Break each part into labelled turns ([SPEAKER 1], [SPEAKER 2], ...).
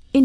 [SPEAKER 1] verscheen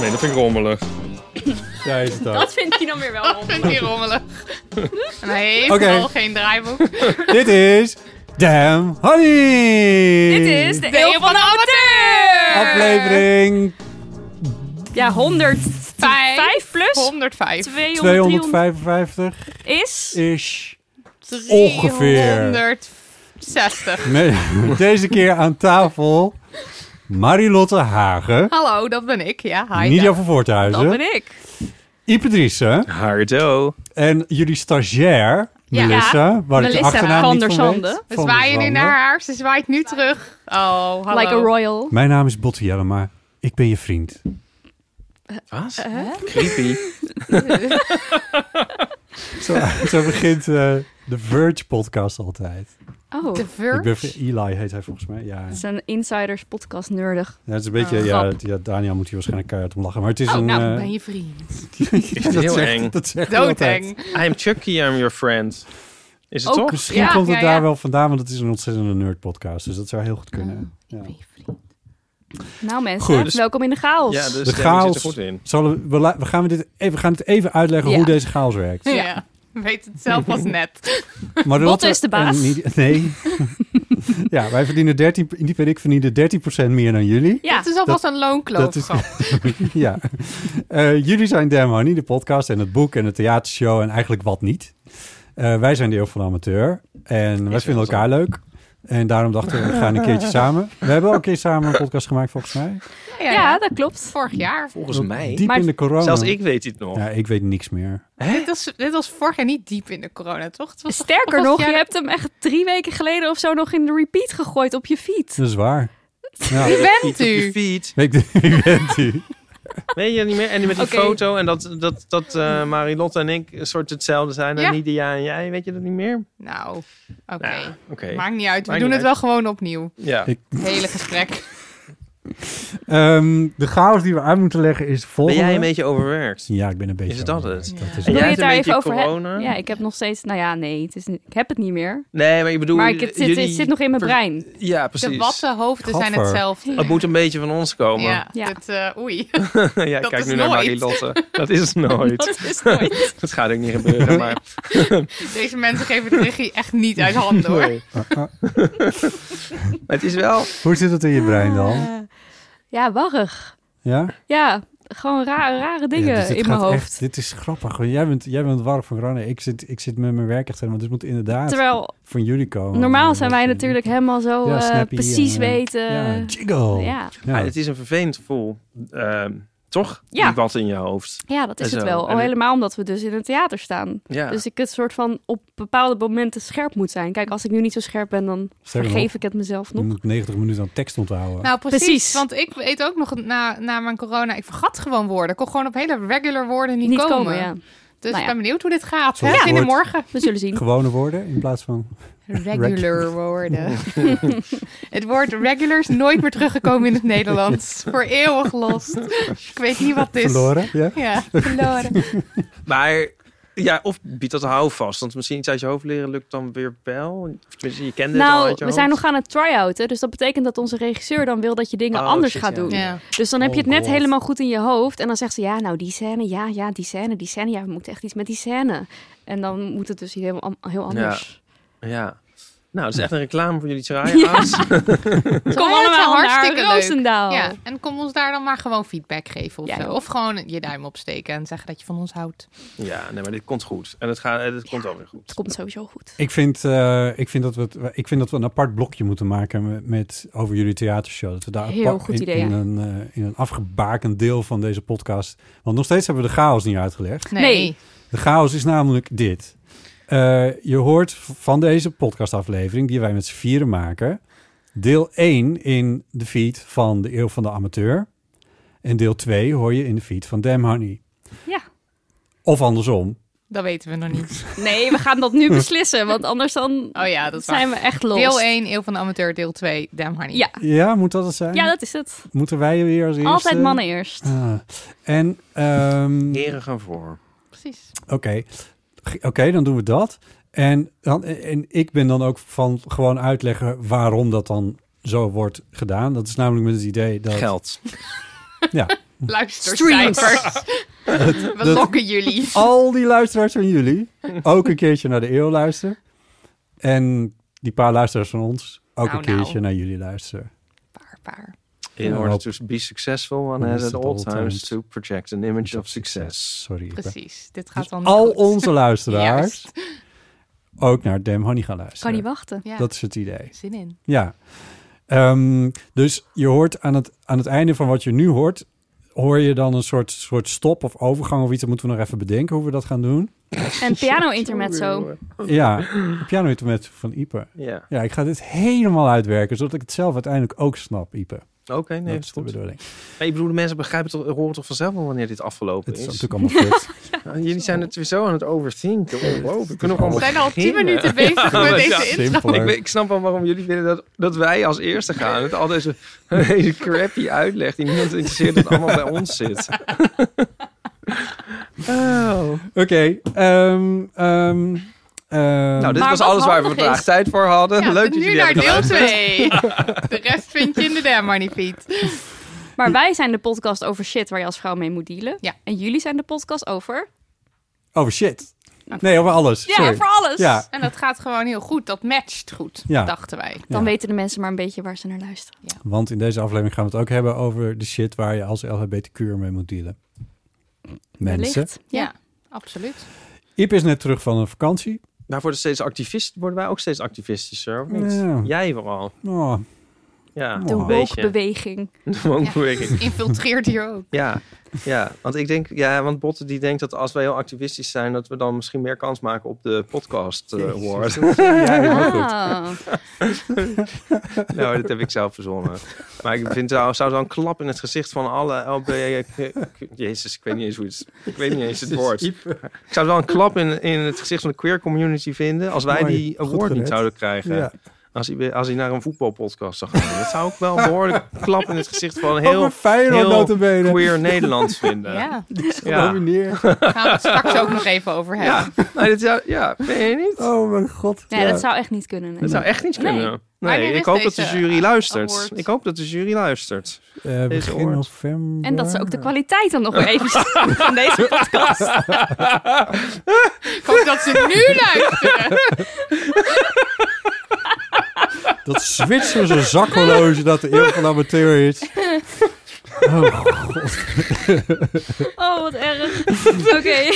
[SPEAKER 2] Nee, dat vind ik rommelig.
[SPEAKER 3] Ja, is het ook.
[SPEAKER 4] Dat vindt hij dan weer wel
[SPEAKER 5] Dat
[SPEAKER 4] op.
[SPEAKER 5] vind ik hier rommelig. En hij heeft
[SPEAKER 3] Oké.
[SPEAKER 5] al geen draaiboek. Deel
[SPEAKER 3] Dit is Damn Honey.
[SPEAKER 4] Dit is de Eeuw van de Amateur!
[SPEAKER 3] Aflevering
[SPEAKER 4] Ja, 105 plus
[SPEAKER 5] 105.
[SPEAKER 4] 200
[SPEAKER 3] 255
[SPEAKER 4] is...
[SPEAKER 3] is ongeveer.
[SPEAKER 5] 360.
[SPEAKER 3] Met- Deze keer aan tafel Marilotte Hagen.
[SPEAKER 5] Hallo, dat ben ik. Ja, hi.
[SPEAKER 3] Nidia
[SPEAKER 5] daar.
[SPEAKER 3] van
[SPEAKER 4] Dat
[SPEAKER 3] Voorthuizen.
[SPEAKER 4] ben ik.
[SPEAKER 3] Ipe Driessen.
[SPEAKER 2] Hardo.
[SPEAKER 3] En jullie stagiair,
[SPEAKER 5] Ja.
[SPEAKER 3] Melissa. waar ik de
[SPEAKER 4] Melissa
[SPEAKER 3] achternaam
[SPEAKER 4] van
[SPEAKER 3] niet
[SPEAKER 4] der
[SPEAKER 3] van weet.
[SPEAKER 4] Zande.
[SPEAKER 5] We
[SPEAKER 3] Van der
[SPEAKER 5] zwaaien nu
[SPEAKER 3] Zande.
[SPEAKER 5] naar haar. Ze zwaait nu terug. Oh, hallo.
[SPEAKER 4] Like a royal.
[SPEAKER 3] Mijn naam is Botte Jellema. Ik ben je vriend.
[SPEAKER 2] Wat?
[SPEAKER 6] Eh,
[SPEAKER 2] Creepy.
[SPEAKER 3] Zo, zo begint eh, de Verge podcast altijd.
[SPEAKER 1] Oh,
[SPEAKER 5] De
[SPEAKER 1] dat
[SPEAKER 3] Ik ben,
[SPEAKER 5] Verge.
[SPEAKER 3] Eli heet hij volgens mij. Ja,
[SPEAKER 1] is een insiders podcast nerdig.
[SPEAKER 3] Ja, het is een beetje...
[SPEAKER 5] Oh.
[SPEAKER 3] ja,
[SPEAKER 1] Grap.
[SPEAKER 3] ja, Daniel moet hier waarschijnlijk keihard om lachen. Maar het is
[SPEAKER 5] Oh,
[SPEAKER 3] een...
[SPEAKER 5] nou,
[SPEAKER 3] eh,
[SPEAKER 5] ben je vriend.
[SPEAKER 3] ja, dat
[SPEAKER 2] heel
[SPEAKER 3] zegt,
[SPEAKER 2] eng.
[SPEAKER 3] Dat zegt hij altijd.
[SPEAKER 5] Doodeng.
[SPEAKER 2] I'm Chucky, I'm your friend. Is het
[SPEAKER 3] Ook,
[SPEAKER 2] toch?
[SPEAKER 3] misschien
[SPEAKER 5] Ja,
[SPEAKER 3] komt het
[SPEAKER 5] ja,
[SPEAKER 3] daar
[SPEAKER 5] ja.
[SPEAKER 3] wel vandaan, want het is een ontzettende nerd podcast. Dus dat zou heel goed kunnen. Ja.
[SPEAKER 1] Nou mensen,
[SPEAKER 3] Goed.
[SPEAKER 1] welkom in de chaos.
[SPEAKER 2] Ja, dus
[SPEAKER 3] De
[SPEAKER 2] ja,
[SPEAKER 3] chaos.
[SPEAKER 2] die
[SPEAKER 3] Oh.
[SPEAKER 2] zit er goed in.
[SPEAKER 3] Zullen we, we, la- we gaan we dit even, we gaan het even uitleggen
[SPEAKER 1] Ja.
[SPEAKER 3] hoe deze chaos werkt.
[SPEAKER 5] Ja. Weet het zelf pas net.
[SPEAKER 3] Maar
[SPEAKER 1] Botte
[SPEAKER 3] Lotte
[SPEAKER 1] is de baas.
[SPEAKER 3] en Nidi- nee. ja, wij verdienen 13, Diep en ik verdienen 13% meer dan jullie.
[SPEAKER 1] Ja.
[SPEAKER 5] Het is alvast een loonkloof.
[SPEAKER 3] dat is- ja. Eh, jullie zijn Damn Honey, de podcast en het boek en de theatershow en eigenlijk wat niet. Eh, wij zijn de Eeuw van de Amateur en wij
[SPEAKER 2] wel
[SPEAKER 3] vinden
[SPEAKER 2] zo.
[SPEAKER 3] elkaar leuk. En daarom dachten we, we gaan een keertje samen. We hebben ook een keer samen een podcast gemaakt volgens mij.
[SPEAKER 5] ja,
[SPEAKER 1] Ja,
[SPEAKER 5] ja.
[SPEAKER 1] dat klopt.
[SPEAKER 5] Vorig jaar.
[SPEAKER 2] Volgens mij.
[SPEAKER 3] Diep
[SPEAKER 1] Maar-
[SPEAKER 3] in de corona.
[SPEAKER 2] Zelfs ik weet dit nog.
[SPEAKER 3] Ja, ik weet niks meer.
[SPEAKER 5] Dit was, dit was vorig jaar niet diep in de corona, toch? Het was toch-
[SPEAKER 1] Sterker
[SPEAKER 5] was
[SPEAKER 1] nog,
[SPEAKER 5] jij-
[SPEAKER 4] nou?
[SPEAKER 1] je hebt hem echt drie weken geleden of zo nog in de repeat gegooid op je feed.
[SPEAKER 3] Dat is waar. Ja.
[SPEAKER 5] Wie bent
[SPEAKER 2] Iets op je
[SPEAKER 5] u?
[SPEAKER 2] feet.
[SPEAKER 3] Ik, wie bent u?
[SPEAKER 2] Weet je dat niet meer? En die met die
[SPEAKER 5] Oké.
[SPEAKER 2] foto en dat, dat, dat eh, Marilotte en ik een soort hetzelfde zijn.
[SPEAKER 5] Ja.
[SPEAKER 2] En Nidia en jij, weet je dat niet meer?
[SPEAKER 5] Nou, oké.
[SPEAKER 2] Nou, oké.
[SPEAKER 5] Maakt niet uit. We
[SPEAKER 2] Maakt
[SPEAKER 5] doen
[SPEAKER 2] niet
[SPEAKER 5] het wel gewoon opnieuw.
[SPEAKER 2] Ja.
[SPEAKER 3] Ik-
[SPEAKER 5] Het hele gesprek.
[SPEAKER 3] Ehm, de chaos die we aan moeten leggen is
[SPEAKER 2] Ben
[SPEAKER 3] volgende.
[SPEAKER 2] jij een beetje overwerkt?
[SPEAKER 3] Ja, ik ben een beetje...
[SPEAKER 2] Is dat het?
[SPEAKER 3] overwerkt. Dat
[SPEAKER 1] Wil
[SPEAKER 2] En
[SPEAKER 3] is
[SPEAKER 2] jij
[SPEAKER 1] je
[SPEAKER 2] hebt
[SPEAKER 1] het
[SPEAKER 2] een
[SPEAKER 1] daar
[SPEAKER 2] beetje
[SPEAKER 1] even over hebben?
[SPEAKER 2] corona?
[SPEAKER 1] Ja, ik heb nog steeds... Nou ja, nee, het is, niet- ik heb het niet meer.
[SPEAKER 2] Nee, maar ik bedoel...
[SPEAKER 1] Maar ik, het, zit,
[SPEAKER 2] jullie-
[SPEAKER 1] het zit nog in mijn
[SPEAKER 2] ver-
[SPEAKER 1] brein.
[SPEAKER 2] Ja,
[SPEAKER 5] De
[SPEAKER 2] precies.
[SPEAKER 5] watten hoofden zijn
[SPEAKER 3] Gaffer.
[SPEAKER 5] hetzelfde.
[SPEAKER 2] Het moet een beetje van ons komen.
[SPEAKER 5] Ja,
[SPEAKER 1] Ja.
[SPEAKER 5] dit, eh, oei.
[SPEAKER 2] ja,
[SPEAKER 5] Dat
[SPEAKER 2] kijk
[SPEAKER 5] is
[SPEAKER 2] nu naar
[SPEAKER 5] nooit.
[SPEAKER 2] Marilotte. Dat is nooit.
[SPEAKER 1] Dat is nooit.
[SPEAKER 2] Dat gaat ook niet gebeuren, maar...
[SPEAKER 5] Deze mensen geven het regie echt niet uit handen hoor.
[SPEAKER 2] Nee. maar het is wel...
[SPEAKER 3] Ah, Hoe zit het in je brein dan?
[SPEAKER 1] Eh, Ja, warrig.
[SPEAKER 3] Ja?
[SPEAKER 1] Ja, gewoon rare, rare dingen
[SPEAKER 3] Ja, dus dit
[SPEAKER 1] in mijn
[SPEAKER 3] gaat
[SPEAKER 1] hoofd.
[SPEAKER 3] echt- dit is grappig. want Jij bent, jij bent warm van corona. Ik zit, ik zit met mijn werk echt helemaal. Dit dus moet inderdaad
[SPEAKER 1] Terwijl
[SPEAKER 3] van jullie komen.
[SPEAKER 1] normaal zijn wij
[SPEAKER 3] Ja,
[SPEAKER 1] natuurlijk helemaal zo
[SPEAKER 3] ja,
[SPEAKER 1] eh,
[SPEAKER 3] snappy
[SPEAKER 1] precies
[SPEAKER 3] en, eh,
[SPEAKER 1] weten.
[SPEAKER 3] Ja, jiggle.
[SPEAKER 1] Ja.
[SPEAKER 2] Ah, het is een vervelend gevoel. Ehm, toch?
[SPEAKER 6] Ja.
[SPEAKER 2] Die wat in je hoofd.
[SPEAKER 6] Ja, dat is
[SPEAKER 2] En
[SPEAKER 6] het
[SPEAKER 2] zo.
[SPEAKER 6] wel.
[SPEAKER 2] En-
[SPEAKER 6] Al helemaal omdat we dus in het theater staan.
[SPEAKER 2] Ja.
[SPEAKER 6] Dus ik het soort van op bepaalde momenten scherp moet zijn. Kijk, als ik nu niet zo scherp ben, dan
[SPEAKER 3] Sterker nog,
[SPEAKER 6] vergeef ik het mezelf
[SPEAKER 3] Je
[SPEAKER 6] nog.
[SPEAKER 3] moet 90 minuten aan tekst onthouden.
[SPEAKER 5] Nou, precies,
[SPEAKER 6] Precies.
[SPEAKER 5] Want ik weet ook nog na, na mijn corona, ik vergat gewoon woorden. Ik kon gewoon op hele regular woorden niet,
[SPEAKER 6] Niet
[SPEAKER 5] komen.
[SPEAKER 6] komen, ja.
[SPEAKER 5] Dus
[SPEAKER 6] Nou ja.
[SPEAKER 5] ik ben benieuwd hoe dit gaat.
[SPEAKER 3] Zoals
[SPEAKER 5] Hè?
[SPEAKER 3] het
[SPEAKER 5] In de
[SPEAKER 3] woord.
[SPEAKER 5] morgen.
[SPEAKER 6] We zullen zien.
[SPEAKER 3] Gewone woorden in plaats van...
[SPEAKER 5] Regular woorden. het woord regular is nooit meer teruggekomen in het Nederlands. Voor eeuwig lost. ik weet
[SPEAKER 1] Dus-
[SPEAKER 5] niet wat het is.
[SPEAKER 3] Verloren, ja?
[SPEAKER 5] Ja, verloren.
[SPEAKER 2] Maar ja, of biedt dat houvast. Want misschien iets uit je hoofd leren lukt dan weer wel. Of tenminste, je kende het al
[SPEAKER 6] Nou,
[SPEAKER 2] uit je
[SPEAKER 6] we zijn
[SPEAKER 2] hoofd.
[SPEAKER 6] nog aan het try-outen. Dus dat betekent dat onze regisseur dan wil dat je dingen
[SPEAKER 2] Oh,
[SPEAKER 6] anders
[SPEAKER 2] shit,
[SPEAKER 6] gaat
[SPEAKER 2] ja.
[SPEAKER 6] doen.
[SPEAKER 5] Ja.
[SPEAKER 6] Dus dan heb je
[SPEAKER 3] Oh
[SPEAKER 6] het net
[SPEAKER 3] God.
[SPEAKER 6] helemaal goed in je hoofd. En dan zegt ze, ja, nou die scène, ja, ja, die scène, die scène. Ja, we moeten echt iets met die scène. En dan moet het dus heel, am- heel anders.
[SPEAKER 2] Ja. Nou, het is echt een reclame voor jullie try-outs.
[SPEAKER 6] Kom allemaal hartstikke naar Roosendaal.
[SPEAKER 5] Ja, en kom ons daar dan maar gewoon feedback geven of
[SPEAKER 6] Ja,
[SPEAKER 5] zo.
[SPEAKER 6] joh.
[SPEAKER 5] Of gewoon je duim opsteken en zeggen dat je van ons houdt.
[SPEAKER 2] Ja, nee, maar dit komt goed. En het, gaat, het komt ook weer goed.
[SPEAKER 6] Het komt sowieso goed.
[SPEAKER 3] Ik vind, eh, ik, vind dat we het- ik vind dat we een apart blokje moeten maken met, met- over jullie theatershow. Dat we daar
[SPEAKER 6] Heel
[SPEAKER 3] apart-
[SPEAKER 6] goed
[SPEAKER 3] in-
[SPEAKER 6] idee,
[SPEAKER 3] in,
[SPEAKER 6] ja.
[SPEAKER 3] een, eh, in een afgebakend deel van deze podcast. Want nog steeds hebben we de chaos niet uitgelegd.
[SPEAKER 5] Nee.
[SPEAKER 6] Nee.
[SPEAKER 3] De chaos is namelijk dit. Eh, je hoort v- van deze podcastaflevering, die wij met z'n vieren maken, deel 1 in de feed van De Eeuw van de Amateur. En deel 2 hoor je in de feed van Damn Honey.
[SPEAKER 6] Ja.
[SPEAKER 3] Of andersom.
[SPEAKER 5] Dat weten we nog niet.
[SPEAKER 6] Nee, we gaan dat nu beslissen. Want anders dan
[SPEAKER 5] Oh ja, dat is waar.
[SPEAKER 6] zijn we echt los.
[SPEAKER 5] Deel 1, Eeuw van de Amateur. Deel 2, Damn Honey.
[SPEAKER 6] Ja.
[SPEAKER 3] Ja, moet dat het zijn?
[SPEAKER 6] ja, dat is het.
[SPEAKER 3] Moeten wij weer als eerste?
[SPEAKER 6] Altijd mannen eerst.
[SPEAKER 3] Ah, en, ehm,
[SPEAKER 2] Heren gaan voor.
[SPEAKER 5] Precies.
[SPEAKER 3] oké, G- oké, dan doen we dat. En, dan, en ik ben dan ook van gewoon uitleggen waarom dat dan zo wordt gedaan. Dat is namelijk met het idee dat...
[SPEAKER 2] Geld.
[SPEAKER 5] Luister,
[SPEAKER 6] Streams.
[SPEAKER 5] cijfers. We
[SPEAKER 3] dat-
[SPEAKER 5] lokken jullie.
[SPEAKER 3] al die luisteraars van jullie ook een keertje naar de eeuw luisteren. En die paar luisteraars van ons ook
[SPEAKER 5] Nou,
[SPEAKER 3] een keertje
[SPEAKER 5] nou.
[SPEAKER 3] naar jullie luisteren.
[SPEAKER 5] Paar, paar.
[SPEAKER 2] In
[SPEAKER 3] Ja,
[SPEAKER 2] order
[SPEAKER 3] hoop-
[SPEAKER 2] to be successful, one
[SPEAKER 3] Dan
[SPEAKER 2] has
[SPEAKER 3] is
[SPEAKER 2] at
[SPEAKER 3] het
[SPEAKER 2] all
[SPEAKER 3] all
[SPEAKER 2] times
[SPEAKER 3] times.
[SPEAKER 2] to project an image of success.
[SPEAKER 3] Sorry. ik ben-
[SPEAKER 5] Precies. Dit gaat wel
[SPEAKER 3] Dus
[SPEAKER 5] niet
[SPEAKER 3] al
[SPEAKER 5] goed.
[SPEAKER 3] onze luisteraars
[SPEAKER 5] Juist.
[SPEAKER 3] ook naar Dem Honey gaan
[SPEAKER 6] Kan
[SPEAKER 3] luisteren.
[SPEAKER 6] niet wachten.
[SPEAKER 5] Ja,
[SPEAKER 3] Dat is het idee.
[SPEAKER 5] zin in.
[SPEAKER 3] Ja. Ehm, dus je hoort aan het, aan het einde van wat je nu hoort, hoor je dan een soort, soort stop of overgang of iets. Dat moeten we nog even bedenken hoe we dat gaan doen.
[SPEAKER 6] En piano intermezzo.
[SPEAKER 3] Ja, piano met van Ipe.
[SPEAKER 2] Ja.
[SPEAKER 3] Ja, ik ga dit helemaal uitwerken, zodat ik het zelf uiteindelijk ook snap, Ipe.
[SPEAKER 2] Oké, nee,
[SPEAKER 3] dat
[SPEAKER 2] dat
[SPEAKER 3] is de bedoorling.
[SPEAKER 2] Maar ik bedoel, de mensen begrijpen toch, horen toch vanzelf wel wanneer dit afgelopen
[SPEAKER 3] Het is
[SPEAKER 2] is.
[SPEAKER 3] natuurlijk allemaal kut.
[SPEAKER 2] Ah, Jullie zijn het weer zo aan het overthinken. Ongelooflijk. We kunnen
[SPEAKER 5] We
[SPEAKER 2] gewoon
[SPEAKER 5] zijn al 10
[SPEAKER 2] beginnen.
[SPEAKER 5] minuten bezig
[SPEAKER 2] Ja,
[SPEAKER 5] met
[SPEAKER 2] maar
[SPEAKER 5] deze
[SPEAKER 2] ja.
[SPEAKER 5] intro.
[SPEAKER 2] Ik, weet-
[SPEAKER 3] Simpeler.
[SPEAKER 2] ik snap wel waarom jullie vinden dat, dat wij als eerste gaan. Het al deze, deze crappy uitleg die niemand interesseert dat allemaal bij ons zit.
[SPEAKER 3] Oké. ehm, ehm, ehm,
[SPEAKER 2] nou, dit
[SPEAKER 6] Maar
[SPEAKER 2] was
[SPEAKER 6] wat
[SPEAKER 2] alles waar we
[SPEAKER 6] handig
[SPEAKER 2] vandaag
[SPEAKER 6] is-
[SPEAKER 2] tijd voor hadden.
[SPEAKER 5] Ja,
[SPEAKER 2] Leuk dat
[SPEAKER 5] nu
[SPEAKER 2] jullie
[SPEAKER 5] naar
[SPEAKER 2] hebben
[SPEAKER 5] deel
[SPEAKER 2] geluisterd.
[SPEAKER 5] 2. De rest vind je in de Damn Honey feed.
[SPEAKER 3] Hm.
[SPEAKER 6] Maar wij zijn de podcast over shit waar je als vrouw mee moet dealen.
[SPEAKER 5] Ja.
[SPEAKER 6] En jullie zijn de podcast over...
[SPEAKER 3] Over shit. Nee, over alles.
[SPEAKER 6] Nou, Ja,
[SPEAKER 3] Sorry.
[SPEAKER 6] voor alles.
[SPEAKER 3] Ja.
[SPEAKER 5] En dat gaat gewoon heel goed. Dat matcht goed,
[SPEAKER 3] Ja.
[SPEAKER 5] dachten wij.
[SPEAKER 6] Dan
[SPEAKER 3] Ja.
[SPEAKER 6] weten de mensen maar een beetje waar ze naar luisteren.
[SPEAKER 3] Want in deze aflevering gaan we het ook hebben over de shit waar je als LHBTQ mee moet dealen. Mensen.
[SPEAKER 6] Wellicht.
[SPEAKER 5] Ja,
[SPEAKER 6] Ja.
[SPEAKER 5] absoluut.
[SPEAKER 3] Iep is net terug van een vakantie.
[SPEAKER 2] Maar worden, Nou, steeds activist, worden wij ook steeds activistischer, of niet?
[SPEAKER 3] Ja.
[SPEAKER 2] Jij vooral.
[SPEAKER 3] Oh,
[SPEAKER 2] Ja,
[SPEAKER 6] De
[SPEAKER 3] Oh.
[SPEAKER 2] een
[SPEAKER 6] woke
[SPEAKER 2] beetje.
[SPEAKER 6] beweging.
[SPEAKER 2] De woonbeweging.
[SPEAKER 5] Infiltreert hier ook.
[SPEAKER 2] Ja, ja, want ik denk, ja, want Botte die denkt dat als wij heel activistisch zijn, dat we dan misschien meer kans maken op de podcast eh, award.
[SPEAKER 3] ja, heel goed.
[SPEAKER 6] Ah.
[SPEAKER 2] nou, dat heb ik zelf verzonnen. Maar ik vind zou, zou dan klap in het gezicht van alle LB. Jezus, ik weet niet eens hoe het, ik weet niet eens het woord. Ik zou wel een klap in, in het gezicht van de queer community vinden als wij
[SPEAKER 3] Mooi,
[SPEAKER 2] die
[SPEAKER 3] goed
[SPEAKER 2] award niet
[SPEAKER 3] gered.
[SPEAKER 2] zouden krijgen.
[SPEAKER 3] Ja.
[SPEAKER 2] Als hij, als hij naar een voetbalpodcast zou gaan. Dat zou ik wel een behoorlijk klap in het gezicht van heel
[SPEAKER 3] Over Feyenoord
[SPEAKER 2] heel
[SPEAKER 3] notabene.
[SPEAKER 2] queer Nederland vinden.
[SPEAKER 5] Ja,
[SPEAKER 2] ja.
[SPEAKER 3] Genomineerd.
[SPEAKER 5] daar gaan we het straks ook nog even over hebben.
[SPEAKER 2] Ja, maar dit zou, ja, vind je niet?
[SPEAKER 3] Oh mijn god.
[SPEAKER 6] Nee,
[SPEAKER 3] Ja.
[SPEAKER 6] dat zou echt niet kunnen. nee.
[SPEAKER 2] Dat zou echt niet
[SPEAKER 6] Nee.
[SPEAKER 2] kunnen. Nee,
[SPEAKER 5] Wanneer is
[SPEAKER 2] ik hoop dat de
[SPEAKER 5] deze
[SPEAKER 2] jury luistert.
[SPEAKER 5] award?
[SPEAKER 2] Ik hoop dat de jury luistert.
[SPEAKER 3] Eh,
[SPEAKER 2] Deze
[SPEAKER 3] begin
[SPEAKER 2] oort.
[SPEAKER 3] november.
[SPEAKER 6] En dat ze ook de kwaliteit dan nog weer even zien van deze podcast.
[SPEAKER 5] Ik hoop dat ze nu luisteren.
[SPEAKER 3] Dat Zwitserse zakhorloge dat de eeuw van de amateur is. Oh,
[SPEAKER 6] Oh, wat erg. Oké.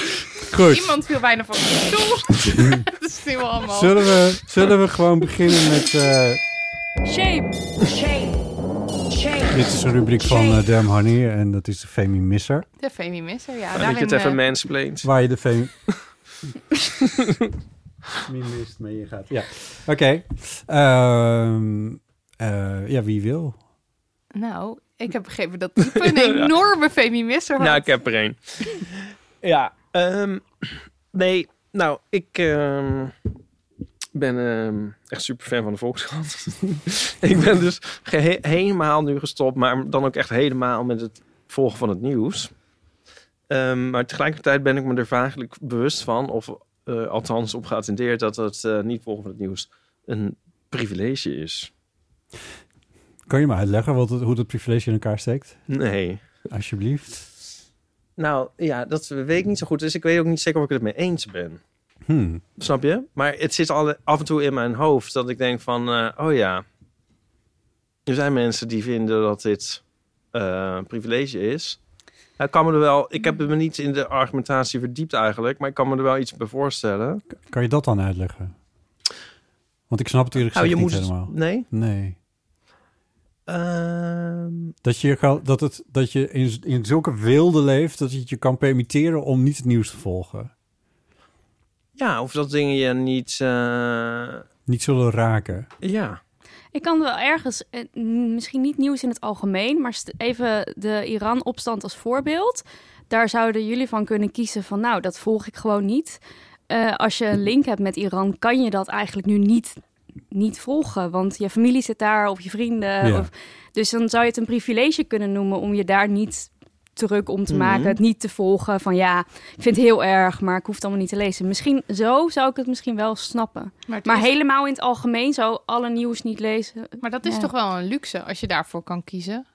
[SPEAKER 3] goed.
[SPEAKER 5] Iemand viel bijna van de stoel. Dat is nu allemaal.
[SPEAKER 3] Zullen we, zullen we gewoon beginnen met... eh,
[SPEAKER 6] Shame.
[SPEAKER 7] Shame. Shame.
[SPEAKER 3] Dit is een rubriek van eh, Damn Honey en dat is de Femi Misser.
[SPEAKER 5] De Femi Misser, ja. eh,
[SPEAKER 2] dat je het even mansplaint.
[SPEAKER 3] Waar je de Femi... Femi mist mee je gaat. Ja, oké. Ehm, eh, ja, wie wil?
[SPEAKER 5] Nou, ik heb begrepen dat Ipe een enorme Femi Misser had.
[SPEAKER 2] Ja, Nou, ik heb er één. ja, ehm, nee, nou, ik ehm, ben ehm, echt super fan van de Volkskrant. ik ben dus gehe- helemaal nu gestopt, maar dan ook echt helemaal met het volgen van het nieuws. Ehm, maar tegelijkertijd ben ik me er vaaglijk bewust van, of eh, althans op geattendeerd, dat het eh, niet volgen van het nieuws een privilege is.
[SPEAKER 3] Kan je me uitleggen wat het, hoe dat privilege in elkaar steekt?
[SPEAKER 2] Nee.
[SPEAKER 3] Alsjeblieft.
[SPEAKER 2] Nou ja, dat weet ik niet zo goed. Dus ik weet ook niet zeker of ik het mee eens ben.
[SPEAKER 3] Hmm.
[SPEAKER 2] Snap je? Maar het zit alle, af en toe in mijn hoofd dat ik denk van, eh, oh ja, er zijn mensen die vinden dat dit eh, een privilege is. Nou, Ik kan me er wel, ik heb me niet in de argumentatie verdiept eigenlijk, maar ik kan me er wel iets bij voorstellen.
[SPEAKER 3] Kan je dat dan uitleggen? Want ik snap het eerlijk
[SPEAKER 2] Nou,
[SPEAKER 3] gezegd
[SPEAKER 2] je
[SPEAKER 3] niet
[SPEAKER 2] moet het-
[SPEAKER 3] helemaal.
[SPEAKER 2] nee.
[SPEAKER 3] Nee.
[SPEAKER 2] Ehm,
[SPEAKER 3] Dat je, kan- dat het, dat je in, in zulke wilde leeft dat je het je kan permitteren om niet het nieuws te volgen.
[SPEAKER 2] ja, of dat dingen je niet, eh,
[SPEAKER 3] Niet zullen raken.
[SPEAKER 2] ja.
[SPEAKER 6] Ik kan wel ergens, eh, n- misschien niet nieuws in het algemeen, maar st- even de Iran-opstand als voorbeeld. Daar zouden jullie van kunnen kiezen van, nou, dat volg ik gewoon niet. Eh, als je een link hebt met Iran, kan je dat eigenlijk nu niet, niet volgen. Want je familie zit daar, of je vrienden.
[SPEAKER 3] Ja.
[SPEAKER 6] Of, dus dan zou je het een privilege kunnen noemen om je daar niet druk om te maken.
[SPEAKER 2] Mhm.
[SPEAKER 6] Het niet te volgen van, ja, ik vind het heel erg, maar ik hoef het allemaal niet te lezen. Misschien, zo zou ik het misschien wel snappen.
[SPEAKER 5] het
[SPEAKER 6] Maar
[SPEAKER 5] is-
[SPEAKER 6] helemaal in het algemeen zou alle nieuws niet lezen.
[SPEAKER 5] maar dat is
[SPEAKER 6] Ja.
[SPEAKER 5] toch wel een luxe als je daarvoor kan kiezen.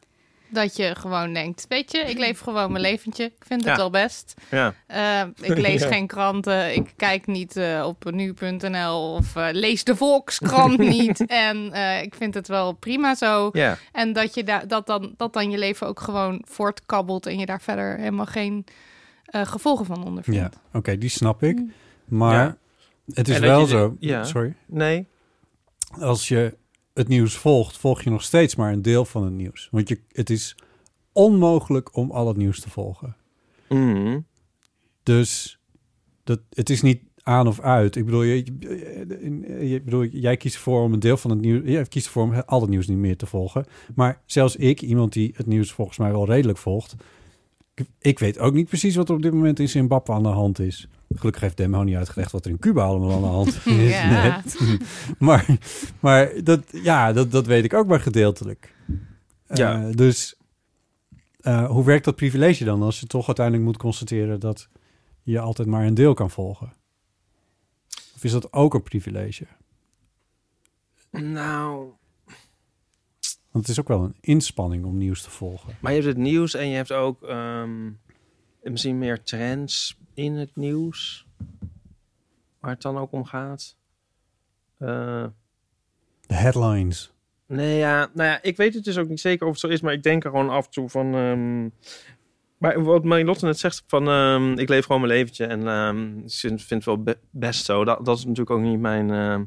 [SPEAKER 5] Dat je gewoon denkt, weet je, ik leef gewoon mijn leventje. Ik vind het
[SPEAKER 2] Ja.
[SPEAKER 5] wel best.
[SPEAKER 2] ja.
[SPEAKER 5] Eh, ik lees
[SPEAKER 2] Ja.
[SPEAKER 5] geen kranten. Ik kijk niet eh, op nu.nl of eh, lees de Volkskrant niet. En eh, ik vind het wel prima zo.
[SPEAKER 2] ja.
[SPEAKER 5] En dat, je da- dat, dan, dat dan je leven ook gewoon voortkabbelt en je daar verder helemaal geen eh, gevolgen van
[SPEAKER 3] Ja,
[SPEAKER 5] ondervindt.
[SPEAKER 3] oké, die snap ik. Maar
[SPEAKER 2] Mm. Ja.
[SPEAKER 3] het is
[SPEAKER 2] En dat
[SPEAKER 3] wel
[SPEAKER 2] je de-
[SPEAKER 3] zo.
[SPEAKER 2] ja.
[SPEAKER 3] Sorry.
[SPEAKER 2] Nee.
[SPEAKER 3] Als je het nieuws volgt, volg je nog steeds maar een deel van het nieuws. Want je, het is onmogelijk om al het nieuws te volgen.
[SPEAKER 2] Mhm.
[SPEAKER 3] Dus dat, het is niet aan of uit. Ik bedoel, je, je- je- bedoel, jij kiest ervoor om een deel van het nieuws... Jij kiest ervoor om al het nieuws niet meer te volgen. Maar zelfs ik, iemand die het nieuws volgens mij wel redelijk volgt... Ik, ik weet ook niet precies wat er op dit moment in Zimbabwe aan de hand is. Gelukkig heeft Demo niet uitgelegd wat er in Cuba allemaal aan de hand is.
[SPEAKER 5] Ja.
[SPEAKER 3] net. Maar, maar dat, ja, dat, dat weet ik ook maar gedeeltelijk. Eh,
[SPEAKER 2] Ja.
[SPEAKER 3] dus eh, hoe werkt dat privilege dan als je toch uiteindelijk moet constateren dat je altijd maar een deel kan volgen? Of is dat ook een privilege?
[SPEAKER 2] Nou,
[SPEAKER 3] Want het is ook wel een inspanning om nieuws te volgen.
[SPEAKER 2] Maar je hebt het nieuws en je hebt ook ehm, misschien meer trends in het nieuws. Waar het dan ook om gaat. Eh,
[SPEAKER 3] De headlines.
[SPEAKER 2] nee, ja, nou ja, ik weet het dus ook niet zeker of het zo is, maar ik denk er gewoon af en toe van. ehm, maar wat Marilotte net zegt, van ehm, ik leef gewoon mijn leventje en ehm, ik vind vind het wel be- best zo. Dat, dat is natuurlijk ook niet mijn. ehm,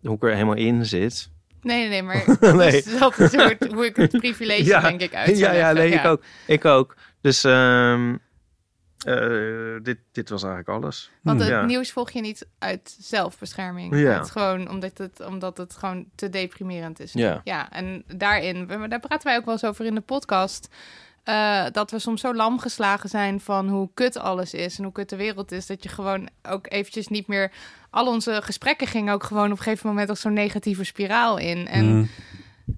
[SPEAKER 2] hoe ik er helemaal in zit.
[SPEAKER 5] Nee, nee, nee, maar dat is- dat is hoe, het- hoe ik het privilege
[SPEAKER 2] Ja.
[SPEAKER 5] denk ik uit zou
[SPEAKER 2] ja, ja,
[SPEAKER 5] leggen.
[SPEAKER 2] nee, ik ook. Ik ook. Dus ehm, eh, dit, dit was eigenlijk alles.
[SPEAKER 5] Want
[SPEAKER 3] Hmm.
[SPEAKER 5] het
[SPEAKER 2] Hmm. Ja.
[SPEAKER 5] nieuws volg je niet uit zelfbescherming.
[SPEAKER 2] Ja.
[SPEAKER 5] Het is gewoon omdat het, omdat het gewoon te deprimerend is.
[SPEAKER 2] Ja.
[SPEAKER 5] ja, en daarin, we- maar daar praten wij ook wel eens over in de podcast. eh, dat we soms zo lam geslagen zijn van hoe kut alles is en hoe kut de wereld is. Dat je gewoon ook eventjes niet meer. Al onze gesprekken gingen ook gewoon op een gegeven moment als zo'n negatieve spiraal in. En
[SPEAKER 2] Hmm.
[SPEAKER 3] Mm.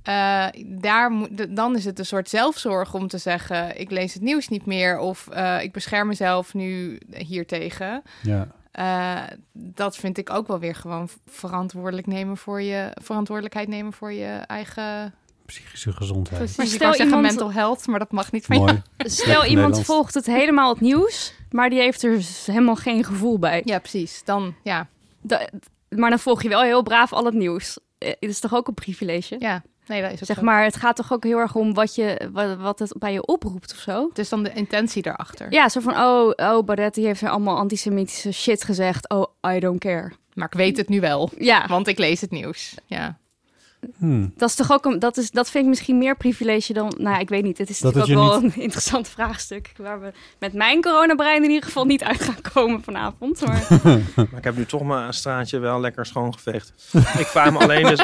[SPEAKER 5] eh, daar moet, d- dan is het een soort zelfzorg om te zeggen: ik lees het nieuws niet meer. Of eh, ik bescherm mezelf nu hiertegen.
[SPEAKER 3] Ja.
[SPEAKER 5] Eh, dat vind ik ook wel weer gewoon verantwoordelijk nemen voor je, verantwoordelijkheid nemen voor je eigen.
[SPEAKER 3] Psychische gezondheid.
[SPEAKER 5] Precies, ik
[SPEAKER 6] stel
[SPEAKER 5] wou zeggen
[SPEAKER 6] iemand-
[SPEAKER 5] mental health, maar dat mag niet van jou.
[SPEAKER 3] Mooi.
[SPEAKER 6] Stel iemand
[SPEAKER 3] Nederlands.
[SPEAKER 6] volgt het helemaal het nieuws, maar die heeft er z- helemaal geen gevoel bij.
[SPEAKER 5] Ja, precies. Dan, ja,
[SPEAKER 6] Da- maar dan volg je wel heel braaf al het nieuws. Eh, Het is toch ook een privilege?
[SPEAKER 5] ja. Nee, dat is ook
[SPEAKER 6] Zeg
[SPEAKER 5] zo.
[SPEAKER 6] maar, het gaat toch ook heel erg om wat, je, wat, wat het bij je oproept of zo?
[SPEAKER 5] Dus dan de intentie daarachter.
[SPEAKER 6] Ja, zo van, oh, oh, Barrett die heeft er allemaal antisemitische shit gezegd. Oh, I don't care.
[SPEAKER 5] Maar ik weet het nu wel,
[SPEAKER 6] Ja,
[SPEAKER 5] want ik lees het nieuws. Ja.
[SPEAKER 3] Hmm.
[SPEAKER 6] Dat is toch ook een, dat, is, dat vind ik misschien meer privilege dan. Nou, ja, ik weet niet. Het is
[SPEAKER 3] Dat
[SPEAKER 6] natuurlijk
[SPEAKER 3] het
[SPEAKER 6] ook
[SPEAKER 3] je
[SPEAKER 6] wel een interessant vraagstuk. Waar we met mijn coronabrein in ieder geval niet uit gaan komen vanavond. Maar
[SPEAKER 2] Maar ik heb nu toch mijn straatje wel lekker schoongeveegd. ik, vraag me alleen dus,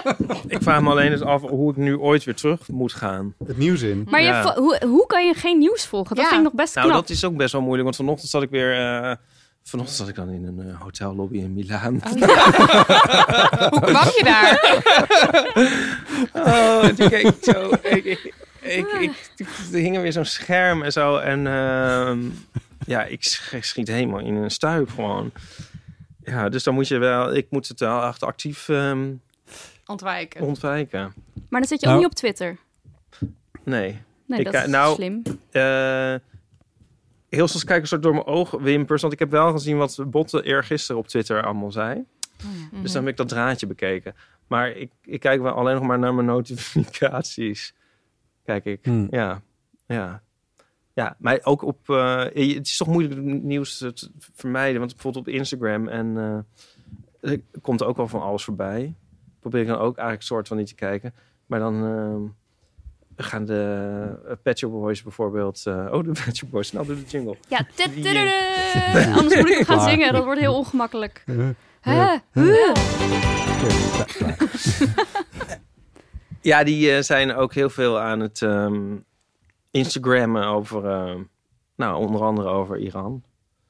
[SPEAKER 2] ik vraag me alleen dus af hoe ik nu ooit weer terug moet gaan.
[SPEAKER 3] Het nieuws in.
[SPEAKER 6] maar
[SPEAKER 2] Ja.
[SPEAKER 6] je, vo- hoe, hoe kan je geen nieuws volgen? Dat
[SPEAKER 5] Ja.
[SPEAKER 6] vind ik nog best
[SPEAKER 2] Nou,
[SPEAKER 6] knap.
[SPEAKER 2] dat is ook best wel moeilijk, want vanochtend zat ik weer... eh, vanochtend zat ik dan in een eh, hotellobby in Milaan.
[SPEAKER 5] Hoe kwam je daar?
[SPEAKER 2] Oh, en toen keek ik zo. Ik, ik, ik, ik, er hing er weer zo'n scherm en zo. En ehm, ja, ik sch- schiet helemaal in een stuip gewoon. Ja, dus dan moet je wel... Ik moet het wel echt actief ehm,
[SPEAKER 5] Ontwijken.
[SPEAKER 2] ontwijken.
[SPEAKER 6] Maar dan zit je
[SPEAKER 3] Nou.
[SPEAKER 6] ook niet op Twitter.
[SPEAKER 2] Nee.
[SPEAKER 6] Nee,
[SPEAKER 2] Ik
[SPEAKER 6] dat
[SPEAKER 2] kijk-
[SPEAKER 6] is
[SPEAKER 2] nou,
[SPEAKER 6] slim.
[SPEAKER 2] Eh, heel soms kijk ik soort door mijn oogwimpers. Want ik heb wel gezien wat Botte eergisteren op Twitter allemaal zei. Dus dan heb ik dat draadje bekeken. Maar ik, ik kijk wel alleen nog maar naar mijn notificaties. Kijk ik.
[SPEAKER 3] Hmm.
[SPEAKER 2] Ja, ja. Ja, maar ook op... eh, je- het is toch moeilijk om nieuws te te vermijden. Want bijvoorbeeld op Instagram en... eh, er komt ook wel van alles voorbij. Probeer ik dan ook eigenlijk soort van niet te kijken. Maar dan... eh, gaan de eh, Pet Shop Boys bijvoorbeeld... eh, oh, de Pet Shop Boys. Snel door de jingle.
[SPEAKER 6] Ja, tut-
[SPEAKER 2] Die,
[SPEAKER 6] tudu- anders moet ik hem gaan
[SPEAKER 3] Klaar.
[SPEAKER 6] zingen. Dat wordt heel ongemakkelijk.
[SPEAKER 3] Eh,
[SPEAKER 6] Hè?
[SPEAKER 2] Ja, die eh, zijn ook heel veel aan het ehm, Instagrammen over... ehm, nou, onder andere over Iran.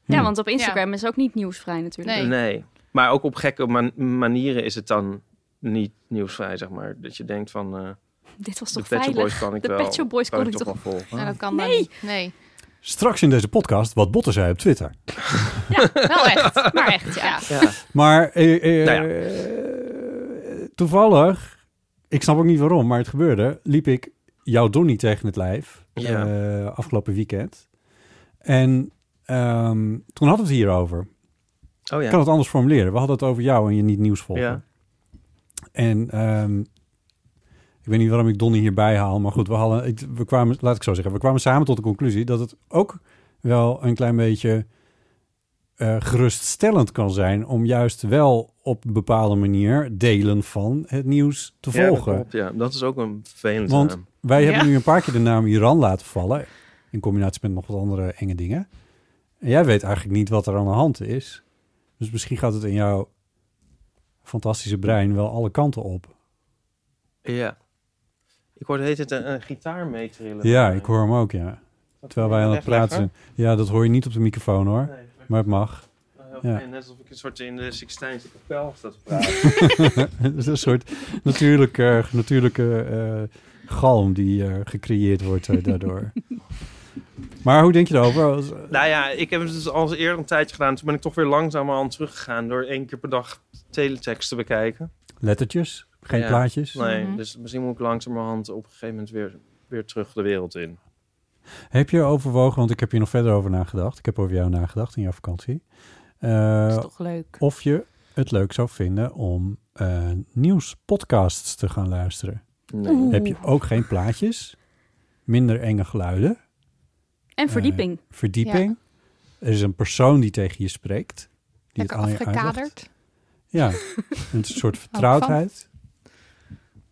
[SPEAKER 6] Ja, want op Instagram is ook niet nieuwsvrij natuurlijk.
[SPEAKER 5] Nee.
[SPEAKER 2] Nee. Maar ook op gekke man- manieren is het dan niet nieuwsvrij, zeg maar. Dat je denkt van, eh
[SPEAKER 6] Dit was
[SPEAKER 2] de
[SPEAKER 6] toch
[SPEAKER 2] Pet Shop
[SPEAKER 6] veilig?
[SPEAKER 2] Boys kan ik
[SPEAKER 6] De
[SPEAKER 2] wel.
[SPEAKER 6] Pet Shop Boys kon ik toch-
[SPEAKER 2] wel volgen.
[SPEAKER 5] Nou, dat kan nee. niet. Nee.
[SPEAKER 3] Straks in deze podcast wat Botte zei op Twitter.
[SPEAKER 5] Wel echt. Maar echt, ja.
[SPEAKER 2] Ja.
[SPEAKER 3] Maar eh, eh,
[SPEAKER 2] Nou
[SPEAKER 3] eh, toevallig, ik snap ook niet waarom, maar het gebeurde. Liep ik jouw Donnie tegen het lijf
[SPEAKER 2] Ja.
[SPEAKER 3] eh, afgelopen weekend. En ehm, toen hadden we het hierover.
[SPEAKER 2] Oh
[SPEAKER 3] Ik
[SPEAKER 2] ja.
[SPEAKER 3] kan het anders formuleren. We hadden het over jou en je niet nieuws volgen.
[SPEAKER 2] Ja.
[SPEAKER 3] En ehm, ik weet niet waarom ik Donnie hierbij haal. Maar goed, we, hadden, ik- we kwamen, laat ik zo zeggen, we kwamen samen tot de conclusie dat het ook wel een klein beetje eh, geruststellend kan zijn om juist wel op een bepaalde manier delen van het nieuws te
[SPEAKER 2] Ja, dat
[SPEAKER 3] volgen.
[SPEAKER 2] klopt, ja. Dat is ook een vervelend.
[SPEAKER 3] Want-
[SPEAKER 2] naam.
[SPEAKER 3] Wij
[SPEAKER 5] Ja.
[SPEAKER 3] hebben nu een paar keer de naam Iran laten vallen. In combinatie met nog wat andere enge dingen. En jij weet eigenlijk niet wat er aan de hand is. Dus misschien gaat het in jouw fantastische brein wel alle kanten op.
[SPEAKER 2] Ja. Ik hoorde heet het eh, een, een gitaar meetrillen.
[SPEAKER 3] Ja, ik hoor hem ook, ja.
[SPEAKER 2] Dat
[SPEAKER 3] Terwijl wij aan het
[SPEAKER 2] Wegleggen?
[SPEAKER 3] praten zijn. Ja, dat hoor je niet op de microfoon hoor.
[SPEAKER 2] Nee, maar-
[SPEAKER 3] Maar het mag.
[SPEAKER 2] heel
[SPEAKER 3] Ja.
[SPEAKER 2] fijn, eh, Net alsof ik een soort in de Sixtijnse kapel sta te praten.
[SPEAKER 3] Het is een soort natuurlijke, natuurlijke eh, galm die eh, gecreëerd wordt eh, daardoor. maar hoe denk je erover? eh,
[SPEAKER 2] Nou ja, ik heb het dus al eerder een tijdje gedaan. Toen ben ik toch weer langzamerhand teruggegaan door één keer per dag teletext te bekijken.
[SPEAKER 3] Lettertjes? Geen
[SPEAKER 2] Ja.
[SPEAKER 3] plaatjes?
[SPEAKER 2] Nee,
[SPEAKER 5] Mhm.
[SPEAKER 2] dus misschien moet ik langzamerhand op een gegeven moment weer, weer terug de wereld in.
[SPEAKER 3] Heb je overwogen, want ik heb hier nog verder over nagedacht. Ik heb over jou nagedacht in jouw vakantie. Eh,
[SPEAKER 5] Dat is toch leuk.
[SPEAKER 3] of je het leuk zou vinden om eh, nieuwspodcasts te gaan luisteren.
[SPEAKER 2] Nee.
[SPEAKER 3] Heb je ook geen plaatjes, minder enge geluiden,
[SPEAKER 6] En verdieping.
[SPEAKER 3] verdieping. Er is een persoon die tegen je spreekt. Die
[SPEAKER 5] Lekker
[SPEAKER 3] aan je uitlegt.
[SPEAKER 5] afgekaderd.
[SPEAKER 3] Ja, een soort vertrouwdheid.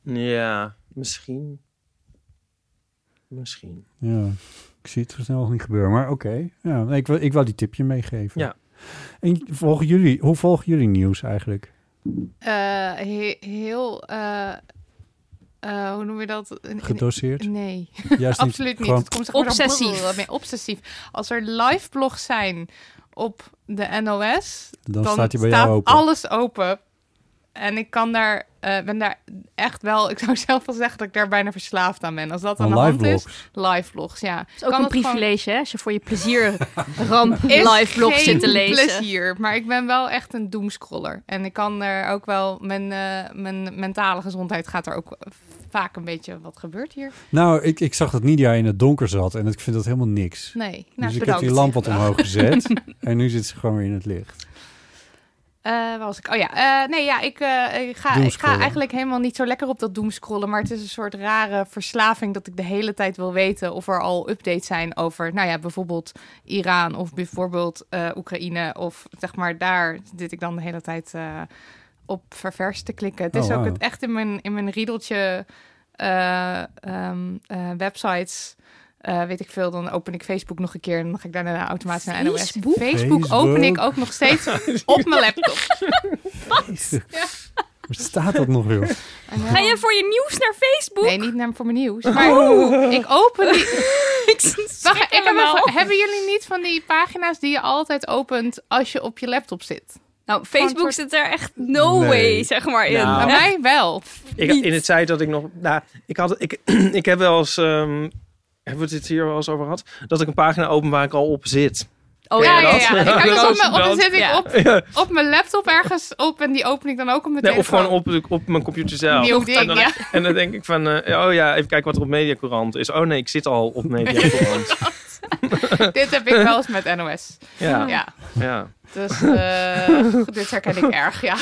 [SPEAKER 2] Ja, misschien. Misschien.
[SPEAKER 3] Ja, ik zie het zo snel nog niet gebeuren, maar oké. Ja, nee, ik, wil, ik wil die tipje meegeven.
[SPEAKER 2] Ja.
[SPEAKER 3] En volgen jullie, hoe volgen jullie nieuws eigenlijk?
[SPEAKER 5] Eh, he- heel, eh, eh, hoe noem je dat? Een- een-
[SPEAKER 3] Gedoseerd?
[SPEAKER 5] Nee,
[SPEAKER 3] Juist
[SPEAKER 5] absoluut niet.
[SPEAKER 3] gewoon-
[SPEAKER 5] Het komt zeg maar zo
[SPEAKER 6] Obsessief.
[SPEAKER 5] brrrr, mee. Obsessief. Als er live blogs zijn op de NOS,
[SPEAKER 3] Dan, staat hij bij jou open.
[SPEAKER 5] alles open. En ik kan daar, eh, ben daar echt wel, ik zou zelf wel zeggen dat ik daar bijna verslaafd aan ben. Als dat aan
[SPEAKER 3] Aan
[SPEAKER 5] de
[SPEAKER 3] live
[SPEAKER 5] hand is,
[SPEAKER 3] blogs.
[SPEAKER 5] live blogs, ja.
[SPEAKER 6] Het is ook
[SPEAKER 5] Kan
[SPEAKER 6] een
[SPEAKER 5] het gewoon-
[SPEAKER 6] privilege, hè? Als je voor je plezier ramp
[SPEAKER 5] Is
[SPEAKER 6] live blog
[SPEAKER 5] geen
[SPEAKER 6] zit te lezen.
[SPEAKER 5] plezier, maar ik ben wel echt een doomscroller. En ik kan er ook wel, mijn, eh, mijn mentale gezondheid gaat er ook vaak een beetje, wat gebeurt hier?
[SPEAKER 3] Nou, ik, ik zag dat Nidia in het donker zat en ik vind dat helemaal niks.
[SPEAKER 5] Nee, nou,
[SPEAKER 3] dus ik
[SPEAKER 5] bedankt.
[SPEAKER 3] heb die lamp wat omhoog gezet en nu zit ze gewoon weer in het licht.
[SPEAKER 5] Eh, waar was ik? Oh ja, eh, nee, ja, ik, eh, ik, ga, ik
[SPEAKER 3] Doomscrollen.
[SPEAKER 5] ga eigenlijk helemaal niet zo lekker op dat doomscrollen. Maar het is een soort rare verslaving dat ik de hele tijd wil weten of er al updates zijn over, nou ja, bijvoorbeeld Iran of bijvoorbeeld eh, Oekraïne. Of zeg maar daar zit ik dan de hele tijd eh, op ververs te klikken. Het
[SPEAKER 3] Oh,
[SPEAKER 5] is ook
[SPEAKER 3] wauw.
[SPEAKER 5] het, echt in mijn, in mijn riedeltje eh, ehm, eh, websites. eh, weet ik veel, dan open ik Facebook nog een keer en dan ga ik daarna automatisch naar NOS.
[SPEAKER 6] Facebook?
[SPEAKER 5] Facebook open ik
[SPEAKER 3] Facebook.
[SPEAKER 5] ook nog steeds op mijn laptop.
[SPEAKER 3] Staat dat nog, joh?
[SPEAKER 6] Ga je voor je nieuws naar Facebook?
[SPEAKER 5] Nee, niet naar, voor mijn nieuws. Maar ik open die...
[SPEAKER 6] ik
[SPEAKER 5] Wacht, ik heb
[SPEAKER 6] helemaal.
[SPEAKER 5] even- hebben jullie niet van die pagina's die je altijd opent als je op je laptop zit?
[SPEAKER 6] Nou, Facebook
[SPEAKER 5] soort-
[SPEAKER 6] zit er echt no
[SPEAKER 3] Nee.
[SPEAKER 6] way, zeg maar, in.
[SPEAKER 2] Nou.
[SPEAKER 5] Bij
[SPEAKER 6] Echt?
[SPEAKER 5] mij wel.
[SPEAKER 2] Ik,
[SPEAKER 6] Niet.
[SPEAKER 2] in het tijd dat ik nog... Nou, ik, had, ik, ik heb wel eens... ehm, hebben we het dit hier wel eens over gehad? Dat ik een pagina open waar ik al op zit.
[SPEAKER 6] Oh
[SPEAKER 2] Ken
[SPEAKER 5] Ja,
[SPEAKER 6] ja,
[SPEAKER 2] je
[SPEAKER 5] ja,
[SPEAKER 2] dat?
[SPEAKER 5] ja. Ik heb dus op mijn, op, dan
[SPEAKER 2] Dat-
[SPEAKER 5] zit ik
[SPEAKER 6] ja.
[SPEAKER 5] op, op mijn laptop ergens op en die open ik dan ook op mijn
[SPEAKER 2] Nee, of
[SPEAKER 5] telefoon.
[SPEAKER 2] gewoon op, de- op mijn computer zelf.
[SPEAKER 5] Die ook
[SPEAKER 2] en,
[SPEAKER 5] ding,
[SPEAKER 2] dan,
[SPEAKER 5] ja.
[SPEAKER 2] en dan denk ik van... eh, oh ja, even kijken wat er op Mediacourant is. Oh nee, ik zit al op Mediacourant.
[SPEAKER 5] Dit heb ik wel eens met NOS.
[SPEAKER 2] ja,
[SPEAKER 5] Ja,
[SPEAKER 2] ja.
[SPEAKER 5] dus eh, dit herken ik erg, ja.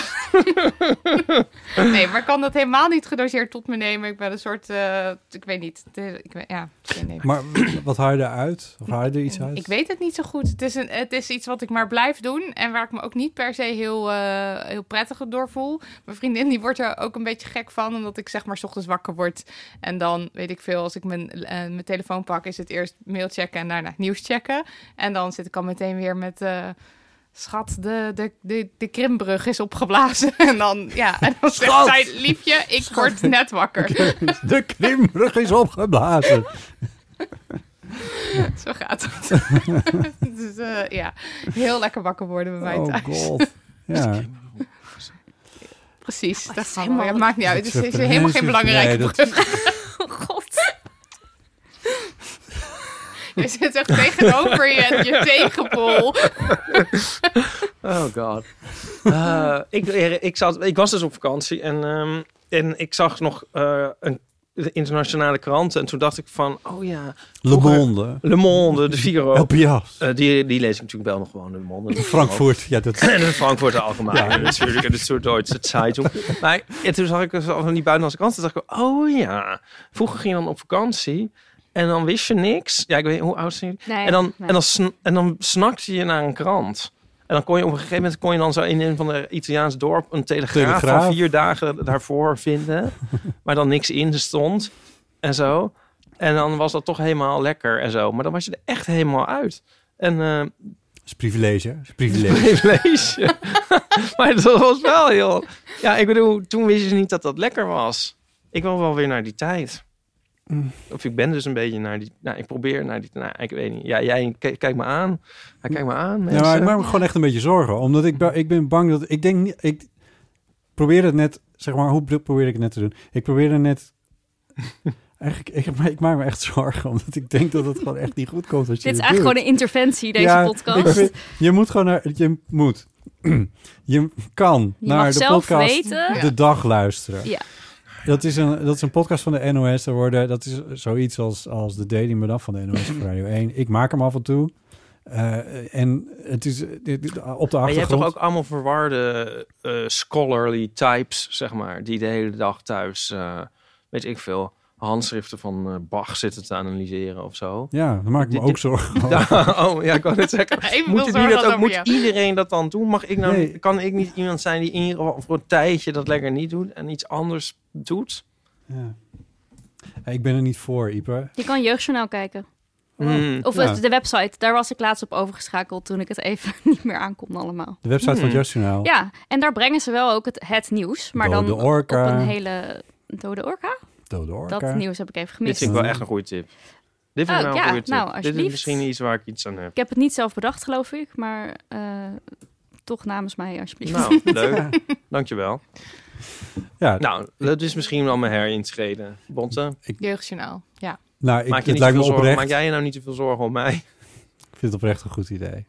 [SPEAKER 5] nee, maar ik kan dat helemaal niet gedoseerd tot me nemen. Ik ben een soort, eh, ik weet niet. De- Ik ben, ja, geen idee.
[SPEAKER 3] Maar wat haal je eruit? Of haal je er iets uit?
[SPEAKER 5] Ik weet het niet zo goed. Het is, een, het is iets wat ik maar blijf doen en waar ik me ook niet per se heel, eh, heel prettig door voel. Mijn vriendin die wordt er ook een beetje gek van, omdat ik zeg maar 's ochtends wakker word. En dan weet ik veel, als ik mijn, eh, mijn telefoon pak, is het eerst mail checken en daarna nieuws checken. En dan zit ik al meteen weer met... eh, Schat, de, de, de, de krimbrug is opgeblazen. En dan, ja, en dan zegt
[SPEAKER 3] Schat!
[SPEAKER 5] zij, liefje, ik word net wakker.
[SPEAKER 3] De Krimbrug is opgeblazen.
[SPEAKER 5] Zo gaat het. dus eh, ja, heel lekker wakker worden bij mij
[SPEAKER 3] Oh
[SPEAKER 5] thuis.
[SPEAKER 3] god. Ja.
[SPEAKER 5] Precies, dat
[SPEAKER 6] Oh, is
[SPEAKER 5] gaan we-
[SPEAKER 6] helemaal-
[SPEAKER 5] ja, maakt niet uit. Het is, is helemaal geen
[SPEAKER 3] Nee,
[SPEAKER 5] belangrijke
[SPEAKER 3] dat-
[SPEAKER 5] brug.
[SPEAKER 6] Oh, god.
[SPEAKER 5] Je zit echt tegenover je, je tegenpol.
[SPEAKER 2] Oh god. Eh, ik, ik, zat, ik was dus op vakantie en, ehm, en ik zag nog eh, een de internationale kranten. En toen dacht ik van, oh ja,
[SPEAKER 3] Le Monde.
[SPEAKER 2] Le Monde, de Figaro.
[SPEAKER 3] El Pias.
[SPEAKER 2] Eh, die, die lees ik natuurlijk wel nog gewoon, Le Monde.
[SPEAKER 3] Frankfurt. Ja, dat...
[SPEAKER 2] En de Frankfurter Allgemeine natuurlijk. En de Süddeutsche Zeitung. Maar en toen zag ik dus al van die buitenlandse kranten. dacht ik, oh ja, vroeger ging je dan op vakantie. En dan wist je niks. Ja, ik weet niet, hoe oud zijn jullie?
[SPEAKER 6] Nee,
[SPEAKER 2] en, dan,
[SPEAKER 6] nee.
[SPEAKER 2] en, dan sn- en dan snakte je naar een krant. En dan kon je op een gegeven moment kon je dan zo in een van de Italiaans dorp een telegraaf,
[SPEAKER 3] Telegraaf.
[SPEAKER 2] van vier dagen daarvoor vinden. waar dan niks in stond en zo. En dan was dat toch helemaal lekker en zo. Maar dan was je er echt helemaal uit. En eh,
[SPEAKER 3] is privilege. hè? is privilege.
[SPEAKER 2] privilege. maar dat was wel heel... Ja, ik bedoel, toen wist je niet dat dat lekker was. Ik wil wel weer naar die tijd.
[SPEAKER 3] Mm.
[SPEAKER 2] Of ik ben dus een beetje naar die... Nou, ik probeer naar die... Nou, ik weet niet. Ja, jij kijk, kijk me aan. Hij kijkt me aan,
[SPEAKER 3] Ja,
[SPEAKER 2] mensen.
[SPEAKER 3] maar ik maak me gewoon echt een beetje zorgen. Omdat ik, ba- ik ben bang dat... Ik denk niet... Ik probeer het net... Zeg maar, hoe pro- probeer ik het net te doen? Ik probeerde net... Eigenlijk, ik, maar ik maak me echt zorgen. Omdat ik denk dat het gewoon echt niet goed komt als
[SPEAKER 6] Dit
[SPEAKER 3] je
[SPEAKER 6] is
[SPEAKER 3] doet.
[SPEAKER 6] eigenlijk gewoon een interventie, deze
[SPEAKER 3] Ja,
[SPEAKER 6] podcast.
[SPEAKER 3] ik vind- je moet gewoon naar... Je moet. Je kan
[SPEAKER 6] je
[SPEAKER 3] naar
[SPEAKER 6] mag
[SPEAKER 3] de
[SPEAKER 6] zelf
[SPEAKER 3] podcast
[SPEAKER 6] weten.
[SPEAKER 3] de dag luisteren.
[SPEAKER 6] Ja.
[SPEAKER 3] Dat is, een, dat is een podcast van de NOS. Er worden, dat is zoiets als, als de Daily Madaf van de NOS op Radio 1. Ik maak hem af en toe. Eh, en het is eh, dit- dit- op de
[SPEAKER 2] Maar je hebt toch
[SPEAKER 3] achtergrond.
[SPEAKER 2] ook allemaal verwarde eh, scholarly types, zeg maar. Die de hele dag thuis, eh, weet ik veel, handschriften van eh, Bach zitten te analyseren of zo.
[SPEAKER 3] Ja, daar maak ik me
[SPEAKER 2] Dit-
[SPEAKER 3] ook
[SPEAKER 2] dit-
[SPEAKER 3] zorgen over.
[SPEAKER 2] Ja, oh, ja, ik wou net zeggen.
[SPEAKER 5] Even
[SPEAKER 2] Moet,
[SPEAKER 5] wil
[SPEAKER 2] het niet
[SPEAKER 5] zorgen
[SPEAKER 2] dat ook,
[SPEAKER 5] over
[SPEAKER 2] moet
[SPEAKER 5] jou.
[SPEAKER 2] iedereen dat dan doen? Mag ik nou,
[SPEAKER 3] Nee.
[SPEAKER 2] Kan ik niet iemand zijn die in ieder geval voor een tijdje dat lekker niet doet en iets anders doet?
[SPEAKER 3] Ja. Hey, Ik ben er niet voor, Ipe.
[SPEAKER 6] Je kan Jeugdjournaal kijken.
[SPEAKER 2] Hmm.
[SPEAKER 6] Of
[SPEAKER 3] Ja.
[SPEAKER 6] de website, daar was ik laatst op overgeschakeld toen ik het even niet meer aankon allemaal.
[SPEAKER 3] De website van
[SPEAKER 2] Hmm.
[SPEAKER 3] Just Journaal.
[SPEAKER 6] Ja, en daar brengen ze wel ook het, het nieuws, maar
[SPEAKER 3] Dode
[SPEAKER 6] dan
[SPEAKER 3] orka.
[SPEAKER 6] op een hele dode orka.
[SPEAKER 3] Dode Orca.
[SPEAKER 6] Dat nieuws heb ik even
[SPEAKER 2] Dit
[SPEAKER 6] gemist.
[SPEAKER 2] vind ik wel echt een goede tip. Dit vind ik
[SPEAKER 6] Oh, ja,
[SPEAKER 2] nou een goede tip.
[SPEAKER 6] nou,
[SPEAKER 2] Dit
[SPEAKER 6] alsjeblieft.
[SPEAKER 2] is misschien iets waar ik iets aan heb.
[SPEAKER 6] Ik heb het niet zelf bedacht, geloof ik, maar eh, toch namens mij alsjeblieft.
[SPEAKER 2] Nou, leuk. Dankjewel.
[SPEAKER 3] Ja,
[SPEAKER 2] Nou, dat is misschien wel mijn herintreden. Bonte,
[SPEAKER 5] Jeugdjournaal, ja.
[SPEAKER 3] nou, ik,
[SPEAKER 2] maak, je
[SPEAKER 3] het
[SPEAKER 2] niet te
[SPEAKER 3] lijkt
[SPEAKER 2] veel
[SPEAKER 3] me
[SPEAKER 2] zorgen,
[SPEAKER 3] oprecht.
[SPEAKER 2] maak jij je nou niet te veel zorgen om mij?
[SPEAKER 3] Ik vind het oprecht een goed idee.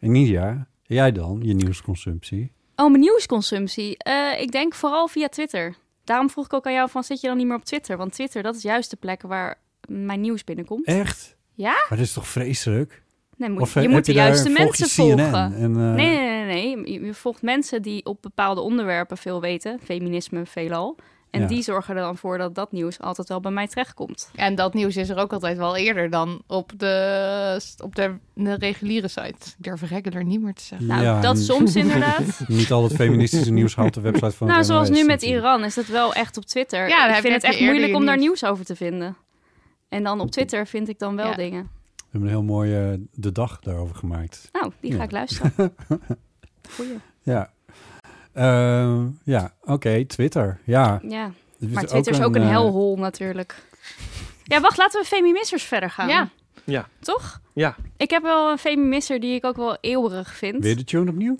[SPEAKER 3] En Nidia, jij dan, je nieuwsconsumptie?
[SPEAKER 6] Oh, mijn nieuwsconsumptie. Eh, ik denk vooral via Twitter. Daarom vroeg ik ook aan jou van, zit je dan niet meer op Twitter? Want Twitter, dat is juist de plek waar mijn nieuws binnenkomt.
[SPEAKER 3] Echt?
[SPEAKER 6] Ja?
[SPEAKER 3] Maar dat is toch vreselijk?
[SPEAKER 6] Nee, moet,
[SPEAKER 3] Eh, Of eh,
[SPEAKER 6] je
[SPEAKER 3] heb
[SPEAKER 6] moet de
[SPEAKER 3] daar-
[SPEAKER 6] juiste
[SPEAKER 3] volg je
[SPEAKER 6] mensen
[SPEAKER 3] CNN
[SPEAKER 6] volgen.
[SPEAKER 3] En, eh,
[SPEAKER 6] Nee, nee, nee, nee. Je, je volgt mensen die op bepaalde onderwerpen veel weten. Feminisme veelal. En
[SPEAKER 3] Ja.
[SPEAKER 6] die zorgen er dan voor dat dat nieuws altijd wel bij mij terechtkomt.
[SPEAKER 5] En dat nieuws is er ook altijd wel eerder dan op de, op de, de reguliere site. Ik durf regular niet meer te zeggen.
[SPEAKER 6] Nou,
[SPEAKER 3] Ja,
[SPEAKER 6] dat
[SPEAKER 3] en
[SPEAKER 6] soms inderdaad.
[SPEAKER 3] Niet al het feministische nieuws haalt de website van
[SPEAKER 6] nou,
[SPEAKER 3] het
[SPEAKER 6] zoals
[SPEAKER 3] NOS
[SPEAKER 6] nu met
[SPEAKER 3] natuurlijk.
[SPEAKER 6] Iran is dat wel echt op Twitter.
[SPEAKER 5] Ja, dan
[SPEAKER 6] ik
[SPEAKER 5] heb
[SPEAKER 6] vind
[SPEAKER 5] je-
[SPEAKER 6] het
[SPEAKER 5] heb
[SPEAKER 6] echt
[SPEAKER 5] je eerder
[SPEAKER 6] moeilijk
[SPEAKER 5] je
[SPEAKER 6] om daar
[SPEAKER 5] nieuws.
[SPEAKER 6] nieuws over te vinden. En dan op Twitter vind ik dan wel
[SPEAKER 5] Ja.
[SPEAKER 6] dingen.
[SPEAKER 3] We hebben een heel mooie eh, De Dag daarover gemaakt.
[SPEAKER 6] Nou, die
[SPEAKER 3] Ja.
[SPEAKER 6] ga ik luisteren. Goeie.
[SPEAKER 3] Ja. Ehm, ja, oké, Twitter. Ja.
[SPEAKER 6] Ja,
[SPEAKER 3] Dus
[SPEAKER 6] maar Twitter is ook een
[SPEAKER 3] eh,
[SPEAKER 6] helhol natuurlijk. Ja, wacht, laten we Femimissers verder gaan.
[SPEAKER 5] Ja.
[SPEAKER 2] Ja.
[SPEAKER 6] Toch?
[SPEAKER 2] Ja.
[SPEAKER 6] Ik heb wel een Femimisser die ik ook wel eeuwig vind.
[SPEAKER 3] Weer de tune opnieuw?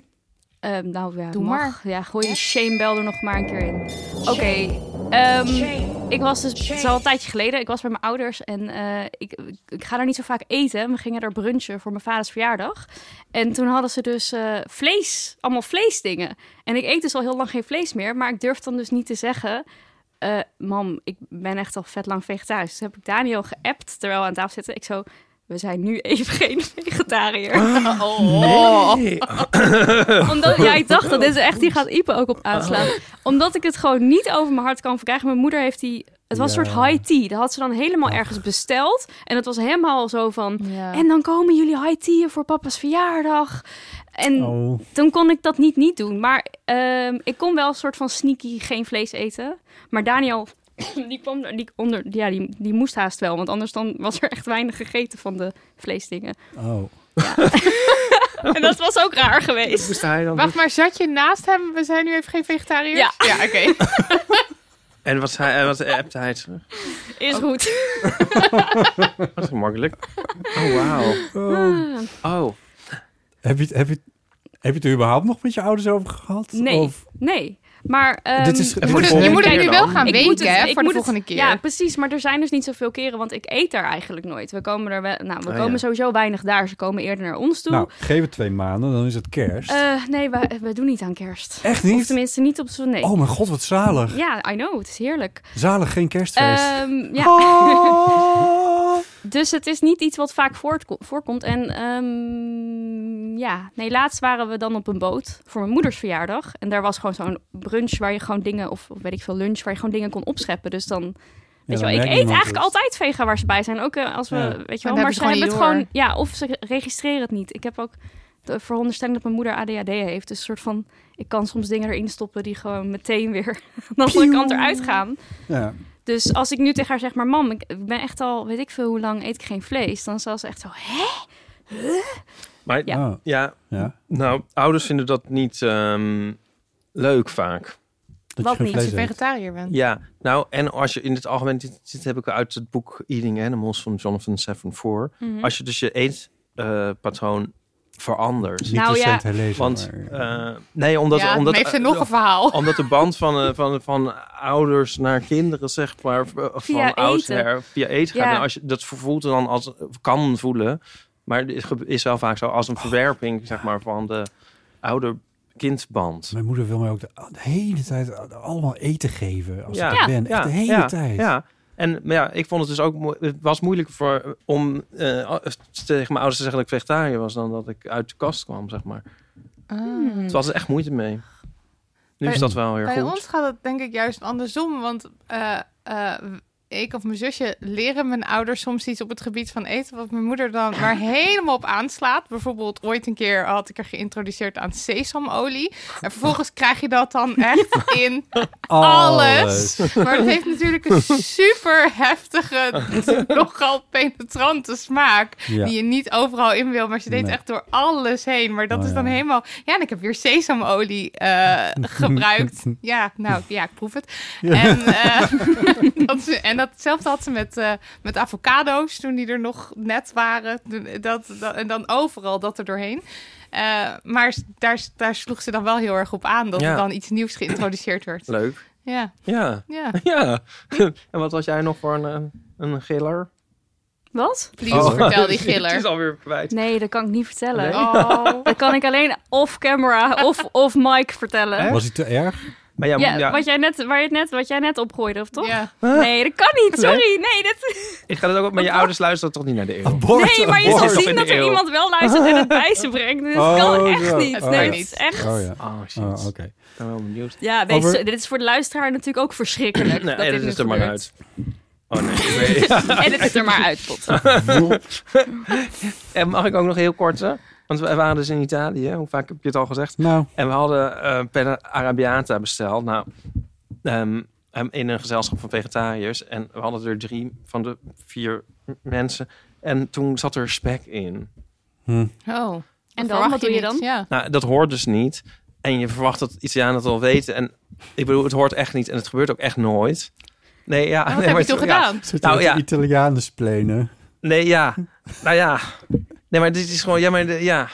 [SPEAKER 6] Ehm, nou ja,
[SPEAKER 5] Doe
[SPEAKER 6] mag.
[SPEAKER 5] maar.
[SPEAKER 6] Ja, gooi je shame bel er nog maar een keer in. Oké, ehm, ik was dus, het is al een tijdje geleden, ik was bij mijn ouders en eh, ik, ik- ik ga daar niet zo vaak eten. We gingen daar brunchen voor mijn vaders verjaardag. En toen hadden ze dus eh, vlees, allemaal vleesdingen. En ik eet dus al heel lang geen vlees meer, maar ik durf dan dus niet te zeggen... eh, mam, ik ben echt al vet lang vegetarisch. Dus heb ik Daniel geappt terwijl we aan tafel zitten. Ik zo, we zijn nu even geen vegetariër. Oh.
[SPEAKER 2] Nee.
[SPEAKER 6] Omdat, ja, ik dacht dat dit is echt, die gaat Ipe ook op
[SPEAKER 3] Oh.
[SPEAKER 6] aanslaan. Omdat ik het gewoon niet over mijn hart kan verkrijgen. Mijn moeder heeft die, het was een
[SPEAKER 3] Ja. Oh.
[SPEAKER 6] soort high tea. Dat had ze dan helemaal ergens besteld. En het was helemaal zo van,
[SPEAKER 5] Ja.
[SPEAKER 6] en dan komen jullie high tea voor papa's verjaardag. En
[SPEAKER 3] Oh,
[SPEAKER 6] toen kon ik dat niet niet doen. Maar ehm, ik kon wel een soort van sneaky geen vlees eten. Maar Daniel, die kwam er, die onder, ja, die, die moest haast wel. Want anders dan was er echt weinig gegeten van de vleesdingen.
[SPEAKER 3] oh.
[SPEAKER 6] En dat was ook raar geweest.
[SPEAKER 2] Moest hij dan
[SPEAKER 5] Wacht maar, zat je naast hem? We zijn nu even geen vegetariërs?
[SPEAKER 6] Ja.
[SPEAKER 5] ja oké.
[SPEAKER 2] doen? En wat, hij, en wat appte hij terug?
[SPEAKER 6] Is goed.
[SPEAKER 2] Dat is gemakkelijk. Oh, wauw. Oh.
[SPEAKER 3] Heb, je, het- heb, je, het- heb je het er überhaupt nog met je ouders over gehad?
[SPEAKER 6] Nee,
[SPEAKER 3] Of,
[SPEAKER 6] nee. Maar ehm,
[SPEAKER 3] dit is, dit
[SPEAKER 5] Je moet
[SPEAKER 3] is
[SPEAKER 5] het, je
[SPEAKER 3] gewoon-
[SPEAKER 5] moet het nu
[SPEAKER 2] dan.
[SPEAKER 5] wel gaan
[SPEAKER 6] ik
[SPEAKER 5] weken
[SPEAKER 6] moet het-
[SPEAKER 5] hè,
[SPEAKER 6] ik
[SPEAKER 5] voor de
[SPEAKER 6] moet het-
[SPEAKER 5] volgende keer.
[SPEAKER 6] Ja, precies. Maar er zijn dus niet zoveel keren, want ik eet daar eigenlijk nooit. We komen er wel, nou, we
[SPEAKER 2] Ah,
[SPEAKER 6] komen
[SPEAKER 2] ja.
[SPEAKER 6] sowieso weinig daar. Ze komen eerder naar ons toe.
[SPEAKER 3] Oh, Nou, geef het twee maanden, dan is het kerst.
[SPEAKER 6] Eh, nee, we, we doen niet aan kerst.
[SPEAKER 3] Echt
[SPEAKER 6] Of
[SPEAKER 3] niet?
[SPEAKER 6] tenminste niet op zo'n nee.
[SPEAKER 3] Oh mijn god, wat zalig.
[SPEAKER 6] Ja, I know. Het is heerlijk.
[SPEAKER 3] Zalig, geen kerstfeest.
[SPEAKER 6] Ehm, ja.
[SPEAKER 3] Oh.
[SPEAKER 6] dus het is niet iets wat vaak voortko- voorkomt. En ehm, ja, nee, laatst waren we dan op een boot voor mijn moeders verjaardag. En daar was gewoon zo'n brunch waar je gewoon dingen, of weet ik veel, lunch waar je gewoon dingen kon opscheppen. Dus dan, weet je
[SPEAKER 3] dan
[SPEAKER 6] wel, ik
[SPEAKER 3] merkt
[SPEAKER 6] eet
[SPEAKER 3] niemand
[SPEAKER 6] eigenlijk
[SPEAKER 3] het.
[SPEAKER 6] altijd vega waar ze bij zijn. Ook eh, als we,
[SPEAKER 3] Ja.
[SPEAKER 6] weet je wel, maar
[SPEAKER 5] Dan hebben
[SPEAKER 6] ze
[SPEAKER 5] ze gewoon
[SPEAKER 6] hebben het
[SPEAKER 5] niet
[SPEAKER 6] gewoon, ja, of ze registreren het niet. Ik heb ook de veronderstelling dat mijn moeder ADHD heeft. Dus een soort van, ik kan soms dingen erin stoppen die gewoon meteen weer aan de andere kant eruit gaan.
[SPEAKER 3] Ja.
[SPEAKER 6] Dus als ik nu tegen haar zeg, maar mam, ik ik ben echt al, weet ik veel hoe lang, eet ik geen vlees. Dan zal ze echt zo, hè?
[SPEAKER 2] Maar ja.
[SPEAKER 3] Ja. Oh, ja.
[SPEAKER 2] nou, ouders vinden dat niet ehm, leuk vaak.
[SPEAKER 3] Dat
[SPEAKER 6] Wat
[SPEAKER 3] je geen
[SPEAKER 6] niet,
[SPEAKER 5] Als
[SPEAKER 3] vlees
[SPEAKER 5] je
[SPEAKER 3] eet.
[SPEAKER 5] vegetariër bent.
[SPEAKER 2] Ja, nou, en als je in het algemeen... Dit, dit heb ik uit het boek Eating Animals van Jonathan Safran Foer.
[SPEAKER 5] Mhm.
[SPEAKER 2] Als je dus je eetpatroon verandert.
[SPEAKER 3] Niet
[SPEAKER 6] Nou ja,
[SPEAKER 3] recent herlezen,
[SPEAKER 2] Want,
[SPEAKER 3] maar-
[SPEAKER 2] eh, nee, omdat...
[SPEAKER 5] ja,
[SPEAKER 2] omdat
[SPEAKER 5] dan heeft ze
[SPEAKER 2] eh,
[SPEAKER 5] nog een verhaal.
[SPEAKER 2] omdat de band van, eh, van, van ouders naar kinderen, zeg maar, v- eh, van
[SPEAKER 6] Via
[SPEAKER 2] oudsher, via eten gaat.
[SPEAKER 6] Ja.
[SPEAKER 2] En als je, dat voelt dan als, kan voelen, maar het ge- is wel vaak zo als een
[SPEAKER 5] Oh.
[SPEAKER 2] verwerping, zeg maar, van de ouder-kindband.
[SPEAKER 3] Mijn moeder wil mij ook de, de hele tijd allemaal eten geven als
[SPEAKER 2] Ja.
[SPEAKER 3] ik er ben. Echt de hele
[SPEAKER 2] ja,
[SPEAKER 3] tijd.
[SPEAKER 2] Ja. En maar ja, ik vond het dus ook moe- het was moeilijk voor om eh, tegen mijn ouders te zeggen dat ik vegetariër was dan dat ik uit de kast kwam, zeg maar.
[SPEAKER 5] Ah.
[SPEAKER 2] Toen was er echt moeite mee. Nu
[SPEAKER 5] Bij-
[SPEAKER 2] is dat wel weer
[SPEAKER 5] Bij
[SPEAKER 2] goed.
[SPEAKER 5] ons gaat het denk ik juist andersom. Want eh, eh, ik of mijn zusje leren mijn ouders soms iets op het gebied van eten. Wat mijn moeder dan maar helemaal op aanslaat. Bijvoorbeeld ooit een keer had ik er geïntroduceerd aan sesamolie. En vervolgens krijg je dat dan echt in alles. Maar het heeft natuurlijk een super heftige, nogal penetrante smaak.
[SPEAKER 3] Ja.
[SPEAKER 5] Die je niet overal in wil, maar ze deed
[SPEAKER 3] Nee.
[SPEAKER 5] echt door alles heen. Maar dat
[SPEAKER 3] Oh,
[SPEAKER 5] is dan
[SPEAKER 3] ja.
[SPEAKER 5] helemaal... Ja, en ik heb weer sesamolie eh, gebruikt. ja, nou ja, ik proef het. En, eh, dat ze- en datzelfde had ze met, eh, met avocado's toen die er nog net waren. Toen- Dat, dat- en dan overal dat er doorheen. Eh, maar s- daar, s- daar sloeg ze dan wel heel erg op aan dat
[SPEAKER 2] Ja.
[SPEAKER 5] er dan iets nieuws geïntroduceerd werd.
[SPEAKER 2] Leuk.
[SPEAKER 5] Ja,
[SPEAKER 2] Ja.
[SPEAKER 5] ja.
[SPEAKER 2] Ja. en wat was jij nog voor een, eh, een giller?
[SPEAKER 6] Wat?
[SPEAKER 5] Please, vertel die giller.
[SPEAKER 2] Oh. Het is alweer kwijt.
[SPEAKER 6] Nee, dat kan ik niet vertellen.
[SPEAKER 2] Nee?
[SPEAKER 5] Oh.
[SPEAKER 6] Dat kan ik alleen off camera of, of mic vertellen.
[SPEAKER 3] Was hij te erg?
[SPEAKER 2] Maar ja,
[SPEAKER 6] Ja,
[SPEAKER 2] ja,
[SPEAKER 6] Wat, jij net, waar je het net, wat jij net opgooide, of toch?
[SPEAKER 5] Ja.
[SPEAKER 6] Nee, dat kan niet. Sorry. Nee, dit...
[SPEAKER 2] ik ga dat ook op. Maar je ouders luisteren toch niet naar de eeuw.
[SPEAKER 3] Abort,
[SPEAKER 6] nee maar je
[SPEAKER 3] abort.
[SPEAKER 6] zal
[SPEAKER 2] Nog
[SPEAKER 6] zien
[SPEAKER 2] in de
[SPEAKER 6] dat er
[SPEAKER 2] eeuw.
[SPEAKER 6] iemand wel luistert en het bij ze brengt. Dus
[SPEAKER 3] Oh,
[SPEAKER 6] dat kan echt
[SPEAKER 3] zo.
[SPEAKER 6] niet.
[SPEAKER 3] Oh,
[SPEAKER 6] nee,
[SPEAKER 5] ja.
[SPEAKER 6] dat is echt...
[SPEAKER 3] Oh ja.
[SPEAKER 2] Oh shit.
[SPEAKER 3] Oh, Oké.
[SPEAKER 2] Ik ben wel benieuwd.
[SPEAKER 6] Ja, nee,
[SPEAKER 3] Over-
[SPEAKER 6] zo- dit is voor de luisteraar natuurlijk ook verschrikkelijk.
[SPEAKER 2] Nee,
[SPEAKER 6] dat
[SPEAKER 2] eh,
[SPEAKER 6] dit
[SPEAKER 2] dat
[SPEAKER 6] nu
[SPEAKER 2] is er maar
[SPEAKER 6] gebeurt.
[SPEAKER 2] uit. Oh nee. ik weet-
[SPEAKER 6] En het is er maar uit, pot.
[SPEAKER 2] en mag ik ook nog heel kort? Hè? Want we waren dus in Italië. Hoe vaak heb je het al gezegd?
[SPEAKER 3] Nou,
[SPEAKER 2] En we hadden eh Penna Arabiata besteld. Nou, ehm, ehm, in een gezelschap van vegetariërs. En we hadden er drie van de vier m- mensen. En toen zat er spek in.
[SPEAKER 5] Oh.
[SPEAKER 6] dan?
[SPEAKER 5] verwacht
[SPEAKER 6] Wat doe je
[SPEAKER 5] niet.
[SPEAKER 6] dan?
[SPEAKER 5] Ja.
[SPEAKER 2] Nou, dat hoort dus niet. En je verwacht dat Italianen het al weten. En ik bedoel, het hoort echt niet. En het gebeurt ook echt nooit. Nee, ja.
[SPEAKER 5] Oh, Wat
[SPEAKER 2] nee,
[SPEAKER 5] heb
[SPEAKER 2] maar
[SPEAKER 5] je toen
[SPEAKER 2] het- ja.
[SPEAKER 5] gedaan?
[SPEAKER 3] zitten
[SPEAKER 2] Nou,
[SPEAKER 3] nou,
[SPEAKER 2] ja.
[SPEAKER 3] ja. Italianen splenen.
[SPEAKER 2] Nee, ja. Nou ja. Nee, maar dit is gewoon... Ja, maar de- ja. Nee,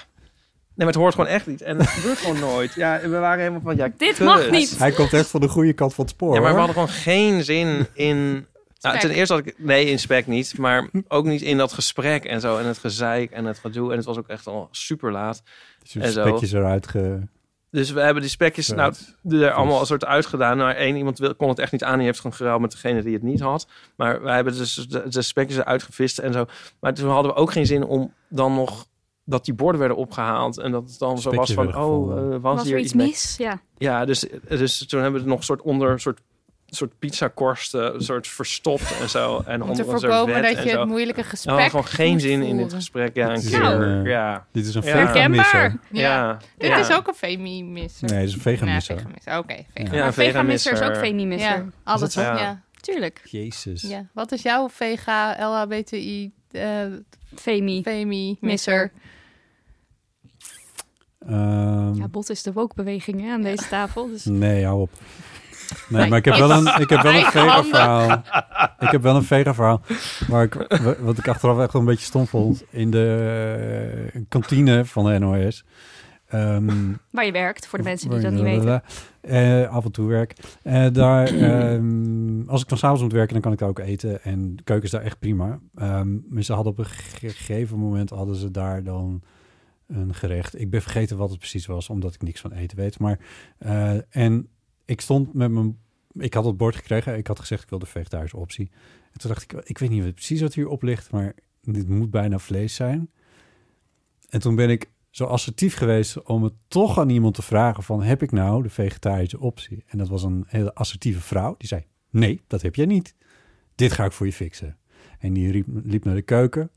[SPEAKER 2] maar het hoort gewoon echt niet. En het gebeurt gewoon nooit. Ja, en we waren helemaal van... Ja,
[SPEAKER 6] Dit
[SPEAKER 2] kut.
[SPEAKER 6] mag niet.
[SPEAKER 3] Hij komt echt van de goede kant van het spoor.
[SPEAKER 2] Ja, maar we
[SPEAKER 3] hoor.
[SPEAKER 2] hadden gewoon geen zin in... Nou, ten
[SPEAKER 5] Spek.
[SPEAKER 2] eerste had ik... Nee, in spek niet. Maar ook niet in dat gesprek en zo. En het gezeik en het gedoe. En het was ook echt al super laat.
[SPEAKER 3] Dus je
[SPEAKER 2] en zo.
[SPEAKER 3] spekjes eruit ge...
[SPEAKER 2] Dus we hebben die spekjes
[SPEAKER 3] Ja,
[SPEAKER 2] nou,
[SPEAKER 3] het-
[SPEAKER 2] er allemaal een soort uitgedaan. Maar één iemand wil, kon het echt niet aan. Die heeft gewoon geruild met degene die het niet had. Maar wij hebben dus de, de spekjes eruit gevist en zo. Maar toen hadden we ook geen zin om dan nog... dat die borden werden opgehaald. En dat het dan zo was
[SPEAKER 3] Spekjes
[SPEAKER 2] van...
[SPEAKER 3] werden
[SPEAKER 2] oh,
[SPEAKER 3] gevonden.
[SPEAKER 2] eh, was,
[SPEAKER 6] Was
[SPEAKER 2] hier
[SPEAKER 6] er iets
[SPEAKER 2] mee?
[SPEAKER 6] mis? Ja.
[SPEAKER 2] Ja, dus, dus toen hebben we het nog een soort onder... soort soort pizzakorsten, een soort verstopt en zo. En
[SPEAKER 5] Om te
[SPEAKER 2] onder een soort
[SPEAKER 5] voorkomen
[SPEAKER 2] wet
[SPEAKER 5] dat
[SPEAKER 2] en
[SPEAKER 5] je
[SPEAKER 2] zo.
[SPEAKER 5] het moeilijke
[SPEAKER 2] En we hadden
[SPEAKER 5] gesprek...
[SPEAKER 2] gewoon geen
[SPEAKER 5] moet
[SPEAKER 2] zin in dit
[SPEAKER 5] voeren.
[SPEAKER 2] gesprek. Ja, een
[SPEAKER 3] Het is
[SPEAKER 2] keer.
[SPEAKER 3] een, eh,
[SPEAKER 2] ja.
[SPEAKER 3] Dit is een
[SPEAKER 2] Ja.
[SPEAKER 3] veganisser.
[SPEAKER 6] Herkenbaar.
[SPEAKER 5] Ja.
[SPEAKER 2] Ja.
[SPEAKER 5] Dit
[SPEAKER 2] Ja.
[SPEAKER 5] is ook een femi-misser.
[SPEAKER 3] Nee, dit is een
[SPEAKER 5] Nou ja,
[SPEAKER 3] veganisser.
[SPEAKER 5] veganisser. Oké, vegan.
[SPEAKER 2] Ja,
[SPEAKER 6] maar veganisser is ook
[SPEAKER 2] veganisser.
[SPEAKER 6] feminisme.
[SPEAKER 5] Ja,
[SPEAKER 3] dat
[SPEAKER 5] alles.
[SPEAKER 3] zo?
[SPEAKER 5] Ja.
[SPEAKER 2] Ja.
[SPEAKER 5] Ja.
[SPEAKER 6] Tuurlijk.
[SPEAKER 3] Jezus.
[SPEAKER 5] Wat is jouw vega, LHBTI, eh
[SPEAKER 6] Femi.
[SPEAKER 5] femi-misser?
[SPEAKER 3] Ehm,
[SPEAKER 6] Ja, bot is de wokebeweging hè, aan deze tafel. Dus
[SPEAKER 3] Nee, hou op. Nee, maar ik heb wel een, ik heb wel een vega verhaal. Ik heb wel een vega verhaal. Maar ik, wa- wat ik achteraf echt wel een beetje stom vond. In de eh, kantine van de NOS. Ehm,
[SPEAKER 6] waar je werkt, voor de mensen die dat niet weten.
[SPEAKER 3] Eh, af en toe werk. Eh, daar, ehm, als ik dan s'avonds moet werken, dan kan ik daar ook eten. En de keuken is daar echt prima. Ehm, maar ze hadden op een ge- gegeven moment hadden ze daar dan een gerecht. Ik ben vergeten wat het precies was, omdat ik niks van eten weet. Maar eh, en ik stond met mijn. Ik had het bord gekregen. Ik had gezegd ik wil de vegetarische optie. En toen dacht ik, ik weet niet wat- precies wat hierop ligt, maar dit moet bijna vlees zijn. En toen ben ik zo assertief geweest om het toch aan iemand te vragen van... heb ik nou de vegetarische optie? En dat was een hele assertieve vrouw. Die zei, nee, dat heb jij niet. Dit ga ik voor je fixen. En die riep, liep naar de keuken.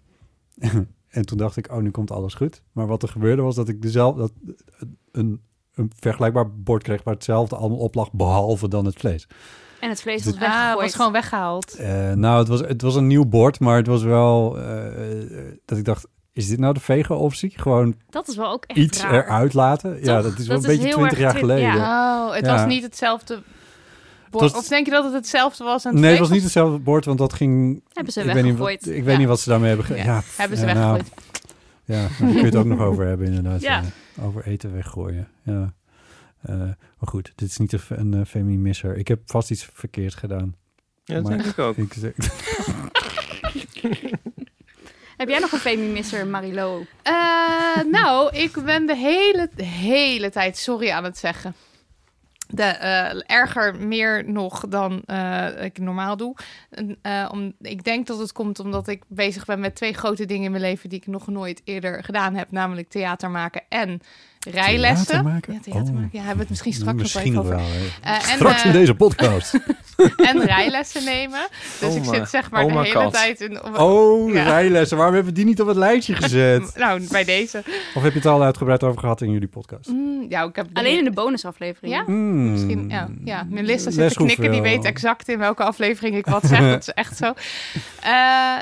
[SPEAKER 3] en toen dacht ik, oh, nu komt alles goed. Maar wat er gebeurde was dat ik dezelfde... Dat, eh, een, een vergelijkbaar bord kreeg waar hetzelfde allemaal op lag... behalve dan het vlees.
[SPEAKER 6] En het vlees
[SPEAKER 3] Dit-
[SPEAKER 6] was
[SPEAKER 5] Ah,
[SPEAKER 6] weggegooid.
[SPEAKER 5] was gewoon weggehaald.
[SPEAKER 3] Eh, nou, het was, het was een nieuw bord, maar het was wel... eh, eh, dat ik dacht, is dit nou de vega optie? Gewoon
[SPEAKER 6] Dat is wel ook echt
[SPEAKER 3] iets
[SPEAKER 6] raar.
[SPEAKER 3] eruit laten. ja,
[SPEAKER 6] Toch?
[SPEAKER 3] dat is wel
[SPEAKER 6] Dat
[SPEAKER 3] een
[SPEAKER 6] is
[SPEAKER 3] beetje
[SPEAKER 6] heel
[SPEAKER 3] 20
[SPEAKER 6] erg
[SPEAKER 3] jaar
[SPEAKER 6] twin-
[SPEAKER 3] geleden.
[SPEAKER 6] ja.
[SPEAKER 5] Oh, het
[SPEAKER 3] Ja.
[SPEAKER 5] was niet hetzelfde... bord.
[SPEAKER 3] was-
[SPEAKER 5] Of denk je dat het hetzelfde was? En
[SPEAKER 3] Nee, het
[SPEAKER 5] vlees
[SPEAKER 3] was niet hetzelfde bord, want dat ging.
[SPEAKER 6] Hebben ze
[SPEAKER 3] ik weet niet, wat,
[SPEAKER 6] weggegooid.
[SPEAKER 3] ik weet
[SPEAKER 5] Ja.
[SPEAKER 3] niet wat ze daarmee hebben ge-
[SPEAKER 5] Ja,
[SPEAKER 3] Ja, pff,
[SPEAKER 5] Hebben ze
[SPEAKER 3] ja, nou,
[SPEAKER 5] weggegooid.
[SPEAKER 3] ja, daar kun je het ook nog over hebben, inderdaad.
[SPEAKER 6] Ja.
[SPEAKER 3] ja. Over eten weggooien. Ja. Eh, maar goed, dit is niet een, fe- een eh, feminisser. Ik heb vast iets verkeerd gedaan.
[SPEAKER 2] Ja, dat
[SPEAKER 3] Maar-
[SPEAKER 2] denk ik ook.
[SPEAKER 3] Ik, zeg-
[SPEAKER 6] Heb jij nog een femi-misser, Marilo?
[SPEAKER 5] Eh, nou, ik ben de hele, de hele tijd sorry aan het zeggen. De, eh, erger meer nog dan eh, ik normaal doe. En, eh, om, ik denk dat het komt omdat ik bezig ben met twee grote dingen in mijn leven die ik nog nooit eerder gedaan heb, namelijk theater maken en rijlessen.
[SPEAKER 3] Theater maken?
[SPEAKER 5] Ja, theater
[SPEAKER 3] Oh. Nou,
[SPEAKER 5] maken. Ja, hebben we het misschien straks nog
[SPEAKER 3] misschien
[SPEAKER 5] even
[SPEAKER 3] nog
[SPEAKER 5] over.
[SPEAKER 3] wel. hè.
[SPEAKER 5] en,
[SPEAKER 3] Straks in
[SPEAKER 5] eh,
[SPEAKER 3] deze podcast.
[SPEAKER 5] En rijlessen nemen. Dus ik
[SPEAKER 2] Oma.
[SPEAKER 5] zit zeg maar
[SPEAKER 2] Oma
[SPEAKER 5] de hele
[SPEAKER 2] kat.
[SPEAKER 5] tijd in.
[SPEAKER 3] Oh,
[SPEAKER 5] ja.
[SPEAKER 3] rijlessen. Waarom hebben we die niet op het lijstje gezet?
[SPEAKER 5] Nou, bij deze.
[SPEAKER 3] Of heb je het al uitgebreid over gehad in jullie podcast?
[SPEAKER 5] Mm, ja, ik heb
[SPEAKER 6] Alleen in de bonusaflevering.
[SPEAKER 5] Ja?
[SPEAKER 3] Mm.
[SPEAKER 5] Misschien, ja, ja. Melissa zit
[SPEAKER 3] Les
[SPEAKER 5] te knikken, die
[SPEAKER 3] hoeveel?
[SPEAKER 5] weet exact in welke aflevering ik wat zeg. dat is echt zo. Eh,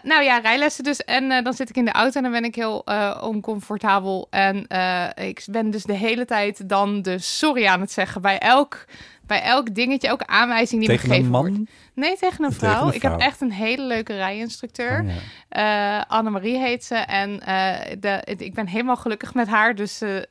[SPEAKER 5] nou ja, rijlessen dus. En eh, dan zit ik in de auto en dan ben ik heel eh, oncomfortabel. En eh, ik ben dus de hele tijd dan de sorry aan het zeggen bij elk, bij elk dingetje, elke aanwijzing die
[SPEAKER 3] Tegen
[SPEAKER 5] me
[SPEAKER 3] een
[SPEAKER 5] gegeven
[SPEAKER 3] man?
[SPEAKER 5] wordt. Nee, tegen een
[SPEAKER 3] Tegen
[SPEAKER 5] vrouw.
[SPEAKER 3] een
[SPEAKER 5] Ik heb
[SPEAKER 3] vrouw.
[SPEAKER 5] echt een hele leuke rijinstructeur.
[SPEAKER 3] Oh, ja.
[SPEAKER 5] Eh, Annemarie heet ze. En eh, de, het- ik ben helemaal gelukkig met haar. Dus eh, eh,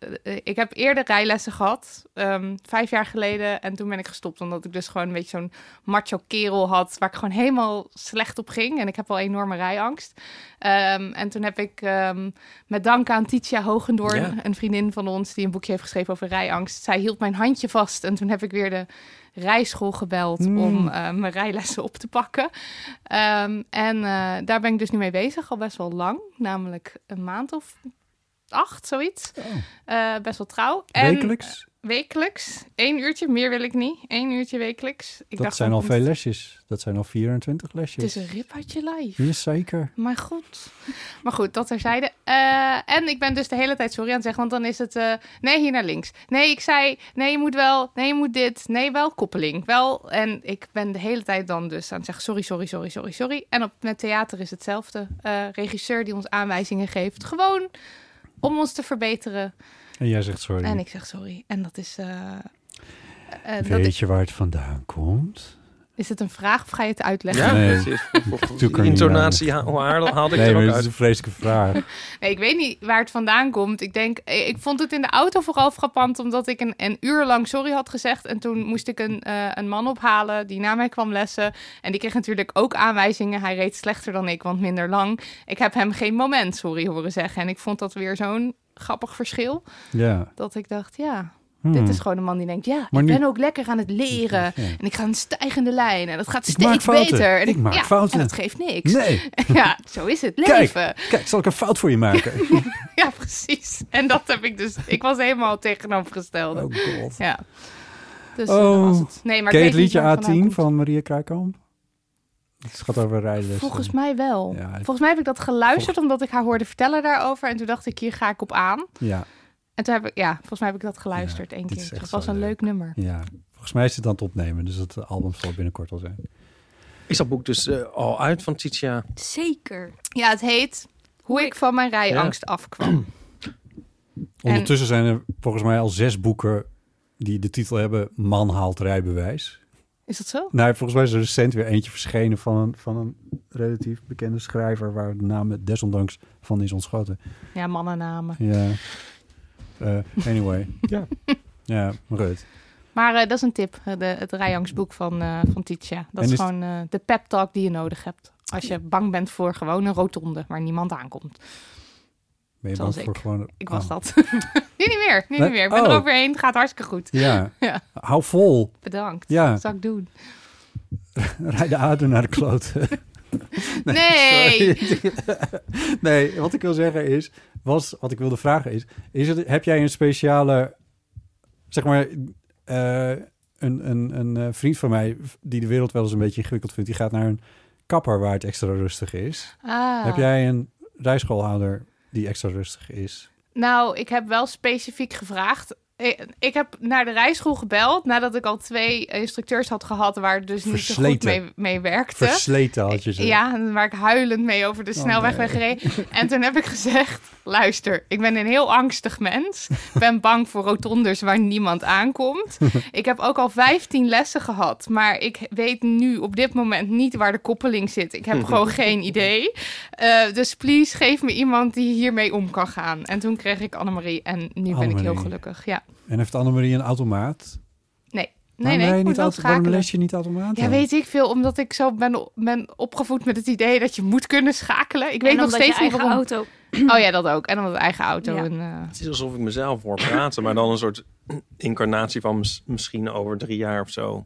[SPEAKER 5] ik heb eerder rijlessen gehad. ehm, vijf jaar geleden. En toen ben ik gestopt. Omdat ik dus gewoon een beetje zo'n macho kerel had. Waar ik gewoon helemaal slecht op ging. En ik heb al enorme rijangst. Ehm, en toen heb ik ehm, met dank aan Titia Hogendoorn.
[SPEAKER 2] Ja.
[SPEAKER 5] Een vriendin van ons die een boekje heeft geschreven over rijangst. Zij hield mijn handje vast. En toen heb ik weer de rijschool gebeld
[SPEAKER 3] Mm.
[SPEAKER 5] om eh, mijn rijlessen op te pakken. Ehm, en eh, daar ben ik dus nu mee bezig, al best wel lang. Namelijk een maand of acht, zoiets. Eh, best wel trouw. En,
[SPEAKER 3] Wekelijks?
[SPEAKER 5] wekelijks. Eén uurtje, meer wil ik niet. Eén uurtje wekelijks. Ik
[SPEAKER 3] dat
[SPEAKER 5] dacht
[SPEAKER 3] zijn
[SPEAKER 5] van,
[SPEAKER 3] al veel lesjes. Dat zijn al 24
[SPEAKER 5] Het is
[SPEAKER 3] lesjes. Hm?
[SPEAKER 5] een rip uit je lijf.
[SPEAKER 3] Jazeker.
[SPEAKER 5] Maar goed. Maar goed, dat terzijde. Eh en ik ben dus de hele tijd sorry aan het zeggen, want dan is het... eh, nee, hier naar links. Nee, ik zei... Nee, je moet wel. Nee, je moet dit. Nee, wel koppeling. Wel. En ik ben de hele tijd dan dus aan het zeggen sorry, sorry, sorry, sorry, sorry. En op, met theater is hetzelfde. Eh, regisseur die ons aanwijzingen geeft. Gewoon om ons te verbeteren.
[SPEAKER 3] En jij zegt sorry.
[SPEAKER 5] En ik zeg sorry. En dat is... eh, eh, dat
[SPEAKER 3] Weet
[SPEAKER 5] is,
[SPEAKER 3] je waar het vandaan komt?
[SPEAKER 5] is het een vraag of ga je het uitleggen?
[SPEAKER 2] Ja,
[SPEAKER 3] Nee.
[SPEAKER 2] dat is-
[SPEAKER 3] doe ik er niet
[SPEAKER 2] intonatie ha- haal- haalde ik
[SPEAKER 3] Nee,
[SPEAKER 2] er
[SPEAKER 3] maar
[SPEAKER 2] ook
[SPEAKER 3] dat is
[SPEAKER 2] uit.
[SPEAKER 3] een vreselijke vraag.
[SPEAKER 5] Nee, ik weet niet waar het vandaan komt. Ik denk, eh, ik vond het in de auto vooral frappant omdat ik een, een uur lang sorry had gezegd. En toen moest ik een, eh, een man ophalen die na mij kwam lessen. En die kreeg natuurlijk ook aanwijzingen. Hij reed slechter dan ik, want minder lang. Ik heb hem geen moment sorry horen zeggen. En ik vond dat weer zo'n grappig verschil.
[SPEAKER 3] Ja.
[SPEAKER 5] Dat ik dacht, ja,
[SPEAKER 3] Hmm.
[SPEAKER 5] dit is gewoon een man die denkt, ja,
[SPEAKER 3] Maar
[SPEAKER 5] ik
[SPEAKER 3] nu-
[SPEAKER 5] ben ook lekker aan het leren.
[SPEAKER 3] Ja.
[SPEAKER 5] En ik ga een stijgende lijn en dat gaat
[SPEAKER 3] Ik maak
[SPEAKER 5] steeds
[SPEAKER 3] fouten.
[SPEAKER 5] beter. En
[SPEAKER 3] Ik maak
[SPEAKER 5] ja,
[SPEAKER 3] fouten.
[SPEAKER 5] En dat geeft niks.
[SPEAKER 3] Nee,
[SPEAKER 5] Ja, zo is het leven.
[SPEAKER 3] Kijk. kijk, zal ik een fout voor je maken?
[SPEAKER 5] Ja, precies. En dat heb ik dus. Ik was helemaal tegenovergestelde.
[SPEAKER 3] Oh god.
[SPEAKER 5] Ja. Dus
[SPEAKER 3] Oh.
[SPEAKER 5] eh, dat was het. Nee, maar
[SPEAKER 3] Ken je
[SPEAKER 5] ik
[SPEAKER 3] het
[SPEAKER 5] weet niet
[SPEAKER 3] liedje
[SPEAKER 5] waar het vandaan
[SPEAKER 3] A10
[SPEAKER 5] komt.
[SPEAKER 3] van Maria Kruikamp? Het gaat over rijlessen.
[SPEAKER 5] Volgens mij wel.
[SPEAKER 3] Ja, het-
[SPEAKER 5] Volgens mij heb ik dat geluisterd omdat ik haar hoorde vertellen daarover. En toen dacht ik, hier ga ik op aan.
[SPEAKER 3] Ja,
[SPEAKER 5] En toen heb ik, ja, volgens mij heb ik dat geluisterd één
[SPEAKER 3] dit
[SPEAKER 5] keer.
[SPEAKER 3] is echt
[SPEAKER 5] Het was
[SPEAKER 3] zo
[SPEAKER 5] een leuk,
[SPEAKER 3] leuk.
[SPEAKER 5] nummer.
[SPEAKER 3] ja. Volgens mij is het aan het opnemen, dus het album zal binnenkort al zijn.
[SPEAKER 2] Is dat boek dus eh, al uit van Titia?
[SPEAKER 6] Zeker.
[SPEAKER 5] Ja, het heet Hoe ik van mijn rijangst afkwam.
[SPEAKER 3] Ondertussen zijn er volgens mij al zes boeken die de titel hebben Man haalt rijbewijs.
[SPEAKER 5] Is dat zo?
[SPEAKER 3] Nou, volgens mij is er recent weer eentje verschenen van een, van een relatief bekende schrijver... waar de naam het desondanks van is ontschoten.
[SPEAKER 5] Ja, mannennamen.
[SPEAKER 3] Ja. Eh, anyway. ja. Ja, maar goed.
[SPEAKER 5] Maar eh, dat is een tip, eh, de, het rijangstboek van, eh van Titia.
[SPEAKER 3] En
[SPEAKER 5] Dat is,
[SPEAKER 3] is-
[SPEAKER 5] gewoon eh, de pep talk die je nodig hebt. Als je bang bent voor gewoon een rotonde waar niemand aankomt.
[SPEAKER 3] Ben je
[SPEAKER 5] Zoals
[SPEAKER 3] bang voor
[SPEAKER 5] ik.
[SPEAKER 3] gewoon...
[SPEAKER 5] Ik was
[SPEAKER 3] Ah.
[SPEAKER 5] dat. nu niet meer, nu
[SPEAKER 3] Nee?
[SPEAKER 5] niet meer. Ik ben
[SPEAKER 3] Oh.
[SPEAKER 5] er overheen, het gaat hartstikke goed.
[SPEAKER 3] Ja.
[SPEAKER 5] Ja.
[SPEAKER 3] Hou vol.
[SPEAKER 5] Bedankt.
[SPEAKER 3] Ja.
[SPEAKER 5] Dat zal ik doen.
[SPEAKER 3] Rij de aarde naar de kloot.
[SPEAKER 5] Nee!
[SPEAKER 3] nee, wat ik wil zeggen is, was, wat ik wilde vragen is, is het, heb jij een speciale, zeg maar, eh, een, een, een eh, vriend van mij die de wereld wel eens een beetje ingewikkeld vindt, die gaat naar een kapper waar het extra rustig is.
[SPEAKER 5] Ah.
[SPEAKER 3] Heb jij een rijschoolhouder die extra rustig is?
[SPEAKER 5] Nou, ik heb wel specifiek gevraagd. Ik, ik heb naar de rijschool gebeld nadat ik al twee instructeurs had gehad waar het dus niet zo goed
[SPEAKER 3] Versleten.
[SPEAKER 5] mee, mee werkte.
[SPEAKER 3] Versleten had je ze.
[SPEAKER 5] Ja, en waar ik huilend mee over de snelweg
[SPEAKER 3] Oh, nee.
[SPEAKER 5] ben gereden. En toen heb ik gezegd, luister, ik ben een heel angstig mens. Ik ben bang voor rotondes waar niemand aankomt. Ik heb ook al 15 lessen gehad, maar ik weet nu op dit moment niet waar de koppeling zit. Ik heb gewoon geen idee. Eh, dus please, geef me iemand die hiermee om kan gaan. En toen kreeg ik Annemarie en nu ben ik heel
[SPEAKER 3] Annemarie.
[SPEAKER 5] gelukkig. Ja,
[SPEAKER 3] En heeft Annemarie een automaat?
[SPEAKER 5] nee. Nee,
[SPEAKER 3] Waarom
[SPEAKER 5] nee,
[SPEAKER 3] rij je niet
[SPEAKER 5] ik moet wel
[SPEAKER 3] auto- waarom
[SPEAKER 5] schakelen.
[SPEAKER 3] les je niet automaat?
[SPEAKER 5] Ja,
[SPEAKER 3] dan?
[SPEAKER 5] weet ik veel, omdat ik zo ben, o- ben opgevoed met het idee dat je moet kunnen schakelen. Ik weet
[SPEAKER 6] en
[SPEAKER 5] nog
[SPEAKER 6] omdat
[SPEAKER 5] steeds
[SPEAKER 6] je
[SPEAKER 5] niet
[SPEAKER 6] eigen
[SPEAKER 5] waarom.
[SPEAKER 6] auto.
[SPEAKER 5] Oh ja, dat ook. En omdat eigen auto.
[SPEAKER 6] Ja.
[SPEAKER 5] En, eh,
[SPEAKER 2] Het is alsof ik mezelf hoor praten, maar dan een soort incarnatie van mis- misschien over drie jaar of zo.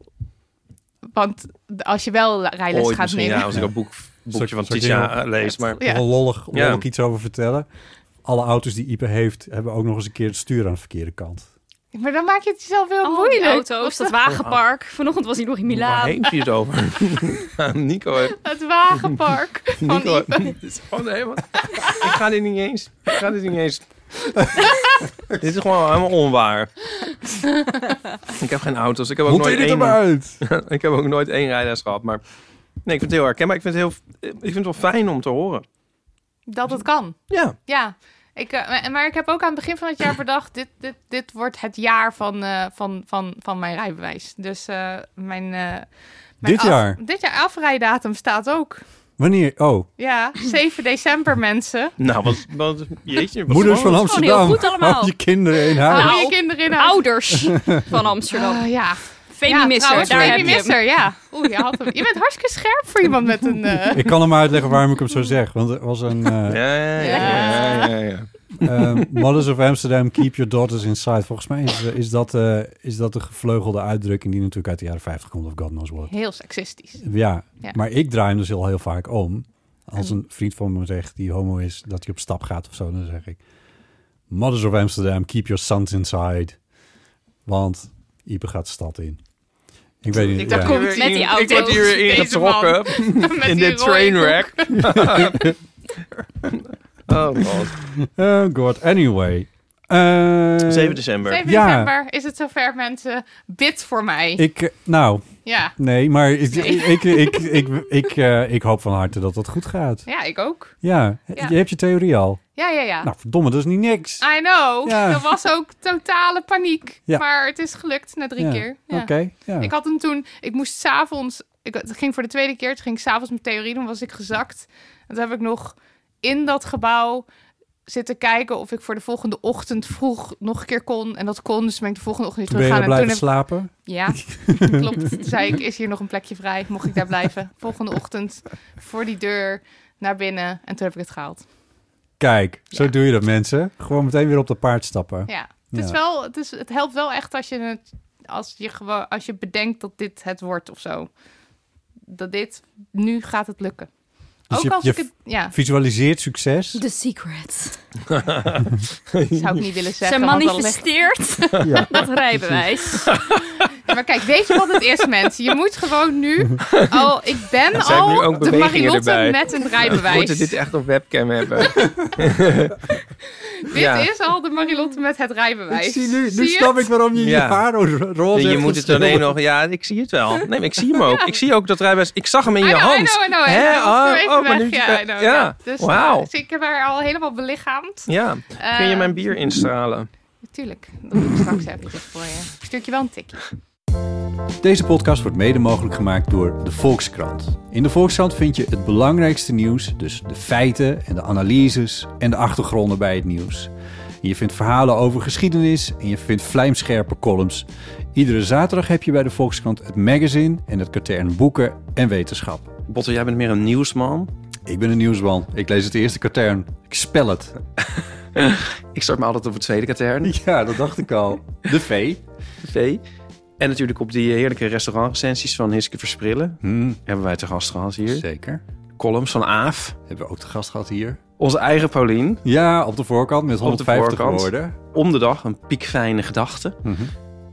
[SPEAKER 5] want als je wel rijles
[SPEAKER 2] Ooit
[SPEAKER 5] gaat
[SPEAKER 2] misschien,
[SPEAKER 5] nemen.
[SPEAKER 2] ja, als ik dat boek, boekje
[SPEAKER 3] Soort-
[SPEAKER 2] van
[SPEAKER 3] soort
[SPEAKER 2] Titia
[SPEAKER 3] dingen.
[SPEAKER 2] eh, lees. Maar
[SPEAKER 3] Ik
[SPEAKER 5] Ja.
[SPEAKER 3] wil lollig,
[SPEAKER 2] Ja.
[SPEAKER 3] lollig iets over vertellen. Alle auto's die Ipe heeft, hebben ook nog eens een keer het stuur aan de verkeerde kant.
[SPEAKER 5] Maar dan maak je het jezelf heel
[SPEAKER 6] Allemaal Oh, die
[SPEAKER 5] Oh, moeilijk.
[SPEAKER 6] auto's, dat wagenpark. Vanochtend was hij nog in
[SPEAKER 2] waar
[SPEAKER 6] Milaan.
[SPEAKER 2] heeft hij het over? Nico heeft...
[SPEAKER 5] Het wagenpark. van
[SPEAKER 2] Nico,
[SPEAKER 5] Ipe.
[SPEAKER 2] dit is gewoon helemaal... ik ga dit niet eens. Ik ga dit niet eens. dit is gewoon helemaal onwaar. ik heb geen auto's. Ik heb ook
[SPEAKER 3] Hoe
[SPEAKER 2] nooit
[SPEAKER 3] deed dit
[SPEAKER 2] één.
[SPEAKER 3] eruit?
[SPEAKER 2] ik heb ook nooit één rijles gehad. Maar nee, ik vind het heel herkenbaar. Ik vind het, heel, ik vind het wel fijn om te horen.
[SPEAKER 5] Dat het kan.
[SPEAKER 2] Ja.
[SPEAKER 5] Ja. Ik, eh, maar- maar ik heb ook aan het begin van het jaar bedacht, dit, dit, dit wordt het jaar van, eh, van, van, van mijn rijbewijs. Dus eh, mijn, eh, mijn
[SPEAKER 3] Dit
[SPEAKER 5] af-
[SPEAKER 3] jaar?
[SPEAKER 5] Dit jaar afrijdatum staat ook.
[SPEAKER 3] Wanneer? Oh,
[SPEAKER 5] Ja, 7 december mensen.
[SPEAKER 2] Nou, wat... wat jeetje. Wat
[SPEAKER 3] moeders van
[SPEAKER 2] spannend.
[SPEAKER 3] Amsterdam.
[SPEAKER 6] heel goed allemaal.
[SPEAKER 3] Hou je kinderen in huis.
[SPEAKER 5] Hou
[SPEAKER 6] Nou,
[SPEAKER 5] je kinderen in huis.
[SPEAKER 6] Ouders van Amsterdam.
[SPEAKER 5] Ah, ja, ja,
[SPEAKER 6] Feminisser,
[SPEAKER 5] trouwens,
[SPEAKER 6] daar heb je hem.
[SPEAKER 5] Feminisser, ja. Oeh, je, had hem. je bent hartstikke scherp voor iemand met een... eh,
[SPEAKER 3] Ik kan hem uitleggen waarom ik hem zo zeg. Want er was een... eh,
[SPEAKER 2] Ja, ja, ja. ja, ja, ja.
[SPEAKER 3] Ehm, Mothers of Amsterdam, keep your daughters inside. Volgens mij is, is, dat, eh, is dat de gevleugelde uitdrukking die natuurlijk uit de jaren 50 komt of God knows what.
[SPEAKER 5] Heel seksistisch.
[SPEAKER 3] Ja,
[SPEAKER 5] Ja.
[SPEAKER 3] maar ik draai hem dus heel, heel vaak om. Als een vriend van me zegt die homo is, dat hij op stap gaat of zo, dan zeg ik... Mothers of Amsterdam, keep your sons inside. Want Ipe gaat de stad in. Ik weet niet.
[SPEAKER 5] Ik dacht,
[SPEAKER 3] ja.
[SPEAKER 5] komt met die
[SPEAKER 2] Ik word
[SPEAKER 5] auto's.
[SPEAKER 2] hier
[SPEAKER 5] Deze
[SPEAKER 2] ingetrokken
[SPEAKER 5] Met
[SPEAKER 2] in
[SPEAKER 5] die
[SPEAKER 2] dit
[SPEAKER 5] rode
[SPEAKER 2] trainwreck. oh god.
[SPEAKER 3] Oh god, anyway. Eh,
[SPEAKER 2] 7
[SPEAKER 5] kop.
[SPEAKER 2] december.
[SPEAKER 5] 7
[SPEAKER 3] Ja.
[SPEAKER 5] december is het zover, mensen. Bid voor mij.
[SPEAKER 3] ik, eh, nou,
[SPEAKER 5] Ja.
[SPEAKER 3] nee, maar ik,
[SPEAKER 5] Nee.
[SPEAKER 3] ik, ik, ik, ik, eh, ik hoop van harte dat dat goed gaat.
[SPEAKER 5] ja, ik ook.
[SPEAKER 3] Ja,
[SPEAKER 5] Ja.
[SPEAKER 3] je hebt je theorie al.
[SPEAKER 5] Ja, ja, ja. Ah,
[SPEAKER 3] Nou, verdomme, dat is niet niks.
[SPEAKER 5] I know.
[SPEAKER 3] Ja.
[SPEAKER 5] Er was ook totale paniek.
[SPEAKER 3] Ja.
[SPEAKER 5] Maar het is gelukt na drie
[SPEAKER 3] Ja.
[SPEAKER 5] keer. Ja.
[SPEAKER 3] Oké, ja.
[SPEAKER 5] Ik had hem toen, ik moest s'avonds, ik het ging voor de tweede keer, toen ging ik s'avonds mijn theorie doen, was ik gezakt. En toen heb ik nog in dat gebouw zitten kijken of ik voor de volgende ochtend vroeg nog een keer kon. En dat kon, dus ben ik de volgende ochtend
[SPEAKER 3] Toen
[SPEAKER 5] weer
[SPEAKER 3] ben je
[SPEAKER 5] teruggegaan.
[SPEAKER 3] nog
[SPEAKER 5] En
[SPEAKER 3] blijven
[SPEAKER 5] toen heb,
[SPEAKER 3] slapen.
[SPEAKER 5] ja, klopt. Toen zei ik, is hier nog een plekje vrij? Mocht ik daar blijven? Volgende ochtend voor die deur naar binnen. En toen heb ik het gehaald.
[SPEAKER 3] Kijk, zo
[SPEAKER 5] Ja.
[SPEAKER 3] doe je dat mensen. Gewoon meteen weer op de paard stappen.
[SPEAKER 5] Ja, het, Is
[SPEAKER 3] Ja.
[SPEAKER 5] wel, het, is, het helpt wel echt als je, het, als, je gewoon, als je bedenkt dat dit het wordt of zo. Dat dit, nu gaat het lukken.
[SPEAKER 3] Dus
[SPEAKER 5] Ook
[SPEAKER 3] je-
[SPEAKER 5] als
[SPEAKER 3] je
[SPEAKER 5] ik het, ja,
[SPEAKER 3] Visualiseert succes.
[SPEAKER 5] Dus
[SPEAKER 6] The Secret.
[SPEAKER 5] zou ik niet willen
[SPEAKER 6] Ze
[SPEAKER 5] zeggen. want dan leg-
[SPEAKER 6] manifesteert dat rijbewijs.
[SPEAKER 5] Ja, maar kijk, weet je wat het is, mensen? Je moet gewoon nu, al, ik ben
[SPEAKER 2] zijn
[SPEAKER 5] al
[SPEAKER 2] nu ook
[SPEAKER 5] de
[SPEAKER 2] bewegingen
[SPEAKER 5] Mariotte
[SPEAKER 2] erbij.
[SPEAKER 5] met een
[SPEAKER 2] We
[SPEAKER 5] rijbewijs.
[SPEAKER 2] moeten dit echt op webcam hebben.
[SPEAKER 5] Dit
[SPEAKER 2] ja.
[SPEAKER 5] is al de Marilotte met het rijbewijs. Zie je?
[SPEAKER 3] waarom
[SPEAKER 2] je Ja. je haar
[SPEAKER 3] roze
[SPEAKER 2] je moet het alleen nog... Ja, ik zie het wel. Nee, maar ik zie hem ook. Ik zie ook dat rijbewijs... Ik zag hem in
[SPEAKER 5] I
[SPEAKER 2] je
[SPEAKER 5] know,
[SPEAKER 2] hand.
[SPEAKER 5] I know, I know.
[SPEAKER 2] Hè?
[SPEAKER 5] Hij was
[SPEAKER 2] Oh,
[SPEAKER 5] er even
[SPEAKER 2] oh, maar nu-
[SPEAKER 5] weg. Ja, I know,
[SPEAKER 2] ja.
[SPEAKER 5] Dus,
[SPEAKER 2] Wauw.
[SPEAKER 5] dus ik heb haar al helemaal belichaamd.
[SPEAKER 2] Ja, kun je
[SPEAKER 5] Eh,
[SPEAKER 2] mijn bier instralen?
[SPEAKER 5] Natuurlijk, dat doe ik straks eventjes voor je. Ik Stuur ik je wel een tikje.
[SPEAKER 3] Deze podcast wordt mede mogelijk gemaakt door de Volkskrant. In de Volkskrant vind je het belangrijkste nieuws, dus de feiten en de analyses en de achtergronden bij het nieuws. En je vindt verhalen over geschiedenis en je vindt vlijmscherpe columns. Iedere zaterdag heb je bij de Volkskrant het magazine en het katern boeken en wetenschap.
[SPEAKER 2] Botte, jij bent meer een nieuwsman.
[SPEAKER 3] Ik ben een nieuwsman. Ik lees het eerste katern. Ik spel het.
[SPEAKER 2] Ik start me altijd op het tweede katern.
[SPEAKER 3] Ja, dat dacht ik al. De V.
[SPEAKER 2] V. En natuurlijk op die heerlijke restaurantrecensies van Hiske Versprillen. Hebben wij te gast gehad hier.
[SPEAKER 3] Zeker.
[SPEAKER 2] Columns van Aaf.
[SPEAKER 3] Hebben we ook de gast gehad hier?
[SPEAKER 2] Onze eigen Paulien.
[SPEAKER 3] Ja, op de voorkant met
[SPEAKER 2] de
[SPEAKER 3] 150
[SPEAKER 2] voorkant.
[SPEAKER 3] woorden.
[SPEAKER 2] Om de dag een piekfijne gedachte.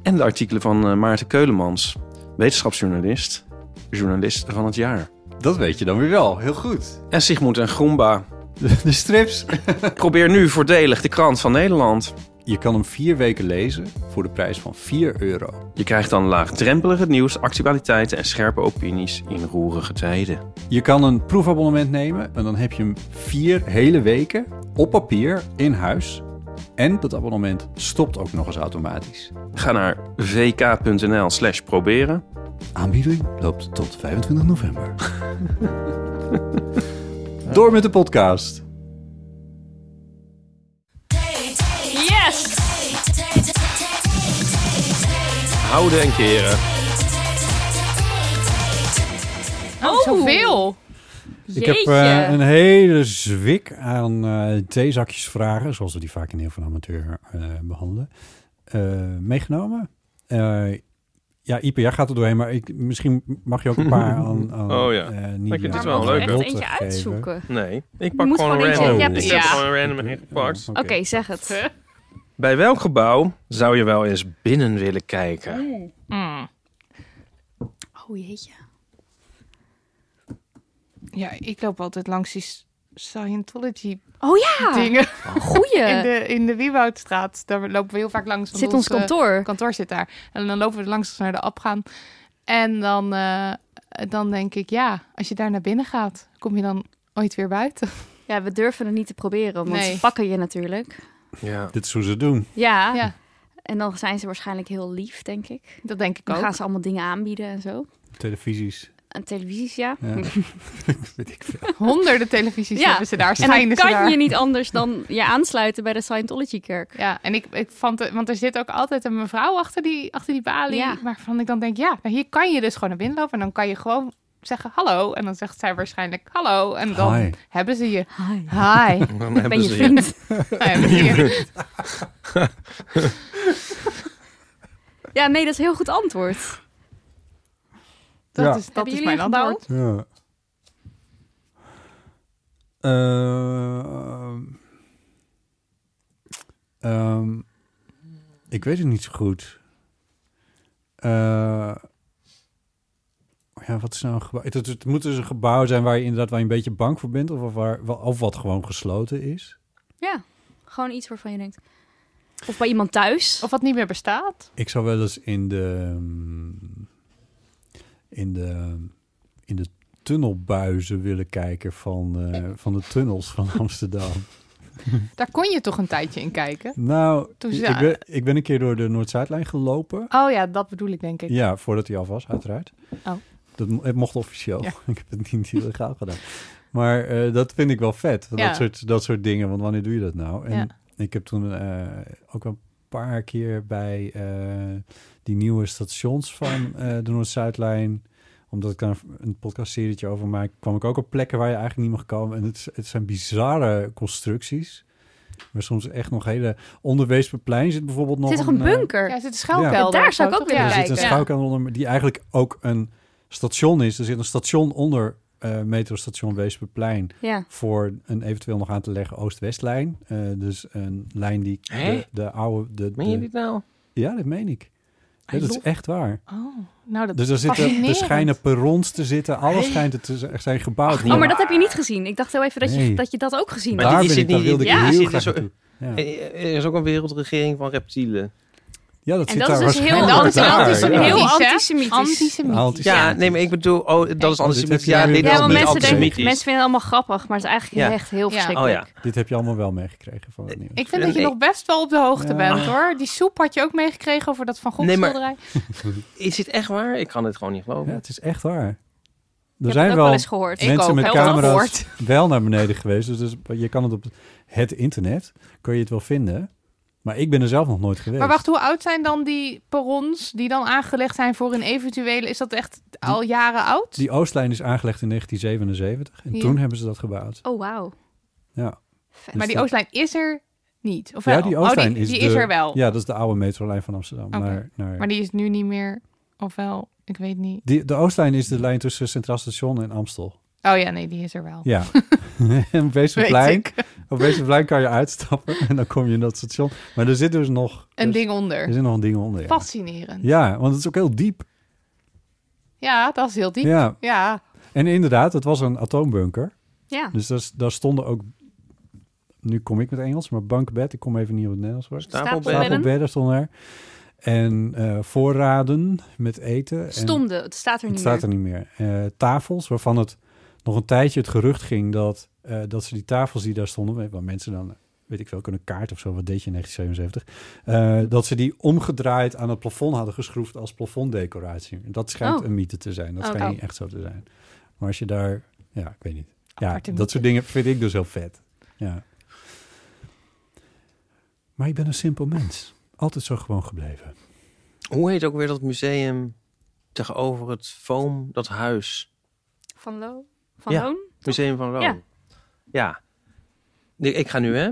[SPEAKER 2] En de artikelen van eh, Maarten Keulemans. Wetenschapsjournalist. Journalist van het jaar.
[SPEAKER 3] Dat weet je dan weer wel. Heel goed.
[SPEAKER 2] En Sigmund en Groenba.
[SPEAKER 3] De, de strips.
[SPEAKER 2] Probeer nu voordelig de krant van Nederland.
[SPEAKER 3] Je kan hem vier weken lezen voor de prijs van 4 euro.
[SPEAKER 2] Je krijgt dan laagdrempelig het nieuws, actualiteiten en scherpe opinies in roerige tijden.
[SPEAKER 3] Je kan een proefabonnement nemen en dan heb je hem vier hele weken op papier in huis. En dat abonnement stopt ook nog eens automatisch.
[SPEAKER 2] Ga naar vk.nl slash proberen.
[SPEAKER 3] Aanbieding loopt tot 25 november. Door met de podcast.
[SPEAKER 6] Yes!
[SPEAKER 2] Houden en keren.
[SPEAKER 5] Oh, zoveel.
[SPEAKER 3] Ik heb eh, een hele zwik aan eh theezakjes vragen, zoals we die vaak in heel veel amateur eh, behandelen, eh, meegenomen. Eh, ja, Ipe, jij gaat er doorheen, maar ik, misschien mag je ook een paar aan, aan
[SPEAKER 2] Oh ja. Ik
[SPEAKER 3] eh,
[SPEAKER 2] vind
[SPEAKER 3] Nidia
[SPEAKER 2] dit
[SPEAKER 6] Maar
[SPEAKER 2] wel
[SPEAKER 3] en
[SPEAKER 6] moet je
[SPEAKER 2] leuk.
[SPEAKER 6] echt
[SPEAKER 3] Lotte
[SPEAKER 6] eentje
[SPEAKER 3] geven.
[SPEAKER 6] uitzoeken.
[SPEAKER 2] Nee, ik
[SPEAKER 6] Je
[SPEAKER 2] pak
[SPEAKER 6] moet
[SPEAKER 2] gewoon
[SPEAKER 6] gewoon
[SPEAKER 2] een
[SPEAKER 6] eentje-
[SPEAKER 2] random.
[SPEAKER 6] ja,
[SPEAKER 2] ik
[SPEAKER 6] precies.
[SPEAKER 2] heb
[SPEAKER 5] Ja.
[SPEAKER 2] gewoon een random ingepakt.
[SPEAKER 6] Oké, zeg het.
[SPEAKER 2] Bij welk gebouw zou je wel eens binnen willen kijken?
[SPEAKER 5] Mm.
[SPEAKER 6] Oh jeetje.
[SPEAKER 5] Ja, ik loop altijd langs die s- Scientology
[SPEAKER 6] Oh ja,
[SPEAKER 5] dingen
[SPEAKER 6] goeie.
[SPEAKER 5] in de, in de Wieboudstraat. Daar lopen we heel vaak langs. want
[SPEAKER 6] Zit ons
[SPEAKER 5] eh,
[SPEAKER 6] kantoor.
[SPEAKER 5] kantoor zit daar. En dan lopen we er langs als we naar de app gaan. En dan, eh, dan denk ik, ja, als je daar naar binnen gaat, kom je dan ooit weer buiten.
[SPEAKER 6] Ja, we durven het niet te proberen, want
[SPEAKER 5] Nee.
[SPEAKER 6] ze pakken je natuurlijk.
[SPEAKER 2] Ja.
[SPEAKER 3] Dit is hoe ze het doen.
[SPEAKER 6] Ja.
[SPEAKER 5] Ja.
[SPEAKER 6] en dan zijn ze waarschijnlijk heel lief, denk ik.
[SPEAKER 5] Dat denk ik
[SPEAKER 6] Dan
[SPEAKER 5] ook.
[SPEAKER 6] gaan ze allemaal dingen aanbieden en zo.
[SPEAKER 3] Televisies.
[SPEAKER 6] En televisies, ja.
[SPEAKER 3] Ja. Weet ik veel.
[SPEAKER 5] Honderden televisies
[SPEAKER 6] Ja.
[SPEAKER 5] hebben ze daar.
[SPEAKER 6] En dan
[SPEAKER 5] schijnen ze daar.
[SPEAKER 6] kan je niet anders dan je aansluiten bij de Scientology-kerk.
[SPEAKER 5] Ja, en ik, ik vond het, want er zit ook altijd een mevrouw achter die, achter die balie.
[SPEAKER 6] Ja.
[SPEAKER 5] Waarvan ik dan denk, ja, nou, hier kan je dus gewoon naar binnen lopen. En dan kan je gewoon zeggen hallo. En dan zegt zij waarschijnlijk hallo. En dan
[SPEAKER 3] Hi.
[SPEAKER 5] hebben ze je.
[SPEAKER 6] Hi.
[SPEAKER 5] Hi.
[SPEAKER 2] Dan
[SPEAKER 6] Ben
[SPEAKER 2] hebben
[SPEAKER 6] je
[SPEAKER 2] ze je.
[SPEAKER 6] vriend?
[SPEAKER 5] Nou ja, zie je.
[SPEAKER 6] Ja, nee, dat is een heel goed antwoord.
[SPEAKER 5] Dat
[SPEAKER 3] Ja.
[SPEAKER 5] is, dat
[SPEAKER 6] Hebben
[SPEAKER 5] is
[SPEAKER 6] jullie
[SPEAKER 5] mijn
[SPEAKER 6] een antwoord?
[SPEAKER 5] antwoord.
[SPEAKER 3] Ja. Ehm. Ehm, ik weet het niet zo goed. Eh, ja, wat is nou een gebouw? Het, het, het moet dus een gebouw zijn waar je inderdaad waar je een beetje bang voor bent. Of, of, waar, of wat gewoon gesloten is.
[SPEAKER 6] Ja, gewoon iets waarvan je denkt. Of bij iemand thuis.
[SPEAKER 5] Of wat niet meer bestaat.
[SPEAKER 3] Ik zou wel eens in de. mm, in de. in de tunnelbuizen willen kijken van, eh, van de tunnels van Amsterdam.
[SPEAKER 5] Daar kon je toch een tijdje in kijken?
[SPEAKER 3] Nou,
[SPEAKER 5] Toen
[SPEAKER 3] ik,
[SPEAKER 5] ze-
[SPEAKER 3] ik ben, ik ben een keer door de Noord-Zuidlijn gelopen.
[SPEAKER 5] Oh ja, dat bedoel ik denk ik.
[SPEAKER 3] Ja, voordat hij af was, uiteraard.
[SPEAKER 5] Oh.
[SPEAKER 3] Dat mo- het mocht officieel.
[SPEAKER 5] Ja.
[SPEAKER 3] Ik heb het niet illegaal gedaan. Maar eh, dat vind ik wel vet.
[SPEAKER 5] Ja.
[SPEAKER 3] Dat, soort, dat soort dingen. Want wanneer doe je dat nou? En
[SPEAKER 5] Ja.
[SPEAKER 3] ik heb toen eh, ook een paar keer bij eh, die nieuwe stations van eh, de Noord-Zuidlijn omdat ik daar een podcastserietje over maak, kwam ik ook op plekken waar je eigenlijk niet mag komen. En het, is- het zijn bizarre constructies. Maar soms echt nog hele... Onder Weesperplein zit bijvoorbeeld nog
[SPEAKER 6] het is toch een
[SPEAKER 3] eh,
[SPEAKER 6] bunker?
[SPEAKER 5] Ja, er zit een schuilkelder.
[SPEAKER 6] Ja, daar
[SPEAKER 5] of
[SPEAKER 6] zou
[SPEAKER 5] zo,
[SPEAKER 6] ik ook
[SPEAKER 5] toch?
[SPEAKER 6] willen
[SPEAKER 3] er
[SPEAKER 5] Ja.
[SPEAKER 3] zit een
[SPEAKER 6] kijken. Ja.
[SPEAKER 3] schouwkanaal onder, die eigenlijk ook een station is. Er zit een station onder eh, metrostation Weesperplein
[SPEAKER 6] Ja.
[SPEAKER 3] voor een eventueel nog aan te leggen Oost-Westlijn. Eh, dus een lijn die
[SPEAKER 2] Hè?
[SPEAKER 3] de, de oude... De,
[SPEAKER 2] Meen je
[SPEAKER 3] de-
[SPEAKER 2] dit nou?
[SPEAKER 3] Ja, dat meen ik. Ja, dat is echt waar.
[SPEAKER 5] Oh, nou dat
[SPEAKER 3] Dus er, zitten, er
[SPEAKER 5] fascinerend.
[SPEAKER 3] schijnen perrons te zitten. Alles schijnt er te z- er zijn gebouwd.
[SPEAKER 6] Oh, maar dat heb je niet gezien. Ik dacht heel even dat je
[SPEAKER 3] Nee.
[SPEAKER 6] dat, je dat ook gezien
[SPEAKER 2] Maar
[SPEAKER 6] had.
[SPEAKER 3] daar
[SPEAKER 2] die
[SPEAKER 3] ben
[SPEAKER 2] zit
[SPEAKER 3] ik, daar
[SPEAKER 2] niet-
[SPEAKER 3] wilde ik
[SPEAKER 6] ja,
[SPEAKER 3] heel
[SPEAKER 2] zit
[SPEAKER 3] graag
[SPEAKER 2] dus ook-
[SPEAKER 3] naartoe. Ja.
[SPEAKER 2] Eh, Er is ook een wereldregering van reptielen.
[SPEAKER 3] ja, dat
[SPEAKER 6] En
[SPEAKER 3] zit
[SPEAKER 6] dat
[SPEAKER 3] daar
[SPEAKER 6] is dus heel,
[SPEAKER 3] waarschijnlijk
[SPEAKER 6] dat is
[SPEAKER 3] daar,
[SPEAKER 6] antisem-
[SPEAKER 3] ja.
[SPEAKER 6] heel
[SPEAKER 5] Ja.
[SPEAKER 6] antisemitisch.
[SPEAKER 5] Antisemitisch.
[SPEAKER 3] Antisemitisch.
[SPEAKER 2] Ja, nee, maar ik bedoel, oh, dat is antisemitisch. Ja, dit
[SPEAKER 3] Ja,
[SPEAKER 6] Ja,
[SPEAKER 2] is
[SPEAKER 6] want
[SPEAKER 3] niet
[SPEAKER 6] mensen, denken,
[SPEAKER 2] antisemitisch.
[SPEAKER 6] mensen vinden het allemaal grappig, maar het is eigenlijk
[SPEAKER 2] Ja.
[SPEAKER 6] echt heel
[SPEAKER 5] Ja.
[SPEAKER 2] Oh
[SPEAKER 6] verschrikkelijk.
[SPEAKER 2] ja.
[SPEAKER 3] Dit heb je allemaal wel meegekregen van het nieuws.
[SPEAKER 5] Ik vind dat je
[SPEAKER 2] Nee.
[SPEAKER 5] nog best wel op de hoogte
[SPEAKER 3] Ja.
[SPEAKER 5] bent hoor. Die soep had je ook meegekregen over dat Van Gogh
[SPEAKER 2] Nee, maar-
[SPEAKER 5] schilderij.
[SPEAKER 2] Is dit echt waar? Ik kan dit gewoon niet geloven.
[SPEAKER 3] Ja, het is echt waar.
[SPEAKER 6] Ik heb
[SPEAKER 3] Er
[SPEAKER 6] het
[SPEAKER 3] zijn
[SPEAKER 6] ook wel
[SPEAKER 3] wel
[SPEAKER 6] eens gehoord.
[SPEAKER 5] Ik
[SPEAKER 3] mensen
[SPEAKER 5] ook,
[SPEAKER 3] met
[SPEAKER 5] heb het al
[SPEAKER 3] camera's
[SPEAKER 5] gehoord.
[SPEAKER 3] wel naar beneden geweest. Dus, dus je kan het op het internet, kun je het wel vinden. Maar ik ben er zelf nog nooit geweest.
[SPEAKER 5] Maar wacht, hoe oud zijn dan die perrons die dan aangelegd zijn voor een eventuele... Is dat echt al jaren oud?
[SPEAKER 3] Die Oostlijn is aangelegd in 1977 en
[SPEAKER 5] Ja.
[SPEAKER 3] toen hebben ze dat gebouwd.
[SPEAKER 6] Oh, wauw.
[SPEAKER 3] Ja,
[SPEAKER 6] Vet.
[SPEAKER 5] maar die
[SPEAKER 3] dat-
[SPEAKER 5] Oostlijn is er niet. Of
[SPEAKER 3] ja
[SPEAKER 5] wel?
[SPEAKER 3] die Oostlijn
[SPEAKER 5] oh, die,
[SPEAKER 3] is,
[SPEAKER 5] die
[SPEAKER 3] de,
[SPEAKER 5] er wel.
[SPEAKER 3] Ja, dat is de oude metrolijn van Amsterdam.
[SPEAKER 5] Oké.
[SPEAKER 3] Naar, naar,
[SPEAKER 5] Maar die is nu niet meer... Of wel, ik weet niet.
[SPEAKER 3] die, de Oostlijn is de lijn tussen Centraal Station en Amstel.
[SPEAKER 5] Oh ja, nee, die is er wel.
[SPEAKER 3] Ja. en op Weesperplein,
[SPEAKER 5] Weet ik.
[SPEAKER 3] op Weesperplein kan je uitstappen en dan kom je in dat station. Maar er zit dus nog,
[SPEAKER 5] Een
[SPEAKER 3] er-
[SPEAKER 5] ding
[SPEAKER 3] er
[SPEAKER 5] onder.
[SPEAKER 3] zit nog een ding onder. ja.
[SPEAKER 5] Fascinerend. Ja.
[SPEAKER 3] Ja, want het is ook heel diep.
[SPEAKER 5] dat is heel diep. Ja.
[SPEAKER 3] Ja, en inderdaad, het was een atoombunker.
[SPEAKER 6] Ja.
[SPEAKER 3] Dus daar, daar stonden ook, nu kom ik met Engels, maar bankbed, ik kom even niet op het Nederlands woord.
[SPEAKER 6] Stapelbedden.
[SPEAKER 2] Stapelbed.
[SPEAKER 3] Stapelbedden stonden er. En eh, voorraden met eten. en,
[SPEAKER 6] Stomde, het staat er
[SPEAKER 3] het
[SPEAKER 6] niet
[SPEAKER 3] staat
[SPEAKER 6] meer.
[SPEAKER 3] er niet meer. Eh, tafels, waarvan het nog een tijdje het gerucht ging dat, eh, dat ze die tafels die daar stonden, waar mensen dan, weet ik veel, kunnen kaart of zo, wat deed je in 1977, eh, dat ze die omgedraaid aan het plafond hadden geschroefd als plafonddecoratie. En Dat schijnt
[SPEAKER 6] Oh.
[SPEAKER 3] een mythe te zijn. Dat
[SPEAKER 6] Oh,
[SPEAKER 3] schijnt
[SPEAKER 6] oh.
[SPEAKER 3] niet echt zo te zijn. Maar als je daar, ja, ik weet niet. Ja,
[SPEAKER 5] Aparte
[SPEAKER 3] dat soort dingen vind ik dus heel vet. Ja. Maar ik ben een simpel mens. Altijd zo gewoon gebleven.
[SPEAKER 2] Hoe heet ook weer dat museum tegenover het Foam, dat huis?
[SPEAKER 6] Van Lo? Van
[SPEAKER 2] Ja.
[SPEAKER 6] Loon?
[SPEAKER 2] Museum van Rome.
[SPEAKER 6] Ja.
[SPEAKER 2] Ja. Nee, Ik ga nu, hè.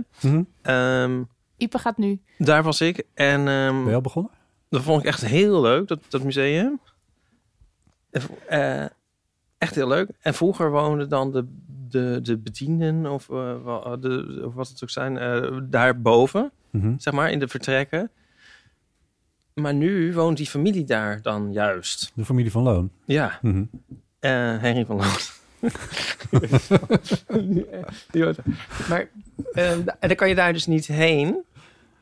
[SPEAKER 2] Ehm,
[SPEAKER 5] Ipe gaat nu.
[SPEAKER 2] daar was ik. En ehm,
[SPEAKER 3] Ben je al begonnen?
[SPEAKER 2] dat vond ik echt heel leuk, dat, dat museum. En v- eh, echt heel leuk. En vroeger woonden dan de, de, de bedienden, of, eh, wa- de, of wat het ook zijn, eh, daarboven.
[SPEAKER 3] Mhm.
[SPEAKER 2] zeg maar, in de vertrekken. Maar nu woont die familie daar dan juist.
[SPEAKER 3] De familie van Loon.
[SPEAKER 2] Ja,
[SPEAKER 3] Mhm.
[SPEAKER 2] eh Henry van Loos. maar eh, da- en dan kan je daar dus niet heen.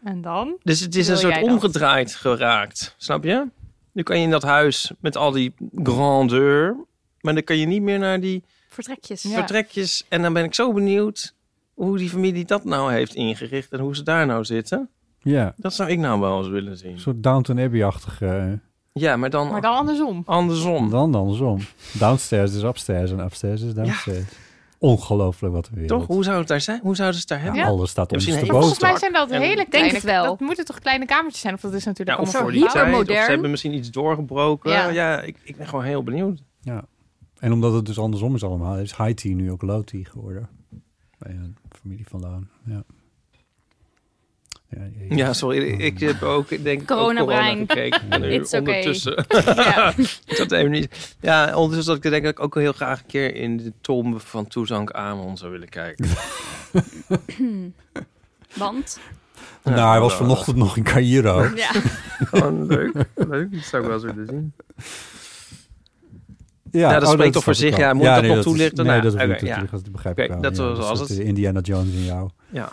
[SPEAKER 5] En dan?
[SPEAKER 2] Dus het is
[SPEAKER 5] Wil
[SPEAKER 2] een soort
[SPEAKER 5] jij dat?
[SPEAKER 2] omgedraaid geraakt, snap je? Nu kan je in dat huis met al die grandeur, maar dan kan je niet meer naar die
[SPEAKER 6] Vertrekjes.
[SPEAKER 5] Ja.
[SPEAKER 2] vertrekjes. En dan ben ik zo benieuwd hoe die familie dat nou heeft ingericht en hoe ze daar nou zitten.
[SPEAKER 3] Ja,
[SPEAKER 2] Dat zou ik nou wel eens willen zien.
[SPEAKER 3] een soort Downton Abbey-achtige.
[SPEAKER 2] Ja, maar dan,
[SPEAKER 5] Maar dan andersom.
[SPEAKER 3] eh,
[SPEAKER 2] andersom.
[SPEAKER 3] Dan andersom. Downstairs is upstairs en upstairs is downstairs. Ongelooflijk wat de wereld.
[SPEAKER 2] Toch? Hoe zou het daar zijn? Hoe zouden ze het daar
[SPEAKER 3] Ja,
[SPEAKER 2] hebben?
[SPEAKER 5] Ja.
[SPEAKER 3] Alles staat
[SPEAKER 2] Ja, misschien
[SPEAKER 5] Maar
[SPEAKER 2] heeft-
[SPEAKER 3] ondersteboven.
[SPEAKER 5] volgens mij zijn dat
[SPEAKER 2] En-
[SPEAKER 5] hele
[SPEAKER 2] Denk
[SPEAKER 5] kleine...
[SPEAKER 6] het wel.
[SPEAKER 5] Dat moeten toch kleine kamertjes zijn? Of dat is natuurlijk
[SPEAKER 2] of
[SPEAKER 5] allemaal
[SPEAKER 6] voor
[SPEAKER 2] voor die
[SPEAKER 6] die
[SPEAKER 2] tijd, of
[SPEAKER 6] hypermodern.
[SPEAKER 2] ze hebben misschien iets doorgebroken.
[SPEAKER 5] Ja.
[SPEAKER 2] Ja, ik, ik ben gewoon heel benieuwd.
[SPEAKER 3] Ja. En omdat het dus andersom is allemaal, is high tea nu ook low tea geworden. Bij een familie vandaan, ja. Ja, jezus.
[SPEAKER 2] Ja, sorry. Ik heb ook, denk ik, ook
[SPEAKER 6] Coronabrein.
[SPEAKER 2] corona gekeken. En nu
[SPEAKER 6] It's okay.
[SPEAKER 2] ondertussen.
[SPEAKER 5] Ja.
[SPEAKER 2] Ik zat even niet. Ja, ondertussen dat ik denk dat ik ook heel graag een keer in de tombe van Toezank Amon zou willen kijken.
[SPEAKER 6] Want
[SPEAKER 3] nou, hij was
[SPEAKER 2] Ja.
[SPEAKER 3] vanochtend nog in Cairo. oh,
[SPEAKER 6] ja,
[SPEAKER 2] Gewoon leuk. Leuk. Dat zou ik wel eens willen zien. Ja, dat
[SPEAKER 3] oh,
[SPEAKER 2] spreekt toch voor
[SPEAKER 3] snap ik
[SPEAKER 2] zich.
[SPEAKER 3] wel.
[SPEAKER 2] Ja, moet ik dat nog
[SPEAKER 3] is-
[SPEAKER 2] toelichten?
[SPEAKER 3] Nee,
[SPEAKER 2] Nou,
[SPEAKER 3] dat hoeft niet
[SPEAKER 2] oké,
[SPEAKER 3] toe te
[SPEAKER 2] ja.
[SPEAKER 3] lichten, dat begrijp
[SPEAKER 2] Oké,
[SPEAKER 3] ik wel.
[SPEAKER 2] dat was
[SPEAKER 3] dat
[SPEAKER 2] alles.
[SPEAKER 3] is de Indiana Jones in jou.
[SPEAKER 2] Ja.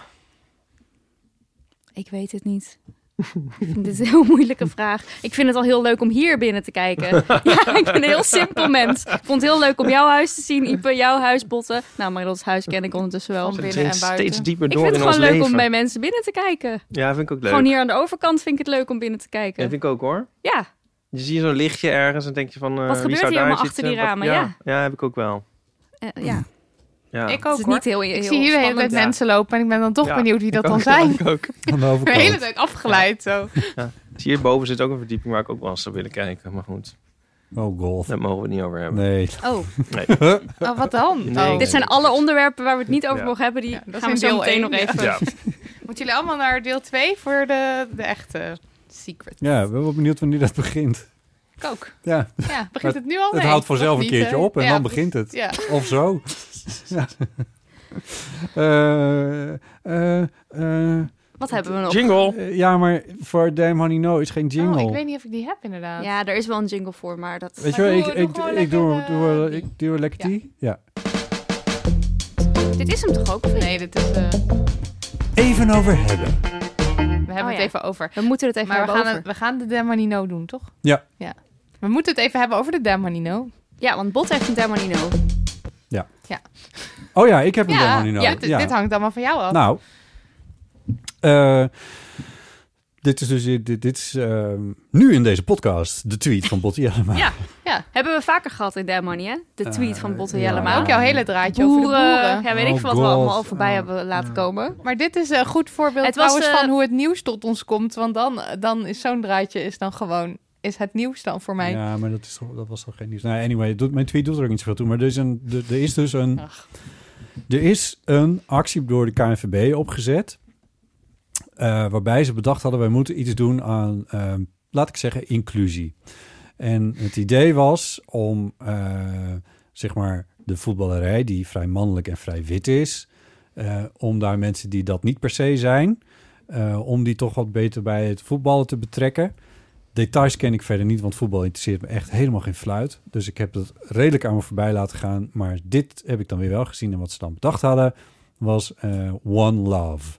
[SPEAKER 6] ik weet het niet. Ik vind Dit is een heel moeilijke vraag. Ik vind het al heel leuk om hier binnen te kijken. Ja, ik ben een heel simpel mens. Ik vond het heel leuk om jouw huis te zien, Ipe, jouw huis, Botten. Nou, Marilottes huis ken ik ondertussen wel.
[SPEAKER 5] Van
[SPEAKER 2] Het
[SPEAKER 5] binnen
[SPEAKER 2] dringt
[SPEAKER 5] en buiten.
[SPEAKER 2] steeds dieper
[SPEAKER 6] Ik
[SPEAKER 2] door
[SPEAKER 6] vind het
[SPEAKER 2] in ons
[SPEAKER 6] gewoon leuk
[SPEAKER 2] leven.
[SPEAKER 6] om bij mensen binnen te kijken.
[SPEAKER 2] Ja, vind ik ook leuk.
[SPEAKER 6] Gewoon hier aan de overkant vind ik het leuk om binnen te kijken.
[SPEAKER 2] Dat vind ik ook hoor.
[SPEAKER 6] Ja,
[SPEAKER 2] Je ziet zo'n lichtje ergens en denk je van... eh,
[SPEAKER 6] Wat
[SPEAKER 2] wie
[SPEAKER 6] gebeurt
[SPEAKER 2] zou
[SPEAKER 6] hier
[SPEAKER 2] daar
[SPEAKER 6] allemaal
[SPEAKER 2] zitten?
[SPEAKER 6] achter die
[SPEAKER 2] Wat-
[SPEAKER 6] ramen?
[SPEAKER 2] Ja, ja, heb ik ook wel.
[SPEAKER 6] eh, ja.
[SPEAKER 2] Ja.
[SPEAKER 5] Ik
[SPEAKER 6] het
[SPEAKER 5] ook
[SPEAKER 6] is
[SPEAKER 5] hoor.
[SPEAKER 6] niet heel, heel
[SPEAKER 5] Ik zie hier de hele tijd
[SPEAKER 6] spannend.
[SPEAKER 2] Ja.
[SPEAKER 5] mensen lopen en ik ben dan toch
[SPEAKER 2] Ja.
[SPEAKER 5] benieuwd wie dat
[SPEAKER 2] Ik
[SPEAKER 5] dan
[SPEAKER 2] ook,
[SPEAKER 5] zijn.
[SPEAKER 2] Ik ook.
[SPEAKER 3] Aan de
[SPEAKER 5] De hele
[SPEAKER 3] overkant.
[SPEAKER 5] tijd afgeleid zo.
[SPEAKER 2] Zie, Hierboven zit ook een verdieping waar ik ook wel eens zou willen kijken. Maar goed,
[SPEAKER 3] Oh, golf.
[SPEAKER 2] daar mogen we het niet over hebben.
[SPEAKER 3] Nee.
[SPEAKER 6] Oh,
[SPEAKER 5] Oh, wat dan?
[SPEAKER 2] Nee.
[SPEAKER 5] Oh.
[SPEAKER 6] dit zijn alle onderwerpen waar we het niet over
[SPEAKER 2] Ja.
[SPEAKER 6] mogen hebben. Die
[SPEAKER 5] Ja, dat
[SPEAKER 6] gaan we
[SPEAKER 5] is in
[SPEAKER 6] zo
[SPEAKER 5] deel
[SPEAKER 6] meteen nog
[SPEAKER 5] één.
[SPEAKER 6] even.
[SPEAKER 2] Ja.
[SPEAKER 5] Moeten jullie allemaal naar deel 2 voor de, de echte secret?
[SPEAKER 3] Ja, ik ben wel benieuwd wanneer dat begint.
[SPEAKER 5] Ik ook.
[SPEAKER 3] Ja,
[SPEAKER 5] Ja, begint het nu al?
[SPEAKER 3] het
[SPEAKER 5] Oh, Nee,
[SPEAKER 3] houdt vanzelf
[SPEAKER 5] nog
[SPEAKER 3] een
[SPEAKER 5] niet,
[SPEAKER 3] keertje
[SPEAKER 5] hè?
[SPEAKER 3] op en
[SPEAKER 5] Ja,
[SPEAKER 3] dan begint het.
[SPEAKER 5] Ja. Oh,
[SPEAKER 3] Of zo. ja. Eh, eh, eh,
[SPEAKER 6] Wat hebben we nog?
[SPEAKER 2] Jingle!
[SPEAKER 3] eh, ja, maar voor Damn Honey No is geen jingle.
[SPEAKER 5] Oh, ik weet niet of ik die heb inderdaad.
[SPEAKER 6] Ja, er is wel een jingle voor, maar dat...
[SPEAKER 3] Weet je wel,
[SPEAKER 5] Maar
[SPEAKER 3] ik,
[SPEAKER 5] doe-
[SPEAKER 3] ik,
[SPEAKER 5] doe
[SPEAKER 3] ik,
[SPEAKER 5] gewoon
[SPEAKER 3] doe,
[SPEAKER 5] lekker,
[SPEAKER 3] doe,
[SPEAKER 5] eh,
[SPEAKER 3] ik doe lekker
[SPEAKER 5] Ja.
[SPEAKER 3] die. Ja.
[SPEAKER 6] Dit is hem toch ook? of niet?
[SPEAKER 5] Nee, dit is... eh,
[SPEAKER 3] Even over hebben.
[SPEAKER 5] we hebben
[SPEAKER 6] Oh, ja.
[SPEAKER 5] het even over.
[SPEAKER 6] We moeten het even
[SPEAKER 5] maar we
[SPEAKER 6] hebben
[SPEAKER 5] gaan,
[SPEAKER 6] over.
[SPEAKER 5] het- we gaan de Demonino doen, toch?
[SPEAKER 3] Ja.
[SPEAKER 5] ja. We moeten het even hebben over de Demonino.
[SPEAKER 6] Ja, want Bot heeft een Dermanino.
[SPEAKER 3] Oh ja, ik heb hem
[SPEAKER 5] Ja,
[SPEAKER 3] helemaal niet
[SPEAKER 5] ja,
[SPEAKER 3] nodig.
[SPEAKER 5] dit, dit hangt allemaal van jou af.
[SPEAKER 3] Nou, eh, dit is dus dit, dit is, eh, nu in deze podcast de tweet van Botti Jellema.
[SPEAKER 6] Ja.
[SPEAKER 5] ja.
[SPEAKER 6] Hebben we vaker gehad in Dermanie, hè? De tweet
[SPEAKER 3] Eh,
[SPEAKER 6] van Botte
[SPEAKER 3] ja.
[SPEAKER 6] Jellema.
[SPEAKER 5] Maar ook jouw hele draadje over de boeren.
[SPEAKER 6] boeren. Ja, weet ik
[SPEAKER 3] Oh
[SPEAKER 6] veel wat we
[SPEAKER 3] God.
[SPEAKER 6] allemaal al voorbij
[SPEAKER 3] Oh.
[SPEAKER 6] hebben laten komen.
[SPEAKER 5] Maar dit is een goed voorbeeld
[SPEAKER 6] Het was,
[SPEAKER 5] trouwens
[SPEAKER 6] eh,
[SPEAKER 5] van hoe het nieuws tot ons komt. Want dan, dan is zo'n draadje is dan gewoon... Is het nieuws dan voor mij?
[SPEAKER 3] Ja, maar dat, is toch, dat was toch geen nieuws. Nou, anyway, het doet, mijn tweet doet er ook niet zoveel toe. Maar er is, een, er, er is dus een...
[SPEAKER 5] Ach.
[SPEAKER 3] Er is een actie door de KNVB opgezet... eh, waarbij ze bedacht hadden... wij moeten iets doen aan, ehm, laat ik zeggen, inclusie. En het idee was om, eh, zeg maar, de voetballerij... die vrij mannelijk en vrij wit is... eh, om daar mensen die dat niet per se zijn... eh, om die toch wat beter bij het voetballen te betrekken... Details ken ik verder niet, want voetbal interesseert me echt helemaal geen fluit. Dus ik heb dat redelijk aan me voorbij laten gaan. Maar dit heb ik dan weer wel gezien. En wat ze dan bedacht hadden, was eh, One Love.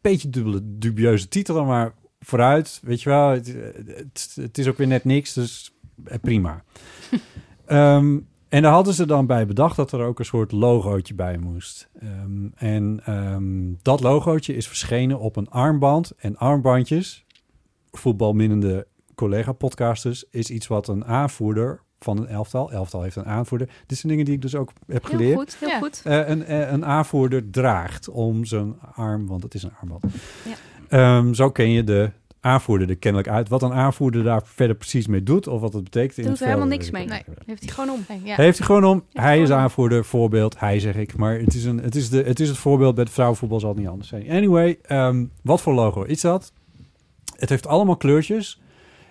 [SPEAKER 3] Beetje dubbele, dubieuze titel, maar vooruit, weet je wel. Het, het, het is ook weer net niks, dus eh, prima. Ehm, en daar hadden ze dan bij bedacht dat er ook een soort logootje bij moest. Ehm, en ehm, dat logootje is verschenen op een armband. En armbandjes, voetbalminnende collega-podcasters, is iets wat een aanvoerder van een elftal. Elftal heeft een aanvoerder. Dit zijn dingen die ik dus ook heb
[SPEAKER 6] Heel
[SPEAKER 3] geleerd.
[SPEAKER 6] goed, heel
[SPEAKER 5] Ja.
[SPEAKER 6] goed.
[SPEAKER 3] Eh, een, eh, een aanvoerder draagt om zijn arm, want het is een armband.
[SPEAKER 6] Ja.
[SPEAKER 3] Ehm, zo ken je de aanvoerder er kennelijk uit. Wat een aanvoerder daar verder precies mee doet of wat het betekent. in
[SPEAKER 6] Doet
[SPEAKER 3] het
[SPEAKER 6] er
[SPEAKER 3] veld,
[SPEAKER 6] helemaal
[SPEAKER 3] weet
[SPEAKER 6] niks
[SPEAKER 3] ik
[SPEAKER 6] mee.
[SPEAKER 3] ook
[SPEAKER 5] Nee.
[SPEAKER 3] niet.
[SPEAKER 6] Heeft hij gewoon om.
[SPEAKER 5] Nee, ja.
[SPEAKER 3] Heeft hij gewoon om. Hij is
[SPEAKER 6] gewoon om.
[SPEAKER 3] aanvoerder, voorbeeld. Hij zeg ik. Maar het is, een, het is, de, het, is het voorbeeld bij het vrouwenvoetbal zal het niet anders zijn. Anyway, ehm, wat voor logo is dat? Het heeft allemaal kleurtjes.